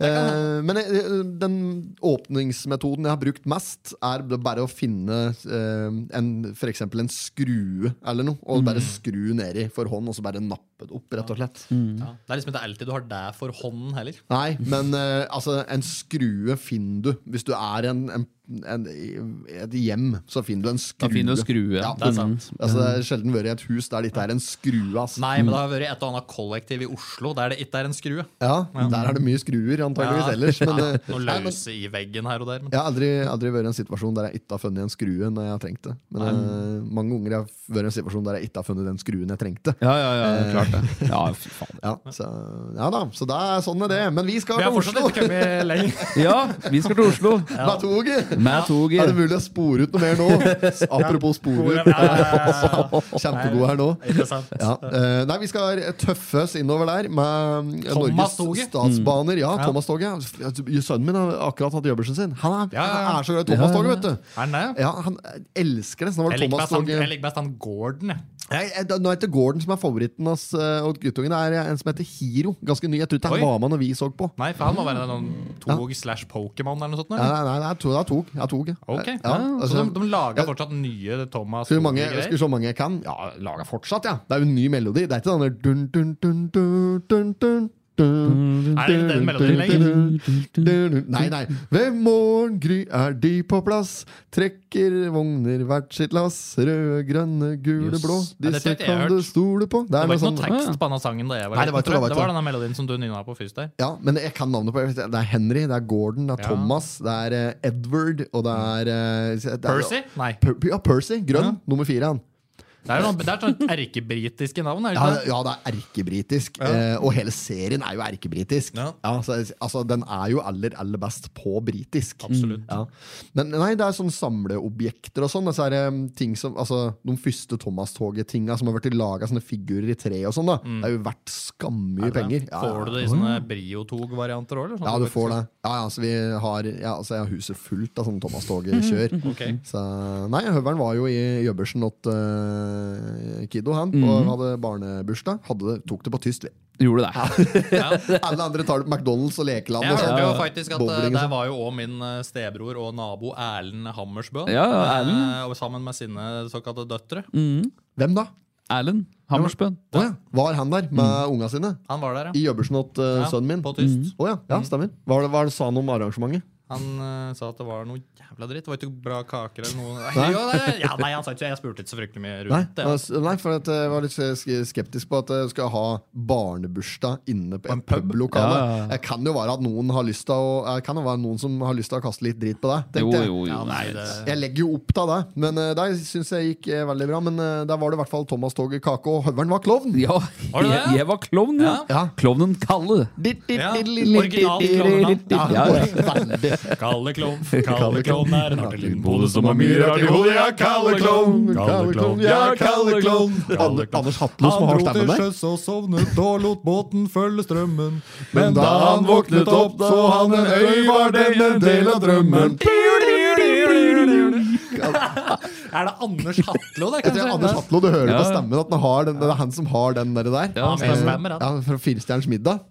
[SPEAKER 1] Eh, men eh, den åpningsmetoden jeg har brukt mest, er det bare å finne eh, en, for eksempel en skrue eller noe, og
[SPEAKER 10] Mm.
[SPEAKER 1] bare skru nedi for hånd, og så bare nappe det opp, rett og slett.
[SPEAKER 10] Mm.
[SPEAKER 3] Ja. Det er liksom ikke alltid du har det for hånden heller.
[SPEAKER 1] Nei, men eh, altså, en skrue finner du. Hvis du er en, en, en, i et hjem, så finner du en skrue.
[SPEAKER 10] Da finner du en skrue. Mm.
[SPEAKER 1] Ja,
[SPEAKER 3] det er sant.
[SPEAKER 1] Altså, det er sjelden vært i et hus der det ikke er en skrue. Altså.
[SPEAKER 3] Nei, men det har vært et og annet kollektiv i Oslo der det ikke er en skrue.
[SPEAKER 1] Ja, Der er det mye skruer, antageligvis ellers. Men, eh,
[SPEAKER 3] Noe
[SPEAKER 1] nei, men,
[SPEAKER 3] løse i veggen her og der. Men.
[SPEAKER 1] Jeg har aldri, aldri vært i en situasjon der jeg ikke har funnet en skrue når jeg har trengt det. Men eh, mange ganger har jeg vært i en situasjon der jeg ikke har funnet den skruen jeg trengte.
[SPEAKER 10] Ja, ja, ja, klart det. Ja, fy faen.
[SPEAKER 1] Ja, så, ja da, så det er sånn er det. Men vi skal
[SPEAKER 3] Vi har
[SPEAKER 1] til
[SPEAKER 3] fortsatt
[SPEAKER 1] Oslo!
[SPEAKER 3] ikke kommet lenger.
[SPEAKER 10] Ja, vi skal til Oslo.
[SPEAKER 1] Med toget!
[SPEAKER 10] Med
[SPEAKER 1] Er det
[SPEAKER 10] toget.
[SPEAKER 1] mulig å spore ut noe mer nå? Apropos spore ut. Kjempegod her nå.
[SPEAKER 3] Ikke sant?
[SPEAKER 1] Ja. eh, nei, vi skal tøffe oss innover der med eh, Norges
[SPEAKER 3] Thomas-toget.
[SPEAKER 1] statsbaner. Ja, Thomas-toget. Sønnen min har akkurat hatt jobbersen sin. Han er,
[SPEAKER 3] Ja, ja, ja.
[SPEAKER 1] han er så glad i Thomas-toget, vet du.
[SPEAKER 3] Er den det?
[SPEAKER 1] Ja, han elsker det. Så nå var
[SPEAKER 3] Jeg
[SPEAKER 1] det
[SPEAKER 3] liker best han-
[SPEAKER 1] Thomas-toget.
[SPEAKER 3] jeg liker best han Gordon. jeg.
[SPEAKER 1] Nei, eh, da- Nå er det ikke Gordon som er favoritten hans, eh, og guttungen det er en som heter Hiro. Ganske ny. Jeg tror ikke han
[SPEAKER 3] Oi.
[SPEAKER 1] var med når vi så på.
[SPEAKER 3] Nei, for han må være noen tog slash Pokémon eller noe sånt.
[SPEAKER 1] Nei,
[SPEAKER 3] Eller?
[SPEAKER 1] nei, nei, det er to- det er tog. Jeg tog. ja.
[SPEAKER 3] Ok.
[SPEAKER 1] Ja,
[SPEAKER 3] så
[SPEAKER 1] altså,
[SPEAKER 3] de, de lager fortsatt nye Thomas
[SPEAKER 1] Skulle mange,
[SPEAKER 3] Toge-greier?
[SPEAKER 1] skulle så mange jeg kan? Ja, laga fortsatt, ja. Det er jo en ny melodi. Det er ikke den der dun, dun, dun, dun, dun, dun, dun,
[SPEAKER 3] Er det den
[SPEAKER 1] dun,
[SPEAKER 3] melodien
[SPEAKER 1] dun, dun, dun, dun. Nei, nei. Ved morgengry er de på plass. Trekker vogner hvert sitt lass. Røde, grønne, gule,
[SPEAKER 10] Jøss.
[SPEAKER 1] blå.
[SPEAKER 3] Ja, dette
[SPEAKER 1] Disse
[SPEAKER 3] har ikke jeg
[SPEAKER 1] kan
[SPEAKER 3] hørt.
[SPEAKER 1] du stole på. Det
[SPEAKER 3] Det
[SPEAKER 1] er
[SPEAKER 3] var
[SPEAKER 1] noe
[SPEAKER 3] ikke
[SPEAKER 1] sånn
[SPEAKER 3] noe tekst på denne sangen da jeg var
[SPEAKER 1] Nei, det var ikke det,
[SPEAKER 3] liten, tror
[SPEAKER 1] det
[SPEAKER 3] jeg. Det
[SPEAKER 1] var ikke
[SPEAKER 3] var denne melodien som du nynna på først der.
[SPEAKER 1] Ja, men jeg kan navnet på jeg vet- Det er Henry, det er Gordon, det er
[SPEAKER 3] Ja.
[SPEAKER 1] Thomas, det er eh, Edward, og det er, eh, det er
[SPEAKER 3] Percy? Nei.
[SPEAKER 1] Per, ja, Percy. Grønn.
[SPEAKER 3] Ja.
[SPEAKER 1] Nummer fire. Han.
[SPEAKER 3] Det er, noen, det er sånn erkebritiske navn. Er det
[SPEAKER 1] Ja,
[SPEAKER 3] ikke
[SPEAKER 1] det- ja, det er erkebritisk. eh, Og hele serien er jo erkebritisk.
[SPEAKER 3] Ja.
[SPEAKER 1] så, altså, den er jo aller, aller best på britisk.
[SPEAKER 3] Mm. Absolutt.
[SPEAKER 1] Ja. Men nei, det er sånn samleobjekter og sånn. Disse her, em, ting som, altså, de første Thomas-toget-tinga som har vært laga sånne figurer i tre og sånn, da. Det er jo verdt skammye
[SPEAKER 3] Mm. det?
[SPEAKER 1] penger. Ja, ja.
[SPEAKER 3] Får du det i sånne Brio-tog-varianter sånn? òg?
[SPEAKER 1] Ja, du får det. Ja, ja, så vi har, ja, altså, jeg har huset fullt av sånne Thomas-toget-kjør.
[SPEAKER 3] Ok.
[SPEAKER 1] Så, nei, Høveren var jo i jobbersen åt eh, Kiddo, han, på, hadde barnebursdag. Hadde det, tok det på tyst. vi.
[SPEAKER 10] Gjorde det.
[SPEAKER 1] Alle andre tar det på McDonald's og Lekeland.
[SPEAKER 3] Jeg
[SPEAKER 1] og sånn.
[SPEAKER 3] hørte jo faktisk at eh,
[SPEAKER 1] Bowling og
[SPEAKER 3] Der
[SPEAKER 1] sånn.
[SPEAKER 3] var jo òg min eh, stebror og nabo Erlend Hammersbø.
[SPEAKER 10] Ja, ja,
[SPEAKER 3] eh,
[SPEAKER 10] Erlend.
[SPEAKER 3] og Sammen med sine såkalte døtre.
[SPEAKER 1] Hvem da?
[SPEAKER 10] Erlend Hammersbøen.
[SPEAKER 1] Å ja. Var han der med unga sine?
[SPEAKER 3] Han var der,
[SPEAKER 1] I
[SPEAKER 3] ja.
[SPEAKER 1] jobbersen åt eh,
[SPEAKER 3] Mm. Ja,
[SPEAKER 1] sønnen min?
[SPEAKER 3] På tyst. Mm.
[SPEAKER 1] Å ja. ja, stemmer. Hva, var det- hva var det sa han om arrangementet?
[SPEAKER 3] Han eh, sa at det var noe jævla dritt. Det var ikke bra kaker eller noe. Nei.
[SPEAKER 1] Nei.
[SPEAKER 3] Jo, nei, ja, nei, han sa ikke Jeg spurte ikke så fryktelig
[SPEAKER 1] Nei,
[SPEAKER 3] mye rundt det.
[SPEAKER 1] altså, nei, for at jeg var litt sk- skeptisk på at jeg skal ha barnebursdag inne på et publokale.
[SPEAKER 10] Ja, ja, ja.
[SPEAKER 1] Det kan jo være at noen har lyst til å eh, Kan jo være noen som har lyst til å kaste litt drit på deg.
[SPEAKER 10] Jo,
[SPEAKER 1] tenkte jeg.
[SPEAKER 10] jo, jo.
[SPEAKER 3] Ja,
[SPEAKER 10] Nei,
[SPEAKER 3] nei, det-
[SPEAKER 1] Jeg legger jo opp til det, men eh, der syns jeg gikk eh, veldig bra. Men eh, der var det i hvert fall Thomas Toget Kake, og høveren var klovn.
[SPEAKER 10] Ja,
[SPEAKER 3] Var det det?
[SPEAKER 10] jeg, jeg var klovn, ja.
[SPEAKER 1] Ja.
[SPEAKER 10] Klovnen Kalle.
[SPEAKER 3] Ja, originalt klovnenavn.
[SPEAKER 1] Ja,
[SPEAKER 10] Ja, ja.
[SPEAKER 1] veldig.
[SPEAKER 3] Kalle Klovn, Kalle Klovn er en artig liten pode som har mye
[SPEAKER 1] mye
[SPEAKER 3] rart i hodet. Ja, Kalle Klovn, Kalle Klovn, ja, Kalle Klovn.
[SPEAKER 1] Ander- Anders Hatlo som har stemmen der.
[SPEAKER 3] sjøs og sovnet og lot båten følge strømmen.
[SPEAKER 1] Men da han våknet opp, så han en øy, var den en del av drømmen.
[SPEAKER 3] Er det Anders Hatlo, det?
[SPEAKER 1] Jeg tror Anders Hatlo, du hører på
[SPEAKER 10] Ja.
[SPEAKER 1] stemmen at han har den, det er han som har den der. der.
[SPEAKER 10] Ja,
[SPEAKER 3] han stemmer,
[SPEAKER 1] Eh,
[SPEAKER 3] han.
[SPEAKER 1] ja, fra Firestjerners middag.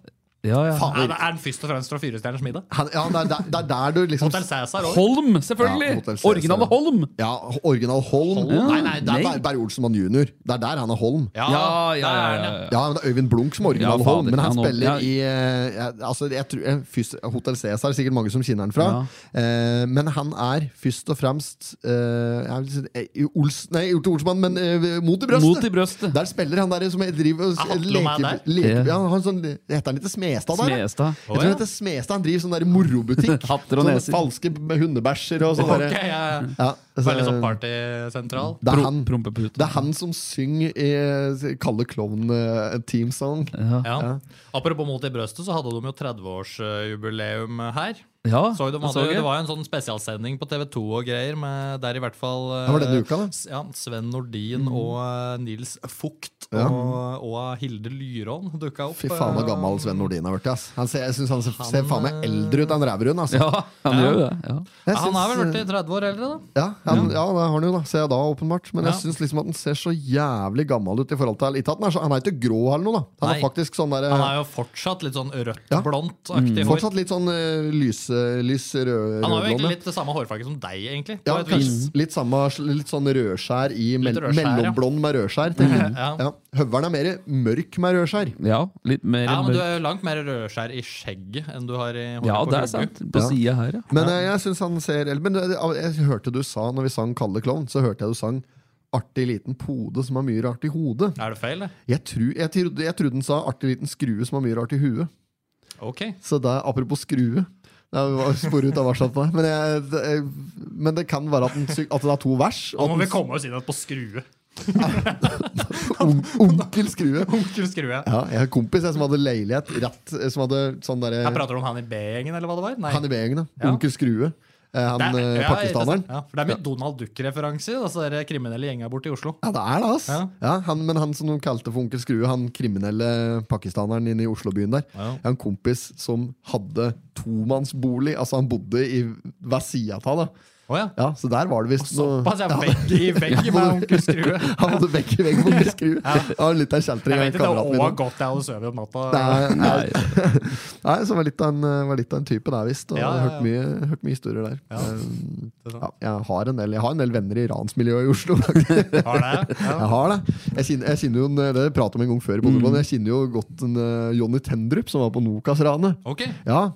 [SPEAKER 10] Ja, ja.
[SPEAKER 1] Faen,
[SPEAKER 3] Er, er den først og fremst fra Firestjerners middag?
[SPEAKER 1] han, ja, det, er, der- det er der du liksom
[SPEAKER 3] Hotel Cæsar òg.
[SPEAKER 10] Holm,
[SPEAKER 1] Ja,
[SPEAKER 10] selvfølgelig!
[SPEAKER 1] Hotel Cæsar.
[SPEAKER 10] Originale Holm!
[SPEAKER 1] Ja, Original Holm.
[SPEAKER 10] Holm?
[SPEAKER 1] Nei, nei, det er
[SPEAKER 10] Nei.
[SPEAKER 1] Ber- Berre Olsenmann jr. Det er der han er Holm. Ja.
[SPEAKER 10] Ja, ja, ja. ja, ja.
[SPEAKER 1] men Det er Øyvind Blunk som er original
[SPEAKER 10] Ja,
[SPEAKER 1] Holm,
[SPEAKER 10] fader,
[SPEAKER 1] men han
[SPEAKER 10] han Holm.
[SPEAKER 1] spiller
[SPEAKER 10] Ja.
[SPEAKER 1] i eh, ja, altså, jeg tror, eh, først- Hotel Cæsar er sikkert mange som kjenner han fra. Eh, men han er først og fremst eh, jeg vil si, eh, i Ols, Nei, ikke Olsenmann, men eh, Mot i brøstet!
[SPEAKER 10] Mot i brøstet.
[SPEAKER 1] Der spiller han der som driver og
[SPEAKER 3] Er Hatlo
[SPEAKER 1] leker,
[SPEAKER 3] med
[SPEAKER 1] leker
[SPEAKER 10] Ja.
[SPEAKER 1] ja, han sånn, Heter han ikke Smestad? der, da?
[SPEAKER 10] Smestad.
[SPEAKER 1] Jeg tror han heter Smestad. Han driver sånn der morobutikk.
[SPEAKER 10] Hatter og
[SPEAKER 1] Sånne
[SPEAKER 10] neser.
[SPEAKER 1] falske b- hundebæsjer og sånn.
[SPEAKER 3] Ok,
[SPEAKER 1] derre.
[SPEAKER 3] ja, ja.
[SPEAKER 1] Ja, altså- så-
[SPEAKER 3] Veldig sånn partysentral.
[SPEAKER 1] det, er
[SPEAKER 10] Pro-
[SPEAKER 1] han,
[SPEAKER 10] Prompepute.
[SPEAKER 1] det er han som synger i eh, Kalle eh, Klovn-teamsong.
[SPEAKER 3] Ja. Apropos Mot i brøstet, så hadde de jo 30-årsjubileum her.
[SPEAKER 10] Ja,
[SPEAKER 3] Så de
[SPEAKER 10] det
[SPEAKER 3] hadde,
[SPEAKER 10] så jeg.
[SPEAKER 3] det var jo en sånn spesialsending på TV2 og greier, med, der i hvert fall eh,
[SPEAKER 1] Det var denne uka, da. Mm.
[SPEAKER 3] S- Ja, Sven Nordin og eh, Nils Fugt
[SPEAKER 1] Ja.
[SPEAKER 3] og, og Hilde Lyrån dukka opp.
[SPEAKER 1] Fy faen så
[SPEAKER 3] eh,
[SPEAKER 1] gammel Sven Nordin har blitt. ass. Han ser, jeg syns han ser, ser faen meg eldre ut enn ræverund. Altså.
[SPEAKER 10] Ja, han gjør jo det. Ja.
[SPEAKER 1] Jeg
[SPEAKER 3] Han er vel
[SPEAKER 1] syns,
[SPEAKER 3] blitt 30 år eldre, da.
[SPEAKER 1] Ja, han, ja, det har han jo, da. Ser jeg da, åpenbart. Men jeg
[SPEAKER 3] Ja.
[SPEAKER 1] syns liksom at han ser så jævlig gammel ut i forhold til Ikke at han er, så, han er ikke grå eller noe, da. Han
[SPEAKER 3] Nei.
[SPEAKER 1] er faktisk sånn der,
[SPEAKER 3] Han er jo fortsatt litt sånn
[SPEAKER 1] Ja.
[SPEAKER 3] rødt-blondt-aktig hår.
[SPEAKER 1] Fortsatt litt sånn eh, lyse, lys rød,
[SPEAKER 3] Han har jo
[SPEAKER 1] rødblond, ja.
[SPEAKER 3] egentlig litt det samme hårfarge som deg, egentlig. på
[SPEAKER 1] Ja,
[SPEAKER 3] et vis.
[SPEAKER 1] kanskje litt, samme, litt sånn rødskjær i mell
[SPEAKER 3] rødskjær, ja.
[SPEAKER 1] mellomblond med rødskjær. tenker jeg.
[SPEAKER 3] Ja.
[SPEAKER 1] Ja. Høveren er mer mørk med rødskjær.
[SPEAKER 10] ja, litt mer
[SPEAKER 3] Ja, men
[SPEAKER 10] mørk.
[SPEAKER 3] du er jo langt mer rødskjær i skjegget enn du har i håret
[SPEAKER 10] Ja,
[SPEAKER 3] på
[SPEAKER 10] det er
[SPEAKER 3] hugget.
[SPEAKER 10] sant. På
[SPEAKER 1] Ja.
[SPEAKER 10] sida her, ja.
[SPEAKER 1] Men eh, jeg synes han ser eller, Men eh, jeg hørte du sa, når vi sang Kalle klovn, så hørte jeg du sang Artig liten pode som har mye rart i hodet.
[SPEAKER 3] Er det feil, det?
[SPEAKER 1] Jeg, tru, jeg, trodde, jeg trodde den sa artig liten skrue som har mye rart i huet.
[SPEAKER 3] Ok.
[SPEAKER 1] Så det er apropos skrue. Det var spor ut av verset på deg. Men, jeg, det, jeg, men det kan være at, den, sy- at det er to vers.
[SPEAKER 3] Da
[SPEAKER 1] Og
[SPEAKER 3] må vi
[SPEAKER 1] at
[SPEAKER 3] komme oss inn igjen på skrue.
[SPEAKER 1] den, onkel Skrue.
[SPEAKER 3] Onkel Skrue.
[SPEAKER 1] Ja, jeg har en kompis jeg, som hadde leilighet rett Som hadde sånn derre
[SPEAKER 3] Jeg prater om han i B-gjengen, eller hva det var? Nei.
[SPEAKER 1] Han i B-gjengen, da.
[SPEAKER 3] Ja.
[SPEAKER 1] Onkel Skrue. Eh, Han
[SPEAKER 3] Det er-
[SPEAKER 1] eh,
[SPEAKER 3] ja,
[SPEAKER 1] pakistaneren.
[SPEAKER 3] interessant. Ja, for det er mye Donald Duck-referanser, altså de kriminelle gjenga borte i Oslo.
[SPEAKER 1] Ja, det er det, ass.
[SPEAKER 3] Ja.
[SPEAKER 1] Ja. han, men han som de kalte for Onkel Skrue, han kriminelle pakistaneren inne i Oslobyen der,
[SPEAKER 3] Ja.
[SPEAKER 1] Jeg har en kompis som hadde tomannsbolig. Altså, han bodde i hver side av det.
[SPEAKER 3] Å ja.
[SPEAKER 1] Ja, så der var det visst noe
[SPEAKER 3] Såpass, jeg er vegg i vegg med onkel Skrue.
[SPEAKER 1] Han hadde vegg i vegg med Onkel Skrue. Det var litt av en
[SPEAKER 3] Jeg
[SPEAKER 1] kjeltring
[SPEAKER 3] vet
[SPEAKER 1] av
[SPEAKER 3] ikke,
[SPEAKER 1] kameraten
[SPEAKER 3] det var
[SPEAKER 1] min.
[SPEAKER 3] godt jeg hadde sovet om natta.
[SPEAKER 1] Nei, nei. nei, så var litt av en, var litt av en type der, visst. Og
[SPEAKER 3] Ja, ja, ja.
[SPEAKER 1] Hørt, mye, hørt mye historier der.
[SPEAKER 3] Ja.
[SPEAKER 1] Um,
[SPEAKER 3] Det er sant.
[SPEAKER 1] ja, jeg, har en del, jeg har en del venner i ransmiljøet i Oslo. faktisk.
[SPEAKER 3] Har det? Ja.
[SPEAKER 1] Jeg har det. Jeg kjenner, jeg kjenner jo en, det pratet om en gang før i Bodøbånd. Jeg kjenner jo godt en, eh, Johnny Tendrup, som var på Nokas-ranet.
[SPEAKER 3] Ok.
[SPEAKER 1] Ja.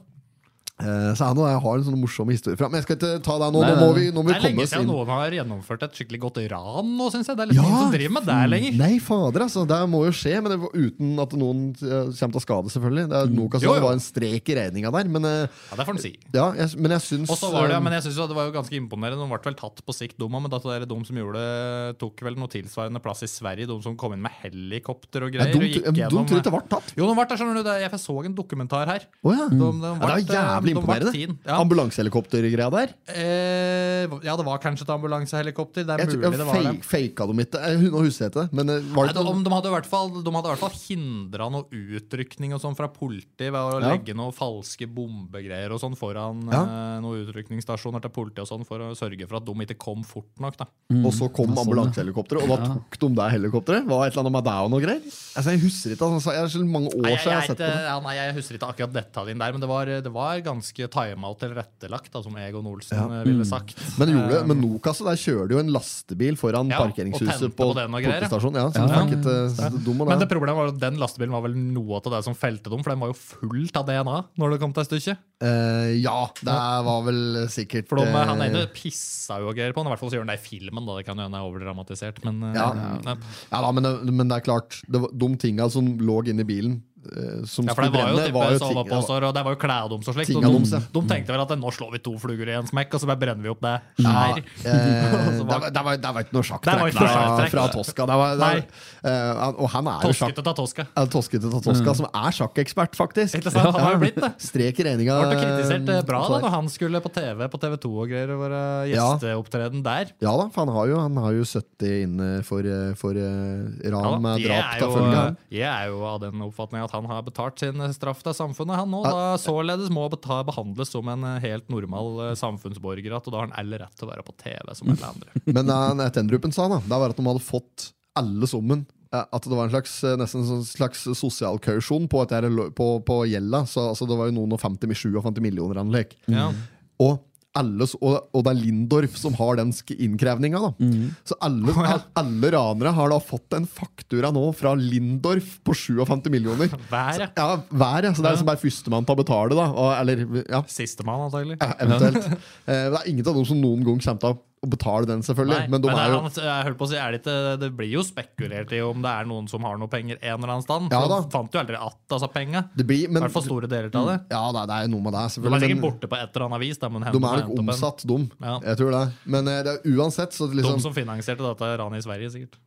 [SPEAKER 1] Eh, så han og jeg har en sånn morsom historie fra Men jeg skal ikke ta deg nå.
[SPEAKER 10] Nei,
[SPEAKER 1] Nå må vi, nå må vi
[SPEAKER 3] Det er
[SPEAKER 1] komme
[SPEAKER 3] lenge
[SPEAKER 1] oss
[SPEAKER 3] siden
[SPEAKER 1] inn.
[SPEAKER 3] noen har gjennomført et skikkelig godt ran nå, syns jeg. Det er litt ingen som driver med det lenger.
[SPEAKER 1] Nei, fader, altså. Det må jo skje. Men det, var uten at noen eh, kommer til å skade, selvfølgelig. Det er-
[SPEAKER 3] Jo,
[SPEAKER 1] Nokas-ranet
[SPEAKER 3] jo.
[SPEAKER 1] var en strek i regninga der. Men, eh,
[SPEAKER 3] Ja, det får en si.
[SPEAKER 1] ja, jeg, men jeg syns
[SPEAKER 3] Og så var det,
[SPEAKER 1] eh,
[SPEAKER 3] men jeg synes jo det var jo ganske imponerende. De ble vel tatt på sikt, de òg, men dette der, de som gjorde det, tok vel noe tilsvarende plass i Sverige. De som kom inn med helikopter og
[SPEAKER 1] det er
[SPEAKER 3] greier.
[SPEAKER 1] dumt,
[SPEAKER 3] og gikk
[SPEAKER 1] eh, dumt
[SPEAKER 3] gjennom-
[SPEAKER 1] at det ble tatt.
[SPEAKER 3] Jo, de ble der, skjønner du. det- Jeg så en dokumentar her.
[SPEAKER 1] Å ja.
[SPEAKER 3] De, de
[SPEAKER 1] Mm. Ja, det er jævlig
[SPEAKER 3] ble- de ble
[SPEAKER 1] imponerende.
[SPEAKER 3] teen, Ja.
[SPEAKER 1] Ambulansehelikoptergreia der.
[SPEAKER 3] Eh, ja, det var kanskje et ambulansehelikopter. Det er
[SPEAKER 1] Jeg,
[SPEAKER 3] mulig
[SPEAKER 1] tror-
[SPEAKER 3] det
[SPEAKER 1] jeg
[SPEAKER 3] var det.
[SPEAKER 1] fake, faka dem ikke. Eh, Nå husker jeg ikke det. Men eh, var
[SPEAKER 3] Nei,
[SPEAKER 1] det
[SPEAKER 3] de,
[SPEAKER 1] ikke
[SPEAKER 3] om de hadde i hvert fall, de hadde i hvert fall hindra noe utrykning og sånn fra politiet ved å
[SPEAKER 1] Ja.
[SPEAKER 3] legge noen falske bombegreier og sånn foran eh, noen utrykningsstasjoner til politiet og sånn for å sørge for at de ikke kom fort nok. da.
[SPEAKER 1] Og så
[SPEAKER 3] sånn,
[SPEAKER 1] kom ambulansehelikopteret, og da tok de det helikopteret. Var et eller annet med deg og noe greier? Altså, jeg husker ikke, altså, jeg er så mange
[SPEAKER 3] Nei,
[SPEAKER 1] år
[SPEAKER 3] jeg,
[SPEAKER 1] siden jeg har
[SPEAKER 3] jeg,
[SPEAKER 1] sett på det.
[SPEAKER 3] ja, nei, jeg husker ikke akkurat detaljen der, men det var, det var ganske tima og tilrettelagt, da, som Egon Olsen
[SPEAKER 1] Ja. Mm.
[SPEAKER 3] eh, ville sagt.
[SPEAKER 1] Men, gjorde,
[SPEAKER 3] Eh,
[SPEAKER 1] men Nokas der kjører det jo en lastebil foran
[SPEAKER 3] Ja, og
[SPEAKER 1] parkeringshuset
[SPEAKER 3] tente
[SPEAKER 1] på,
[SPEAKER 3] på den og greier, ja.
[SPEAKER 1] politistasjonen. Ja,
[SPEAKER 3] Ja.
[SPEAKER 1] så Fikk et, så dum og
[SPEAKER 3] Men det
[SPEAKER 1] det.
[SPEAKER 3] problemet var at den lastebilen var vel noe av det som felte dem, for den var jo full av DNA når det kom til stykket.
[SPEAKER 1] Eh, ja, det var vel sikkert
[SPEAKER 3] For de,
[SPEAKER 1] eh,
[SPEAKER 3] han ene pissa jo og greier på den, i hvert fall så gjør han det i filmen, da. Det kan jo hende det er overdramatisert, men eh,
[SPEAKER 1] Ja.
[SPEAKER 3] nei.
[SPEAKER 1] Ja da, men det, men det er klart, det var de tinga som lå inni bilen, eh, som
[SPEAKER 3] Ja, for
[SPEAKER 1] skulle
[SPEAKER 3] det var jo
[SPEAKER 1] brenne,
[SPEAKER 3] type
[SPEAKER 1] var jo
[SPEAKER 3] sånn
[SPEAKER 1] ting, ja,
[SPEAKER 3] oppåsår, og det var jo klær dem og slikt.
[SPEAKER 1] Tinga
[SPEAKER 3] Og de,
[SPEAKER 1] deres, ja.
[SPEAKER 3] de tenkte vel at eh, nå slår vi to fluger i en smekk, og så bare brenner vi opp det
[SPEAKER 1] Ja,
[SPEAKER 3] her.
[SPEAKER 1] eh, det,
[SPEAKER 3] Og så
[SPEAKER 1] var,
[SPEAKER 3] var-
[SPEAKER 1] det, var, det var ikke noe
[SPEAKER 3] Det var
[SPEAKER 1] sjakktrekk
[SPEAKER 3] ikke
[SPEAKER 1] fra,
[SPEAKER 3] noe sjakktrekk.
[SPEAKER 1] fra Tosca. Det var, det,
[SPEAKER 3] Nei.
[SPEAKER 1] eh, han- og han er jo sjakk,
[SPEAKER 3] Toskete ta toska.
[SPEAKER 1] eh, Toskete til Tosca, som er sjakkekspert, faktisk.
[SPEAKER 3] Ikke sant? Han har jo blitt det.
[SPEAKER 1] Strek i regninga.
[SPEAKER 3] Ble kritisert eh, bra da
[SPEAKER 1] eh,
[SPEAKER 3] når han skulle på TV på TV2 og greier og være
[SPEAKER 1] Ja.
[SPEAKER 3] gjesteopptreden der.
[SPEAKER 1] Ja da, for han har jo, han har jo 70 inne for, eh, for eh,
[SPEAKER 3] Ja,
[SPEAKER 1] ran med
[SPEAKER 3] jeg,
[SPEAKER 1] drap
[SPEAKER 3] er
[SPEAKER 1] til
[SPEAKER 3] jo, eh,
[SPEAKER 1] følge. han.
[SPEAKER 3] jeg er jo av den oppfatning at han har betalt sin eh, straff til samfunnet, han nå. Da således må beta behandles som en eh, helt normal eh, samfunnsborger, at, og da har han all rett til å være på TV som alle andre.
[SPEAKER 1] Men eh, det Tendrupen sa, da, det var at de hadde fått alle summen. Eh, At det var en slags, eh, nesten en sånn slags sosial kausjon på, at det er lo- på, på gjelda. Så altså, det var jo noen og 50 med 57 millioner han lek.
[SPEAKER 3] Ja.
[SPEAKER 1] Og, alle, s- og, og det er Lindorf som har den sk- innkrevinga. da.
[SPEAKER 3] Mm.
[SPEAKER 1] Så alle, al- alle ranere har da fått en faktura nå fra Lindorf på 57 millioner.
[SPEAKER 3] Hver, ja.
[SPEAKER 1] Ja, hver, ja. Så det er liksom bare førstemann til å betale, da. Og, eller, ja,
[SPEAKER 3] Sistemann, antagelig.
[SPEAKER 1] ja, eventuelt. Eh, Det er ingen av dem som noen gang kommer til å betale den, selvfølgelig.
[SPEAKER 3] Nei,
[SPEAKER 1] men de er jo
[SPEAKER 3] han, jeg holdt på å si, er det, ikke, det blir jo spekulert i om det er noen som har noe penger en eller annen stand.
[SPEAKER 1] Ja
[SPEAKER 3] for
[SPEAKER 1] da.
[SPEAKER 3] de fant jo aldri att altså penga.
[SPEAKER 1] Det blir,
[SPEAKER 3] I
[SPEAKER 1] men,
[SPEAKER 3] hvert fall store deler av det.
[SPEAKER 1] Ja, det er, det er noe med det,
[SPEAKER 3] De er
[SPEAKER 1] selvfølgelig.
[SPEAKER 3] sikkert
[SPEAKER 1] Men
[SPEAKER 3] borte på et eller annet vis. Da, men
[SPEAKER 1] de
[SPEAKER 3] henter-
[SPEAKER 1] er nok
[SPEAKER 3] henter opp en-
[SPEAKER 1] omsatt, dum.
[SPEAKER 3] Ja.
[SPEAKER 1] Jeg tror det. Men eh, det er uansett så det
[SPEAKER 3] De
[SPEAKER 1] liksom,
[SPEAKER 3] som finansierte dette ranet i Sverige, sikkert.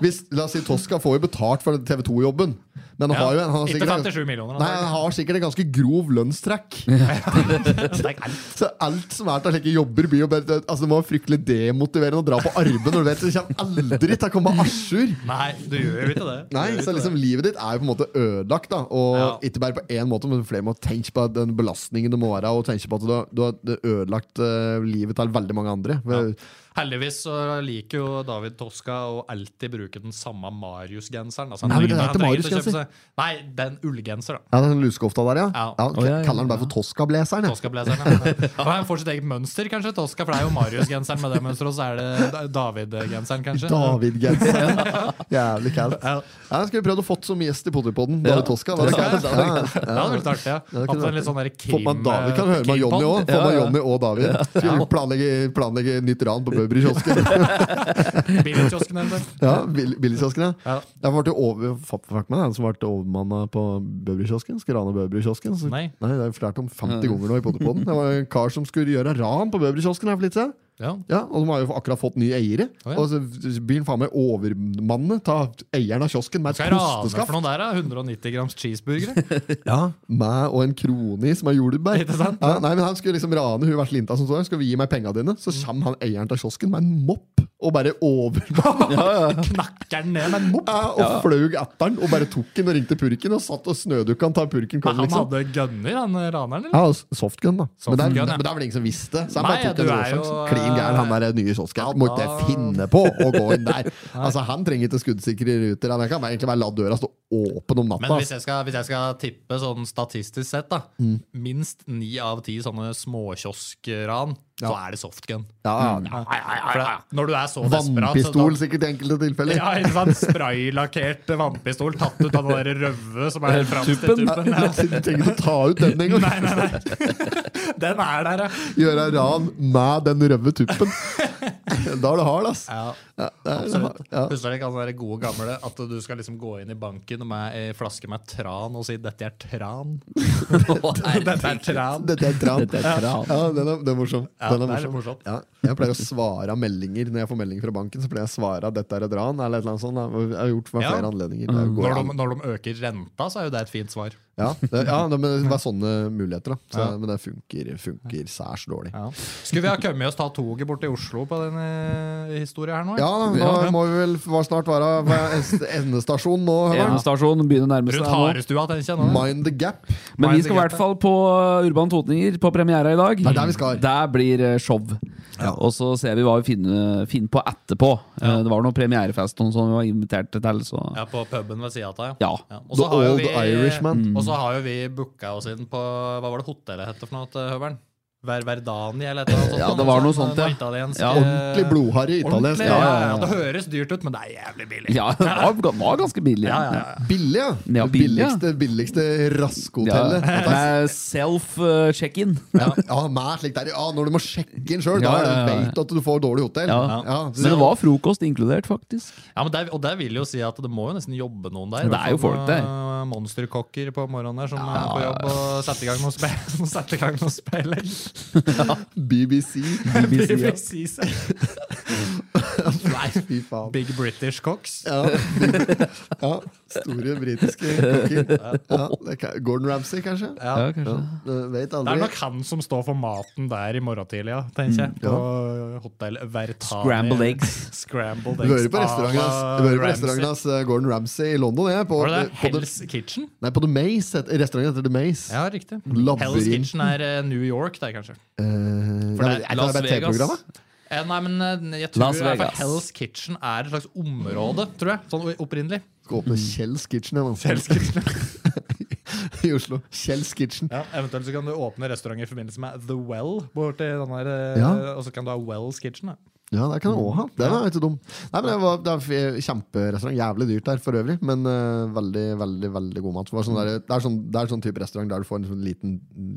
[SPEAKER 1] hvis, La oss si Tosca får jo betalt for TV 2-jobben, men han
[SPEAKER 3] Ja,
[SPEAKER 1] har jo en, han har
[SPEAKER 3] ikke
[SPEAKER 1] sikkert,
[SPEAKER 3] 57 millioner.
[SPEAKER 1] nei, han har sikkert en ganske grov lønnstrekk.
[SPEAKER 3] antagelig. Det er ikke alt.
[SPEAKER 1] Så alt som er til slike jobber, blir jo bare altså, Det må være fryktelig demotiverende å dra på arbeid når du vet du kommer aldri til å komme à jour.
[SPEAKER 3] Nei, du gjør jo ikke det. Du
[SPEAKER 1] Nei,
[SPEAKER 3] gjør jo
[SPEAKER 1] så
[SPEAKER 3] ikke
[SPEAKER 1] liksom
[SPEAKER 3] det.
[SPEAKER 1] Livet ditt er jo på en måte ødelagt. da Og
[SPEAKER 3] Ja.
[SPEAKER 1] Ikke bare på én måte, men flere må tenke på den belastningen det må være, og tenke på at du har, du har ødelagt eh, livet til veldig mange andre. Ved-
[SPEAKER 3] Heldigvis så liker jo David Toska å alltid bruke den samme Marius-genseren. Altså, han
[SPEAKER 1] Nei, men det er ikke
[SPEAKER 3] trenger- han trenger ikke å
[SPEAKER 1] Marius-genser.
[SPEAKER 3] kjøpe seg- Nei, den ullgenser, da.
[SPEAKER 1] Ja, det er den lusekofta der, ja?
[SPEAKER 3] Ja.
[SPEAKER 1] ja,
[SPEAKER 10] Å, ja, ja,
[SPEAKER 1] Kaller den bare for Tosca-blazeren? Ja.
[SPEAKER 3] Toska-blazerne. eh, Og han får sitt eget mønster, kanskje. Toska, For det er jo Marius-genseren med det mønsteret, og så er det Da- David-genseren, kanskje.
[SPEAKER 1] David-genseren. Jævlig kaldt.
[SPEAKER 3] Ja.
[SPEAKER 1] Ja, skulle prøvd å fått som gjest i Potipodden. Bare Tosca. Det,
[SPEAKER 3] Ja,
[SPEAKER 1] ja,
[SPEAKER 3] det hadde
[SPEAKER 1] ja.
[SPEAKER 3] vært artig, ja.
[SPEAKER 1] det kunne
[SPEAKER 3] Hatt en litt sånn der
[SPEAKER 1] Fått
[SPEAKER 3] Kim
[SPEAKER 1] med David kan høre med Jonny òg. Få
[SPEAKER 10] Ja,
[SPEAKER 1] med
[SPEAKER 10] ja.
[SPEAKER 1] Jonny og David. Skulle planlegge, planlegge nytt ran på Bøbry-kiosken.
[SPEAKER 3] Billedkiosken eller
[SPEAKER 1] Ja, Bill- Billigkiosken, ja.
[SPEAKER 3] Ja.
[SPEAKER 1] Jeg ble jo over, fuck, fuck meg, det er han som ble overmanna på Bøbry-kiosken. Skulle rane Bøbry-kiosken. Så-
[SPEAKER 3] Nei.
[SPEAKER 1] Nei, det er jo flært om 50 ganger nå i Potipodden. Det var en kar som skulle gjøre ran på Bøbry-kiosken her for litt siden.
[SPEAKER 3] Ja.
[SPEAKER 1] Ja, og de har jo akkurat fått nye eiere.
[SPEAKER 3] Å, ja.
[SPEAKER 1] Og så blir han faen meg overmannet Ta eieren av kiosken med
[SPEAKER 3] Skal
[SPEAKER 1] et
[SPEAKER 3] jeg rane for
[SPEAKER 1] kosteskaft.
[SPEAKER 3] noen der, da? 190 grams cheeseburgere?
[SPEAKER 1] Ja, med og en krone i som er jordbær.
[SPEAKER 3] Ikke sant?
[SPEAKER 1] Ja, nei, men Han skulle liksom rane hun veslinta som står der. Skal vi gi meg penga dine? Så kommer han eieren av kiosken med en mopp og bare overmannet
[SPEAKER 3] Knakker den ned med en mopp?
[SPEAKER 1] ja, og fløy etter han og bare tok den og ringte purken og satt og snødukka han til purken
[SPEAKER 3] Men
[SPEAKER 1] kom,
[SPEAKER 3] han
[SPEAKER 1] liksom.
[SPEAKER 3] hadde gunner, han raneren? eller?
[SPEAKER 1] Ja, og softgun, da. men, det er,
[SPEAKER 3] Softgun, ja.
[SPEAKER 1] men det er vel ingen som visste det. Så han
[SPEAKER 3] Nei,
[SPEAKER 1] bare tok
[SPEAKER 3] du
[SPEAKER 1] en
[SPEAKER 3] er
[SPEAKER 1] råsjanse.
[SPEAKER 3] jo,
[SPEAKER 1] Klin gæren, han
[SPEAKER 3] eh,
[SPEAKER 1] der nye kiosken.
[SPEAKER 3] ja,
[SPEAKER 1] Må ikke
[SPEAKER 3] da-
[SPEAKER 1] finne på å gå inn der! Altså, Han trenger ikke skuddsikre ruter. Han kan bare- egentlig bare la døra stå åpen om
[SPEAKER 3] Men
[SPEAKER 1] natta.
[SPEAKER 3] hvis
[SPEAKER 1] ass.
[SPEAKER 3] jeg, skal, hvis jeg skal tippe sånn statistisk sett, da minst ni av ti sånne småkioskran, så er det softgun. Mm,
[SPEAKER 1] Ja, ja.
[SPEAKER 3] For det, når du er så desperat så da-
[SPEAKER 1] Vannpistol sikkert i enkelte tilfeller.
[SPEAKER 3] Ja, ikke sant? Spraylakkert vannpistol tatt ut av den der røve som er framstilt
[SPEAKER 10] tuppen.
[SPEAKER 3] tuppen. Ja.
[SPEAKER 1] Du trenger ikke å ta ut den engang.
[SPEAKER 3] Nei, nei, nei. Den er der, ja.
[SPEAKER 1] Gjøre ran med den røde tuppen. Da er du hard, ass.
[SPEAKER 3] ja.
[SPEAKER 1] Ja, det er-
[SPEAKER 3] Absolutt.
[SPEAKER 1] ja.
[SPEAKER 3] Husker du ikke han der gode gamle at du skal liksom gå inn i banken med ei flaske med tran og si 'dette er tran'? Dette er tran.
[SPEAKER 1] Dette er tran.
[SPEAKER 10] Dette er tran.
[SPEAKER 1] Ja, den er, den er morsom.
[SPEAKER 3] Ja,
[SPEAKER 1] Den er
[SPEAKER 3] det er litt
[SPEAKER 1] morsom.
[SPEAKER 3] morsomt.
[SPEAKER 1] Ja, jeg pleier å svare av meldinger når jeg får melding fra banken. Så pleier jeg å svare at dette er et ran, eller et eller annet sånt. da. Jeg har gjort det ved
[SPEAKER 3] Ja. Mm.
[SPEAKER 1] flere anledninger. Det går
[SPEAKER 3] Når de,
[SPEAKER 1] an.
[SPEAKER 3] når de øker renta, så er jo det et fint svar.
[SPEAKER 1] Ja, det, ja, det, men det var sånne muligheter, da. Så,
[SPEAKER 3] Ja.
[SPEAKER 1] Men det funker, funker særs dårlig. Ja.
[SPEAKER 3] Skulle vi ha kommet oss ta toget bort til Oslo på denne historia her nå?
[SPEAKER 1] nå må vi vel f- snart være ved endestasjon nå. Høveren.
[SPEAKER 10] Endestasjon begynner å nærme seg her
[SPEAKER 3] Rundt
[SPEAKER 10] nå.
[SPEAKER 3] Harestua, tenker jeg nå.
[SPEAKER 1] Mind the gap.
[SPEAKER 10] Men vi
[SPEAKER 3] Mind the
[SPEAKER 10] skal i
[SPEAKER 3] gap,
[SPEAKER 10] hvert fall på uh, Urban Totninger på premiera i dag.
[SPEAKER 1] Det er der vi skal.
[SPEAKER 10] Der blir uh, show. Og så ser vi hva vi finner, finner på etterpå. Uh, Det var noe premierefest noen som vi var invitert til, så
[SPEAKER 3] Ja, på puben ved sida av.
[SPEAKER 10] Ja.
[SPEAKER 3] Og så
[SPEAKER 1] The
[SPEAKER 3] har jo
[SPEAKER 1] Old
[SPEAKER 3] vi-
[SPEAKER 1] Irishman.
[SPEAKER 3] Og Og så har jo vi booka oss inn på Hva var det hotellet het for noe, til Høveren? Ver Verdani eller et eller annet? sånt,
[SPEAKER 10] Ja, det var
[SPEAKER 3] sånn,
[SPEAKER 10] noe sånt, ja.
[SPEAKER 3] noe italiensk,
[SPEAKER 10] Ja.
[SPEAKER 3] eh,
[SPEAKER 1] Ordentlig blodharry italiensk.
[SPEAKER 3] ordentlig, Ja, ja, ja. Det høres dyrt ut, men det er jævlig billig.
[SPEAKER 10] Ja, det var, det var ganske billig.
[SPEAKER 3] Ja, ja, ja.
[SPEAKER 1] Billig, ja.
[SPEAKER 10] Ja,
[SPEAKER 1] det
[SPEAKER 10] billig, ja.
[SPEAKER 1] billigste, billigste raskhotellet.
[SPEAKER 10] Ja.
[SPEAKER 1] Ja.
[SPEAKER 10] Med self-check-in.
[SPEAKER 1] mer slik der. sånn, Ja, når du må sjekke inn sjøl,
[SPEAKER 10] Ja,
[SPEAKER 1] da
[SPEAKER 10] ja, ja.
[SPEAKER 1] vet du at du får dårlig hotell.
[SPEAKER 10] Ja.
[SPEAKER 1] så-
[SPEAKER 10] Men det var frokost inkludert, faktisk.
[SPEAKER 3] Ja, men der, og der vil jo si at det må jo nesten jobbe noen der.
[SPEAKER 10] Det
[SPEAKER 3] i hvert
[SPEAKER 10] er jo
[SPEAKER 3] fall
[SPEAKER 10] folk
[SPEAKER 3] noen,
[SPEAKER 10] der.
[SPEAKER 3] øh, Monsterkokker på morgenen der som er på jobb og setter i gang noen spill. setter i gang noen speiler.
[SPEAKER 1] BBC.
[SPEAKER 10] BBC, ja.
[SPEAKER 3] Precis. Nei,
[SPEAKER 1] Fy faen.
[SPEAKER 3] Big British Cocks.
[SPEAKER 1] Ja, ja, store britiske kokker. Ja, det kan- Gordon Ramsay, kanskje?
[SPEAKER 3] Ja.
[SPEAKER 10] Ja, kanskje.
[SPEAKER 1] Du vet
[SPEAKER 3] Det er
[SPEAKER 1] aldri.
[SPEAKER 3] nok han som står for maten der i morgen tidlig, ja, tenker jeg. På Hotell Vertani.
[SPEAKER 10] Scrambled eggs.
[SPEAKER 3] Scrambled
[SPEAKER 1] Du
[SPEAKER 3] eggs.
[SPEAKER 1] hører på restauranten hans, du hører på restauranten hans eh, Gordon Ramsay i London. Jeg, på,
[SPEAKER 3] Var det det?
[SPEAKER 1] på, the,
[SPEAKER 3] Hell's Kitchen?
[SPEAKER 1] nei, på The Maze. et- Restauranten heter The Maze.
[SPEAKER 3] Ja, riktig.
[SPEAKER 1] Labyrinten.
[SPEAKER 3] Hell's Kitchen er eh, New York, der, kanskje.
[SPEAKER 1] Eh, nei,
[SPEAKER 3] det er
[SPEAKER 1] men er ikke
[SPEAKER 10] Las
[SPEAKER 1] det bare
[SPEAKER 10] Vegas.
[SPEAKER 1] TV-programmet?
[SPEAKER 3] Eh, Nei, men eh, jeg tror
[SPEAKER 10] Las
[SPEAKER 3] i hvert fall
[SPEAKER 10] Vegas.
[SPEAKER 3] Hell's Kitchen er et slags område, tror jeg. Sånn opprinnelig.
[SPEAKER 1] Skal åpne Kjells Kitchen igjen, altså.
[SPEAKER 3] Hell's Mm. Kitchen.
[SPEAKER 1] i Oslo. Kjells Kitchen.
[SPEAKER 3] Ja, eventuelt så kan du åpne restaurant i forbindelse med The Well. Borti den der, eh,
[SPEAKER 1] Ja.
[SPEAKER 3] Og så kan du ha Wells Kitchen. Da.
[SPEAKER 1] Ja, der kan jeg òg ha. Den er ikke dum. Nei, men det var, det var f- Kjemperestaurant. Jævlig dyrt der for øvrig, men eh, veldig veldig, veldig god mat. Det, var sånn der, det, er sånn, det er sånn type restaurant der du får en sånn liten,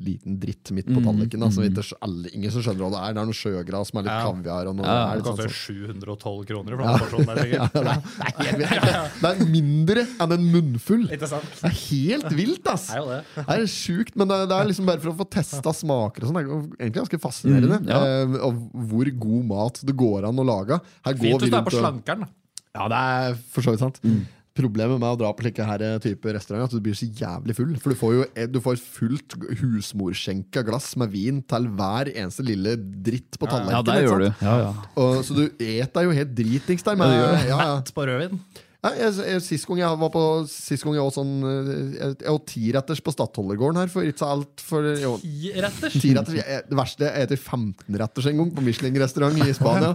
[SPEAKER 1] liten dritt midt
[SPEAKER 3] Mm.
[SPEAKER 1] på tallerkenen. da, som ikke s- alle, ingen som skjønner hva det er. Det er noe sjøgras med litt
[SPEAKER 3] Ja.
[SPEAKER 1] kaviar og noe.
[SPEAKER 10] Ja,
[SPEAKER 1] det,
[SPEAKER 3] Det
[SPEAKER 1] er litt
[SPEAKER 3] koster
[SPEAKER 1] sånn,
[SPEAKER 3] 712 kroner for den porsjonen der, sikkert.
[SPEAKER 1] sånn. Nei, jeg vet ikke. Det er mindre enn en munnfull.
[SPEAKER 3] Ikke sant?
[SPEAKER 1] Det er helt vilt, ass!
[SPEAKER 3] Det er jo det.
[SPEAKER 1] Det er sjukt, men det, det er liksom bare for å få testa smaker og sånn. Det er jo egentlig ganske fascinerende.
[SPEAKER 10] Mm, ja.
[SPEAKER 1] eh, og hvor god mat det går an å lage. Her går
[SPEAKER 3] Fint
[SPEAKER 1] vi
[SPEAKER 3] hvis du er
[SPEAKER 1] rundt
[SPEAKER 3] på
[SPEAKER 1] og-
[SPEAKER 3] slankeren. da.
[SPEAKER 1] Ja, det er for så vidt sant.
[SPEAKER 3] Mm.
[SPEAKER 1] Problemet med å dra på slike her eh, type restauranter er at du blir så jævlig full. For du får jo eh, du får fullt husmorskjenka glass med vin til hver eneste lille dritt på tallerkenen.
[SPEAKER 10] Ja, det
[SPEAKER 1] ikke
[SPEAKER 10] gjør du.
[SPEAKER 1] sant? Og, så du et deg jo helt dritings der. Med, ja, ja.
[SPEAKER 3] På rødvin.
[SPEAKER 1] Ja, jeg, jeg, sist gang jeg var på Sist gang jeg var sånn eh, Jeg, jeg var tiretters på Stadholdergården her for ikke så alt for jo,
[SPEAKER 3] Tiretters.
[SPEAKER 1] tiretters, jeg- jeg, Det verste er etter 15-retters en gang på Michelin-restaurant i Spania.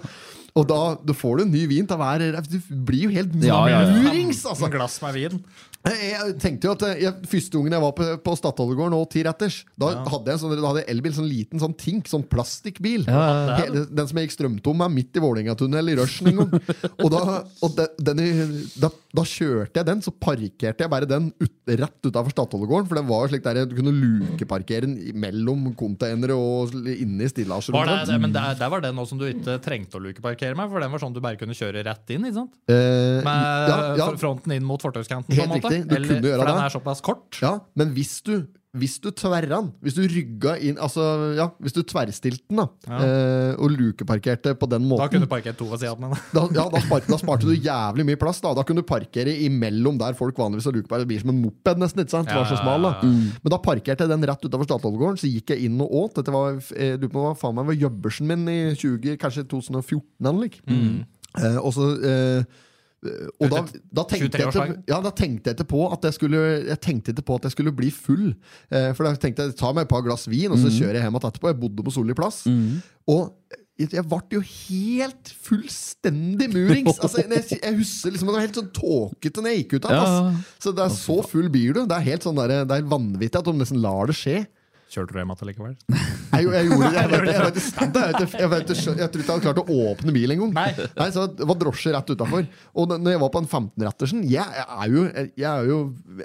[SPEAKER 1] Og da, da får du en ny vin til hver Du blir jo helt
[SPEAKER 10] Ja, ja, ja.
[SPEAKER 1] murings! Altså.
[SPEAKER 3] Sånn glass med vin.
[SPEAKER 1] Jeg, jeg tenkte jo at eh, jeg, Første gangen jeg var på, på Stadholdergården og tiretters, da hadde jeg en sånn, da hadde jeg elbil, sånn liten sånn Tink, sånn plastikkbil. Hele, den som jeg gikk strømtom med midt i Vålerenga-tunnel i rushen en gang. og da, og den, den, i- da, da kjørte jeg den, så parkerte jeg bare den ut, rett utafor Stadholdergården, for den var jo slik der du kunne lukeparkere den i- mellom containere og inne i stillasjer.
[SPEAKER 3] Var det, det, men der, der var det noe som du ikke trengte å lukeparkere med, for den var sånn du bare kunne kjøre rett inn. ikke sant?
[SPEAKER 1] Eh,
[SPEAKER 3] Med
[SPEAKER 1] ja, ja.
[SPEAKER 3] fr- fronten inn mot fortauskanten. på
[SPEAKER 1] Helt
[SPEAKER 3] en måte.
[SPEAKER 1] riktig, du kunne gjøre
[SPEAKER 3] for den
[SPEAKER 1] det.
[SPEAKER 3] er såpass kort.
[SPEAKER 1] Ja, men hvis du hvis du tverra den, hvis du rygga inn Altså, ja, hvis du tverrstilte den da eh, og lukeparkerte på den
[SPEAKER 3] Da
[SPEAKER 1] måten,
[SPEAKER 3] kunne du parkert to ved siden av den.
[SPEAKER 1] da, ja, da, sparte, da sparte du jævlig mye plass. Da Da kunne du parkere imellom der folk vanligvis har lukeparkert. Det blir som en moped, nesten. ikke sant? Det var så smal, da. Mm. Men da parkerte jeg den rett utover Statoilgården, så gikk jeg inn og åt. Dette var, eh, lurer på hva faen meg var jøbbersen min i 20, kanskje 2014 eller like.
[SPEAKER 3] Mm.
[SPEAKER 1] Eh, og så eh, og da, da, tenkte jeg ikke,
[SPEAKER 3] 23-årsdagen.
[SPEAKER 1] ja, da tenkte jeg ikke på at jeg skulle Jeg tenkte ikke på at jeg skulle bli full. Eh, for da tenkte jeg ta meg et par glass vin, og så kjører jeg hjem igjen etterpå. Jeg bodde på Solli plass. Og jeg, jeg ble jo helt fullstendig murings. Altså, jeg, jeg husker liksom at det var helt sånn tåkete når jeg gikk ut av
[SPEAKER 10] Ja.
[SPEAKER 1] den. ass. Så det er så full blir du. Det er helt sånn der, det er vanvittig at de nesten lar det skje.
[SPEAKER 3] Kjørte du hjem igjen likevel?
[SPEAKER 1] Jeg, jeg gjorde det. Jeg, vet, jeg, vet, jeg, vet, jeg, vet, jeg, vet, jeg tror ikke jeg hadde klart å åpne bilen engang.
[SPEAKER 3] Nei.
[SPEAKER 1] Nei, så det var drosje rett utafor. Og da- når jeg var på en 15-rettersen jeg, jeg er jo, jeg er jo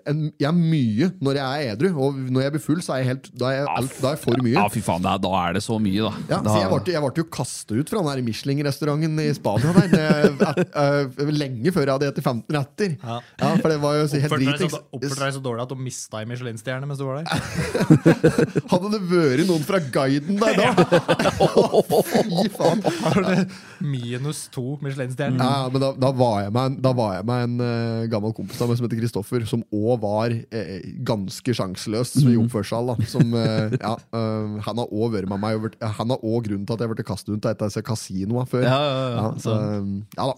[SPEAKER 1] en, jeg er mye når jeg er edru. Og når jeg blir full, så er jeg, helt, da er jeg, alt, da er jeg for mye.
[SPEAKER 10] Ja, fy faen, da, da er det så mye, da.
[SPEAKER 1] Ja,
[SPEAKER 10] da
[SPEAKER 1] så jeg ble, jeg ble jo kastet ut fra den der Michelin-restauranten i Spania der, det- at- eh, lenge før jeg hadde etter 15 retter. Ja. for det var jo så helt
[SPEAKER 3] Oppførte deg,
[SPEAKER 1] dritings.
[SPEAKER 3] så, oppførte deg så dårlig at du mista ei Michelin-stjerne mens du var der?
[SPEAKER 1] Hadde det vært noen fra guiden der da? Fy faen.
[SPEAKER 3] Har du Minus to
[SPEAKER 10] Mm.
[SPEAKER 3] Michelin-stjerner.
[SPEAKER 1] Ja, men da, da var jeg med en, da var jeg med en eh, gammel kompis av meg som heter Kristoffer, som òg var eh, ganske sjanseløs i
[SPEAKER 10] Mm.
[SPEAKER 1] oppførsel. Da, som, eh, ja, eh, han har òg vært med meg over- Han har òg grunnen til at jeg ble kastet rundt av et av disse kasinoene før.
[SPEAKER 10] Ja, ja, ja.
[SPEAKER 1] så, eh, ja da.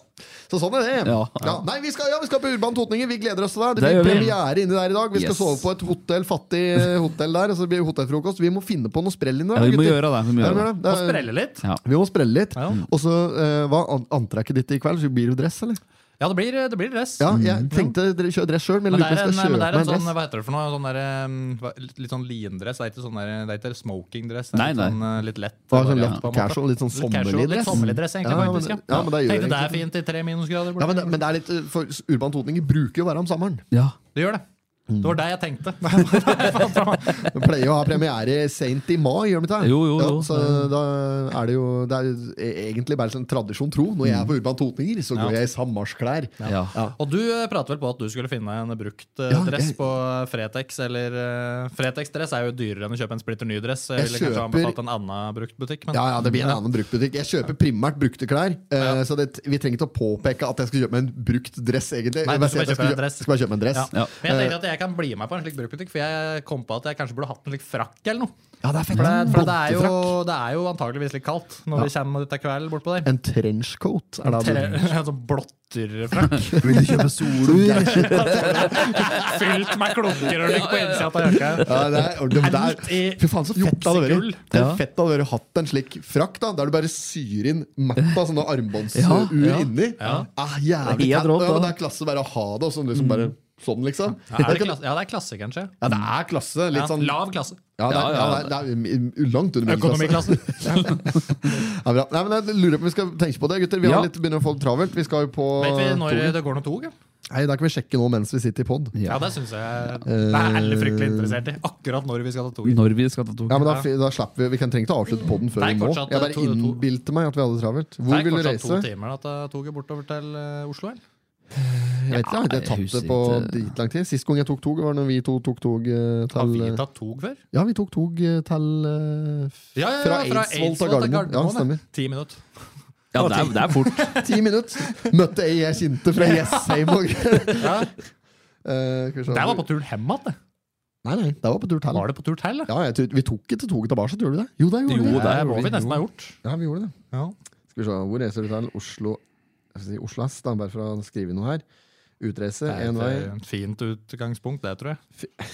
[SPEAKER 1] Så sånn er det.
[SPEAKER 10] Ja.
[SPEAKER 1] Ja, Nei, vi skal, ja, vi skal på Urban Totninger. Vi gleder oss til deg. Det
[SPEAKER 10] Det
[SPEAKER 1] blir
[SPEAKER 10] gjør vi.
[SPEAKER 1] premiere inni der i dag. Vi skal
[SPEAKER 10] Yes.
[SPEAKER 1] sove på et hotell, fattig eh, hotell der. og Så blir det hotellfrokost. Vi må finne på noe sprell inni
[SPEAKER 10] Ja,
[SPEAKER 1] der.
[SPEAKER 10] vi må
[SPEAKER 1] gutter.
[SPEAKER 10] gjøre det. Vi må
[SPEAKER 1] Ja, vi
[SPEAKER 10] gjøre
[SPEAKER 1] må
[SPEAKER 10] det.
[SPEAKER 1] det.
[SPEAKER 3] Må
[SPEAKER 1] Det er-
[SPEAKER 3] sprelle litt.
[SPEAKER 10] Ja.
[SPEAKER 1] vi må sprelle litt.
[SPEAKER 3] Ja.
[SPEAKER 1] Og så eh, hva an- antrekket ditt i kveld? Så blir det dress, eller?
[SPEAKER 3] Ja, det blir, det blir dress.
[SPEAKER 1] Ja, jeg tenkte dere kjøre dress sjøl, men,
[SPEAKER 3] Mm. Men det
[SPEAKER 1] lurer på
[SPEAKER 3] er en,
[SPEAKER 1] om jeg skal kjøpe
[SPEAKER 3] men det er en
[SPEAKER 1] meg en
[SPEAKER 3] sånn,
[SPEAKER 1] dress.
[SPEAKER 3] hva heter det for noe? Sånn der, um, hva- litt- litt sånn lindress. Det er ikke, sånn der, det er ikke smoking-dress. Det er
[SPEAKER 10] Nei,
[SPEAKER 3] litt
[SPEAKER 10] nei.
[SPEAKER 3] Sånn, uh, litt lett.
[SPEAKER 1] Ja, sånn
[SPEAKER 3] bare,
[SPEAKER 1] lett
[SPEAKER 3] på en måte.
[SPEAKER 1] casual, litt sånn
[SPEAKER 3] casual,
[SPEAKER 1] sommerlig
[SPEAKER 3] Litt
[SPEAKER 1] dress.
[SPEAKER 3] sommerlig dress, egentlig,
[SPEAKER 1] Ja,
[SPEAKER 3] faktisk.
[SPEAKER 1] men-
[SPEAKER 3] Ja.
[SPEAKER 1] ja, men det gjør
[SPEAKER 3] Tenkte det
[SPEAKER 1] egentlig
[SPEAKER 3] er fint i tre minusgrader.
[SPEAKER 1] Ja, men, det, men det er litt, eh, for Urban Totninger bruker jo å være om sommeren.
[SPEAKER 10] Ja.
[SPEAKER 3] Det gjør det. Det var deg jeg tenkte.
[SPEAKER 1] Mm. De pleier jo å ha premiere seint i mai, gjør de ikke det?
[SPEAKER 10] Jo, jo,
[SPEAKER 1] Ja,
[SPEAKER 10] jo.
[SPEAKER 1] så da er det jo Det er jo egentlig bare sånn tradisjon tro. Når jeg er på Urban Totninger, så går jeg i sammarsklær.
[SPEAKER 10] Ja.
[SPEAKER 3] Og du eh, prater vel på at du skulle finne en brukt eh,
[SPEAKER 1] Ja,
[SPEAKER 3] dress
[SPEAKER 1] jeg-
[SPEAKER 3] på Fretex? Eller eh, Fretex-dress er jo dyrere enn å kjøpe en splitter ny dress. Jeg
[SPEAKER 1] Jeg
[SPEAKER 3] ville kanskje
[SPEAKER 1] kjøper-
[SPEAKER 3] anbefalt en annen brukt butikk. Men
[SPEAKER 1] Ja, ja, det blir en annen bruktbutikk. Jeg kjøper primært brukte klær. eh, Så det, vi trenger ikke å påpeke at jeg skal kjøpe meg en brukt dress, egentlig.
[SPEAKER 3] Nei, du
[SPEAKER 1] Jeg bare
[SPEAKER 3] skal
[SPEAKER 1] sier at
[SPEAKER 3] bare
[SPEAKER 1] jeg
[SPEAKER 3] kjøpe deg en dress.
[SPEAKER 1] Skal bare kjøpe en dress.
[SPEAKER 3] Ja.
[SPEAKER 1] Ja.
[SPEAKER 3] Men jeg tenker
[SPEAKER 1] Eh.
[SPEAKER 3] at jeg kan bli med på en slik bruktbutikk, for jeg kom på at jeg kanskje burde hatt en slik frakk eller noe.
[SPEAKER 1] det er fett.
[SPEAKER 3] For det, for det, er,
[SPEAKER 1] Bontefrakk.
[SPEAKER 3] jo, det er jo antageligvis litt kaldt når vi kommer dette kvelden bortpå der.
[SPEAKER 1] En trenchcoat er det
[SPEAKER 3] Tre,
[SPEAKER 1] han
[SPEAKER 3] en sånn blotterfrakk
[SPEAKER 10] Vil du kjøpe solo?
[SPEAKER 3] fylt med klunker og ligger på innsida av jakka.
[SPEAKER 1] ja, det er, og det, det
[SPEAKER 3] Helt
[SPEAKER 1] er,
[SPEAKER 3] i
[SPEAKER 1] fy faen, så fett det hadde
[SPEAKER 3] juksegull.
[SPEAKER 1] vært. Det er
[SPEAKER 10] Ja.
[SPEAKER 1] fett det hadde vært å hatt en slik frakk, da, der du bare syr inn mappa sånne armbåndsur
[SPEAKER 10] Ja, ja.
[SPEAKER 1] inni.
[SPEAKER 3] Ja.
[SPEAKER 1] Ah, jævlig
[SPEAKER 10] Det er helt
[SPEAKER 1] fett.
[SPEAKER 10] rått,
[SPEAKER 1] ja, men
[SPEAKER 10] da.
[SPEAKER 1] det er klasse bare å ha det, og sånn liksom bare sånn, liksom.
[SPEAKER 3] Mm. Ja, er det klasse? ja, det er klasse, kanskje.
[SPEAKER 1] Ja, det er klasse.
[SPEAKER 3] Ja,
[SPEAKER 1] Litt sånn ja,
[SPEAKER 3] lav klasse.
[SPEAKER 1] det er, ja, det er, det er langt under middelklasse.
[SPEAKER 3] Økonomiklasse.
[SPEAKER 1] Ja, bra. Nei, men jeg lurer på om vi skal tenke på det, gutter. Vi har
[SPEAKER 10] Ja.
[SPEAKER 1] litt begynner å få det travelt. Vi skal jo på
[SPEAKER 3] Vet vi når
[SPEAKER 1] toget.
[SPEAKER 3] det går noe tog? eller?
[SPEAKER 1] Nei, Da kan vi sjekke nå mens vi sitter i pod.
[SPEAKER 3] Ja,
[SPEAKER 10] Ja.
[SPEAKER 3] det syns jeg Det
[SPEAKER 1] Eh,
[SPEAKER 3] er alle fryktelig interessert i. Akkurat når vi skal ta toget.
[SPEAKER 10] Når vi skal ta tog.
[SPEAKER 1] Ja, men da, da slapper Vi Vi kan trenger ikke å avslutte poden før vi
[SPEAKER 3] Det er
[SPEAKER 1] må.
[SPEAKER 3] fortsatt,
[SPEAKER 1] Jeg
[SPEAKER 3] eh,
[SPEAKER 1] bare
[SPEAKER 3] to- to-
[SPEAKER 1] innbilte meg at vi hadde det travelt.
[SPEAKER 3] Det
[SPEAKER 1] Hvor
[SPEAKER 3] er
[SPEAKER 1] vil du
[SPEAKER 3] fortsatt to
[SPEAKER 1] reise?
[SPEAKER 3] timer da, til toget bortover til eh, Oslo. Eller?
[SPEAKER 1] Jeg vet ikke, jeg har ikke
[SPEAKER 10] jeg
[SPEAKER 1] tatt det
[SPEAKER 10] husker
[SPEAKER 1] på
[SPEAKER 10] ikke.
[SPEAKER 1] dritlang tid. Sist gang jeg tok tog, var når vi to tok tog eh,
[SPEAKER 3] Har
[SPEAKER 1] til
[SPEAKER 3] vi tatt tog før?
[SPEAKER 1] Ja, vi tok tog eh, til eh, f-
[SPEAKER 3] Ja, ja, ja,
[SPEAKER 1] Fra Eidsvoll til Gardermoen. Ja, stemmer.
[SPEAKER 3] Ti minutter.
[SPEAKER 10] Ja, det er, det er fort.
[SPEAKER 1] Ti minutter! Møtte ei jeg kjente fra Jessheim og
[SPEAKER 3] Ja,
[SPEAKER 1] Eh, skal vi se.
[SPEAKER 3] det var på turen hjem igjen. det.
[SPEAKER 1] Nei, nei, det var på tur til.
[SPEAKER 3] Var det på tur til? da?
[SPEAKER 1] Ja, jeg tror, vi tok ikke toget tilbake, gjorde vi det? Jo, det gjorde
[SPEAKER 10] Jo,
[SPEAKER 1] vi.
[SPEAKER 10] det
[SPEAKER 3] Det
[SPEAKER 10] gjorde
[SPEAKER 3] må vi nesten ha gjort.
[SPEAKER 1] Ja, vi gjorde det.
[SPEAKER 3] Ja.
[SPEAKER 1] Skal vi se, Hvor reiser du til? Oslo jeg skal si Oslo S, da, bare for å skrive noe her. Utreise,
[SPEAKER 3] Det er
[SPEAKER 1] én vei.
[SPEAKER 3] et eh, fint utgangspunkt, det, tror jeg.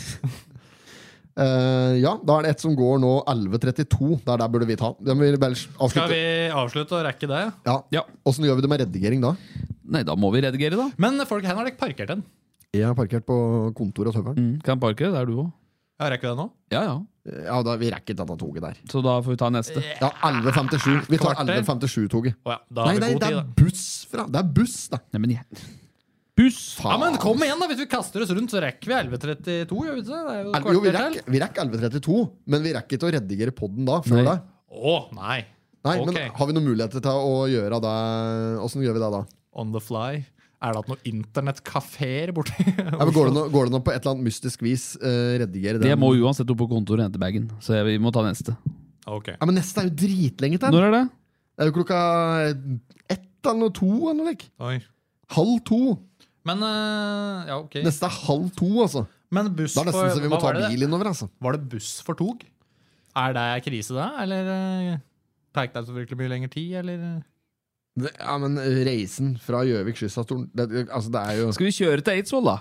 [SPEAKER 1] Eh, ja, da er det et som går nå 11.32. Der, der burde vi ta. Den vil bare
[SPEAKER 3] Skal
[SPEAKER 1] avslutte.
[SPEAKER 3] vi avslutte og rekke det?
[SPEAKER 1] Ja.
[SPEAKER 10] Ja.
[SPEAKER 1] Åssen gjør vi det med redigering da?
[SPEAKER 10] Nei, da må vi redigere, da.
[SPEAKER 3] Men folk, her har dere parkert den.
[SPEAKER 1] Jeg har parkert på kontoret hos
[SPEAKER 10] Mm,
[SPEAKER 1] høveren.
[SPEAKER 10] kan parkere, det er du òg.
[SPEAKER 3] Ja, rekker vi det nå?
[SPEAKER 10] Ja, ja.
[SPEAKER 3] Mm.
[SPEAKER 1] Ja, Eh. da, vi rekker ikke dette toget der.
[SPEAKER 10] Så da får vi ta neste.
[SPEAKER 1] Ja, 11.57. Vi tar
[SPEAKER 3] Kvarter.
[SPEAKER 1] 11.57-toget.
[SPEAKER 3] Å ja, da
[SPEAKER 1] Nei,
[SPEAKER 3] har
[SPEAKER 1] nei,
[SPEAKER 3] vi god
[SPEAKER 1] det
[SPEAKER 3] tid,
[SPEAKER 1] er
[SPEAKER 3] da.
[SPEAKER 1] buss fra Det er buss, da!
[SPEAKER 10] Nei, men jeg... Buss!
[SPEAKER 3] Ja, men kom igjen, da! Hvis vi kaster oss rundt, så rekker vi 11.32. gjør vi ikke det? Det er jo
[SPEAKER 1] Jo, vi
[SPEAKER 3] kvarter til.
[SPEAKER 1] rekker, vi rekker 11.32, men vi rekker ikke å redigere podden da. Før
[SPEAKER 10] Nei.
[SPEAKER 1] da.
[SPEAKER 3] Å, nei!
[SPEAKER 1] Nei,
[SPEAKER 3] Ok.
[SPEAKER 1] men Har vi noen muligheter til å gjøre det? Åssen gjør vi det da?
[SPEAKER 3] On the fly. Er det at noen internettkafeer borti
[SPEAKER 1] Ja, men går, det noe, går det noe på et eller annet mystisk vis eh, redigere den?
[SPEAKER 10] Jeg må uansett opp på kontoret og hente bagen, så jeg, vi må ta neste.
[SPEAKER 3] Ok.
[SPEAKER 1] Ja, men neste er jo dritlenge til.
[SPEAKER 10] Når er det?
[SPEAKER 1] Det er jo klokka ett eller noe, to eller noe. lik.
[SPEAKER 3] Oi.
[SPEAKER 1] Halv to.
[SPEAKER 3] Men eh, ja, ok.
[SPEAKER 1] Neste er halv to, altså.
[SPEAKER 3] Men buss
[SPEAKER 1] Da er det
[SPEAKER 3] for
[SPEAKER 1] nesten så vi må
[SPEAKER 3] hva
[SPEAKER 1] ta
[SPEAKER 3] var det det?
[SPEAKER 1] bil innover, altså.
[SPEAKER 3] Var det buss for tog? Er det krise, da? Eller eh, tar det så virkelig mye lengre tid, eller?
[SPEAKER 1] Det, ja, men eh, reisen fra Gjøvik Skyssatorn det, det- altså, det er jo
[SPEAKER 10] Skal vi kjøre til Eidsvoll, da?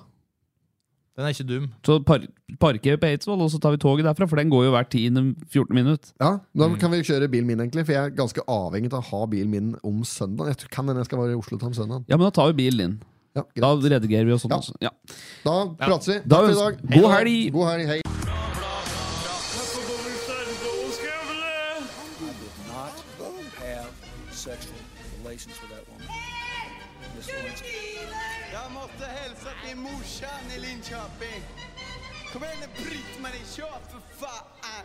[SPEAKER 3] Den er ikke dum.
[SPEAKER 10] Så par parkerer vi på Eidsvoll, og så tar vi toget derfra, for den går jo hvert 10-14 minutt.
[SPEAKER 1] Ja, Da
[SPEAKER 10] Mm.
[SPEAKER 1] kan vi kjøre bilen min, egentlig, for jeg er ganske avhengig av å ha bilen min om søndag. Jeg tror, kan hende jeg skal være i Oslo til om søndag.
[SPEAKER 10] Ja, men da tar vi bilen din.
[SPEAKER 1] Ja,
[SPEAKER 10] Da
[SPEAKER 1] greit.
[SPEAKER 10] redigerer vi og sånn.
[SPEAKER 1] Ja.
[SPEAKER 10] også. Ja.
[SPEAKER 1] Da prates vi.
[SPEAKER 10] Da
[SPEAKER 1] Takk for i
[SPEAKER 10] ønsker-
[SPEAKER 1] dag.
[SPEAKER 10] God helg!
[SPEAKER 1] God helg, hei.
[SPEAKER 4] You did not have sexual relations with that woman. Miss Lewinsky.
[SPEAKER 5] Jag måste hälsa till morsan i Linköping. Kom igen nu Britt-Marie, kör för fan!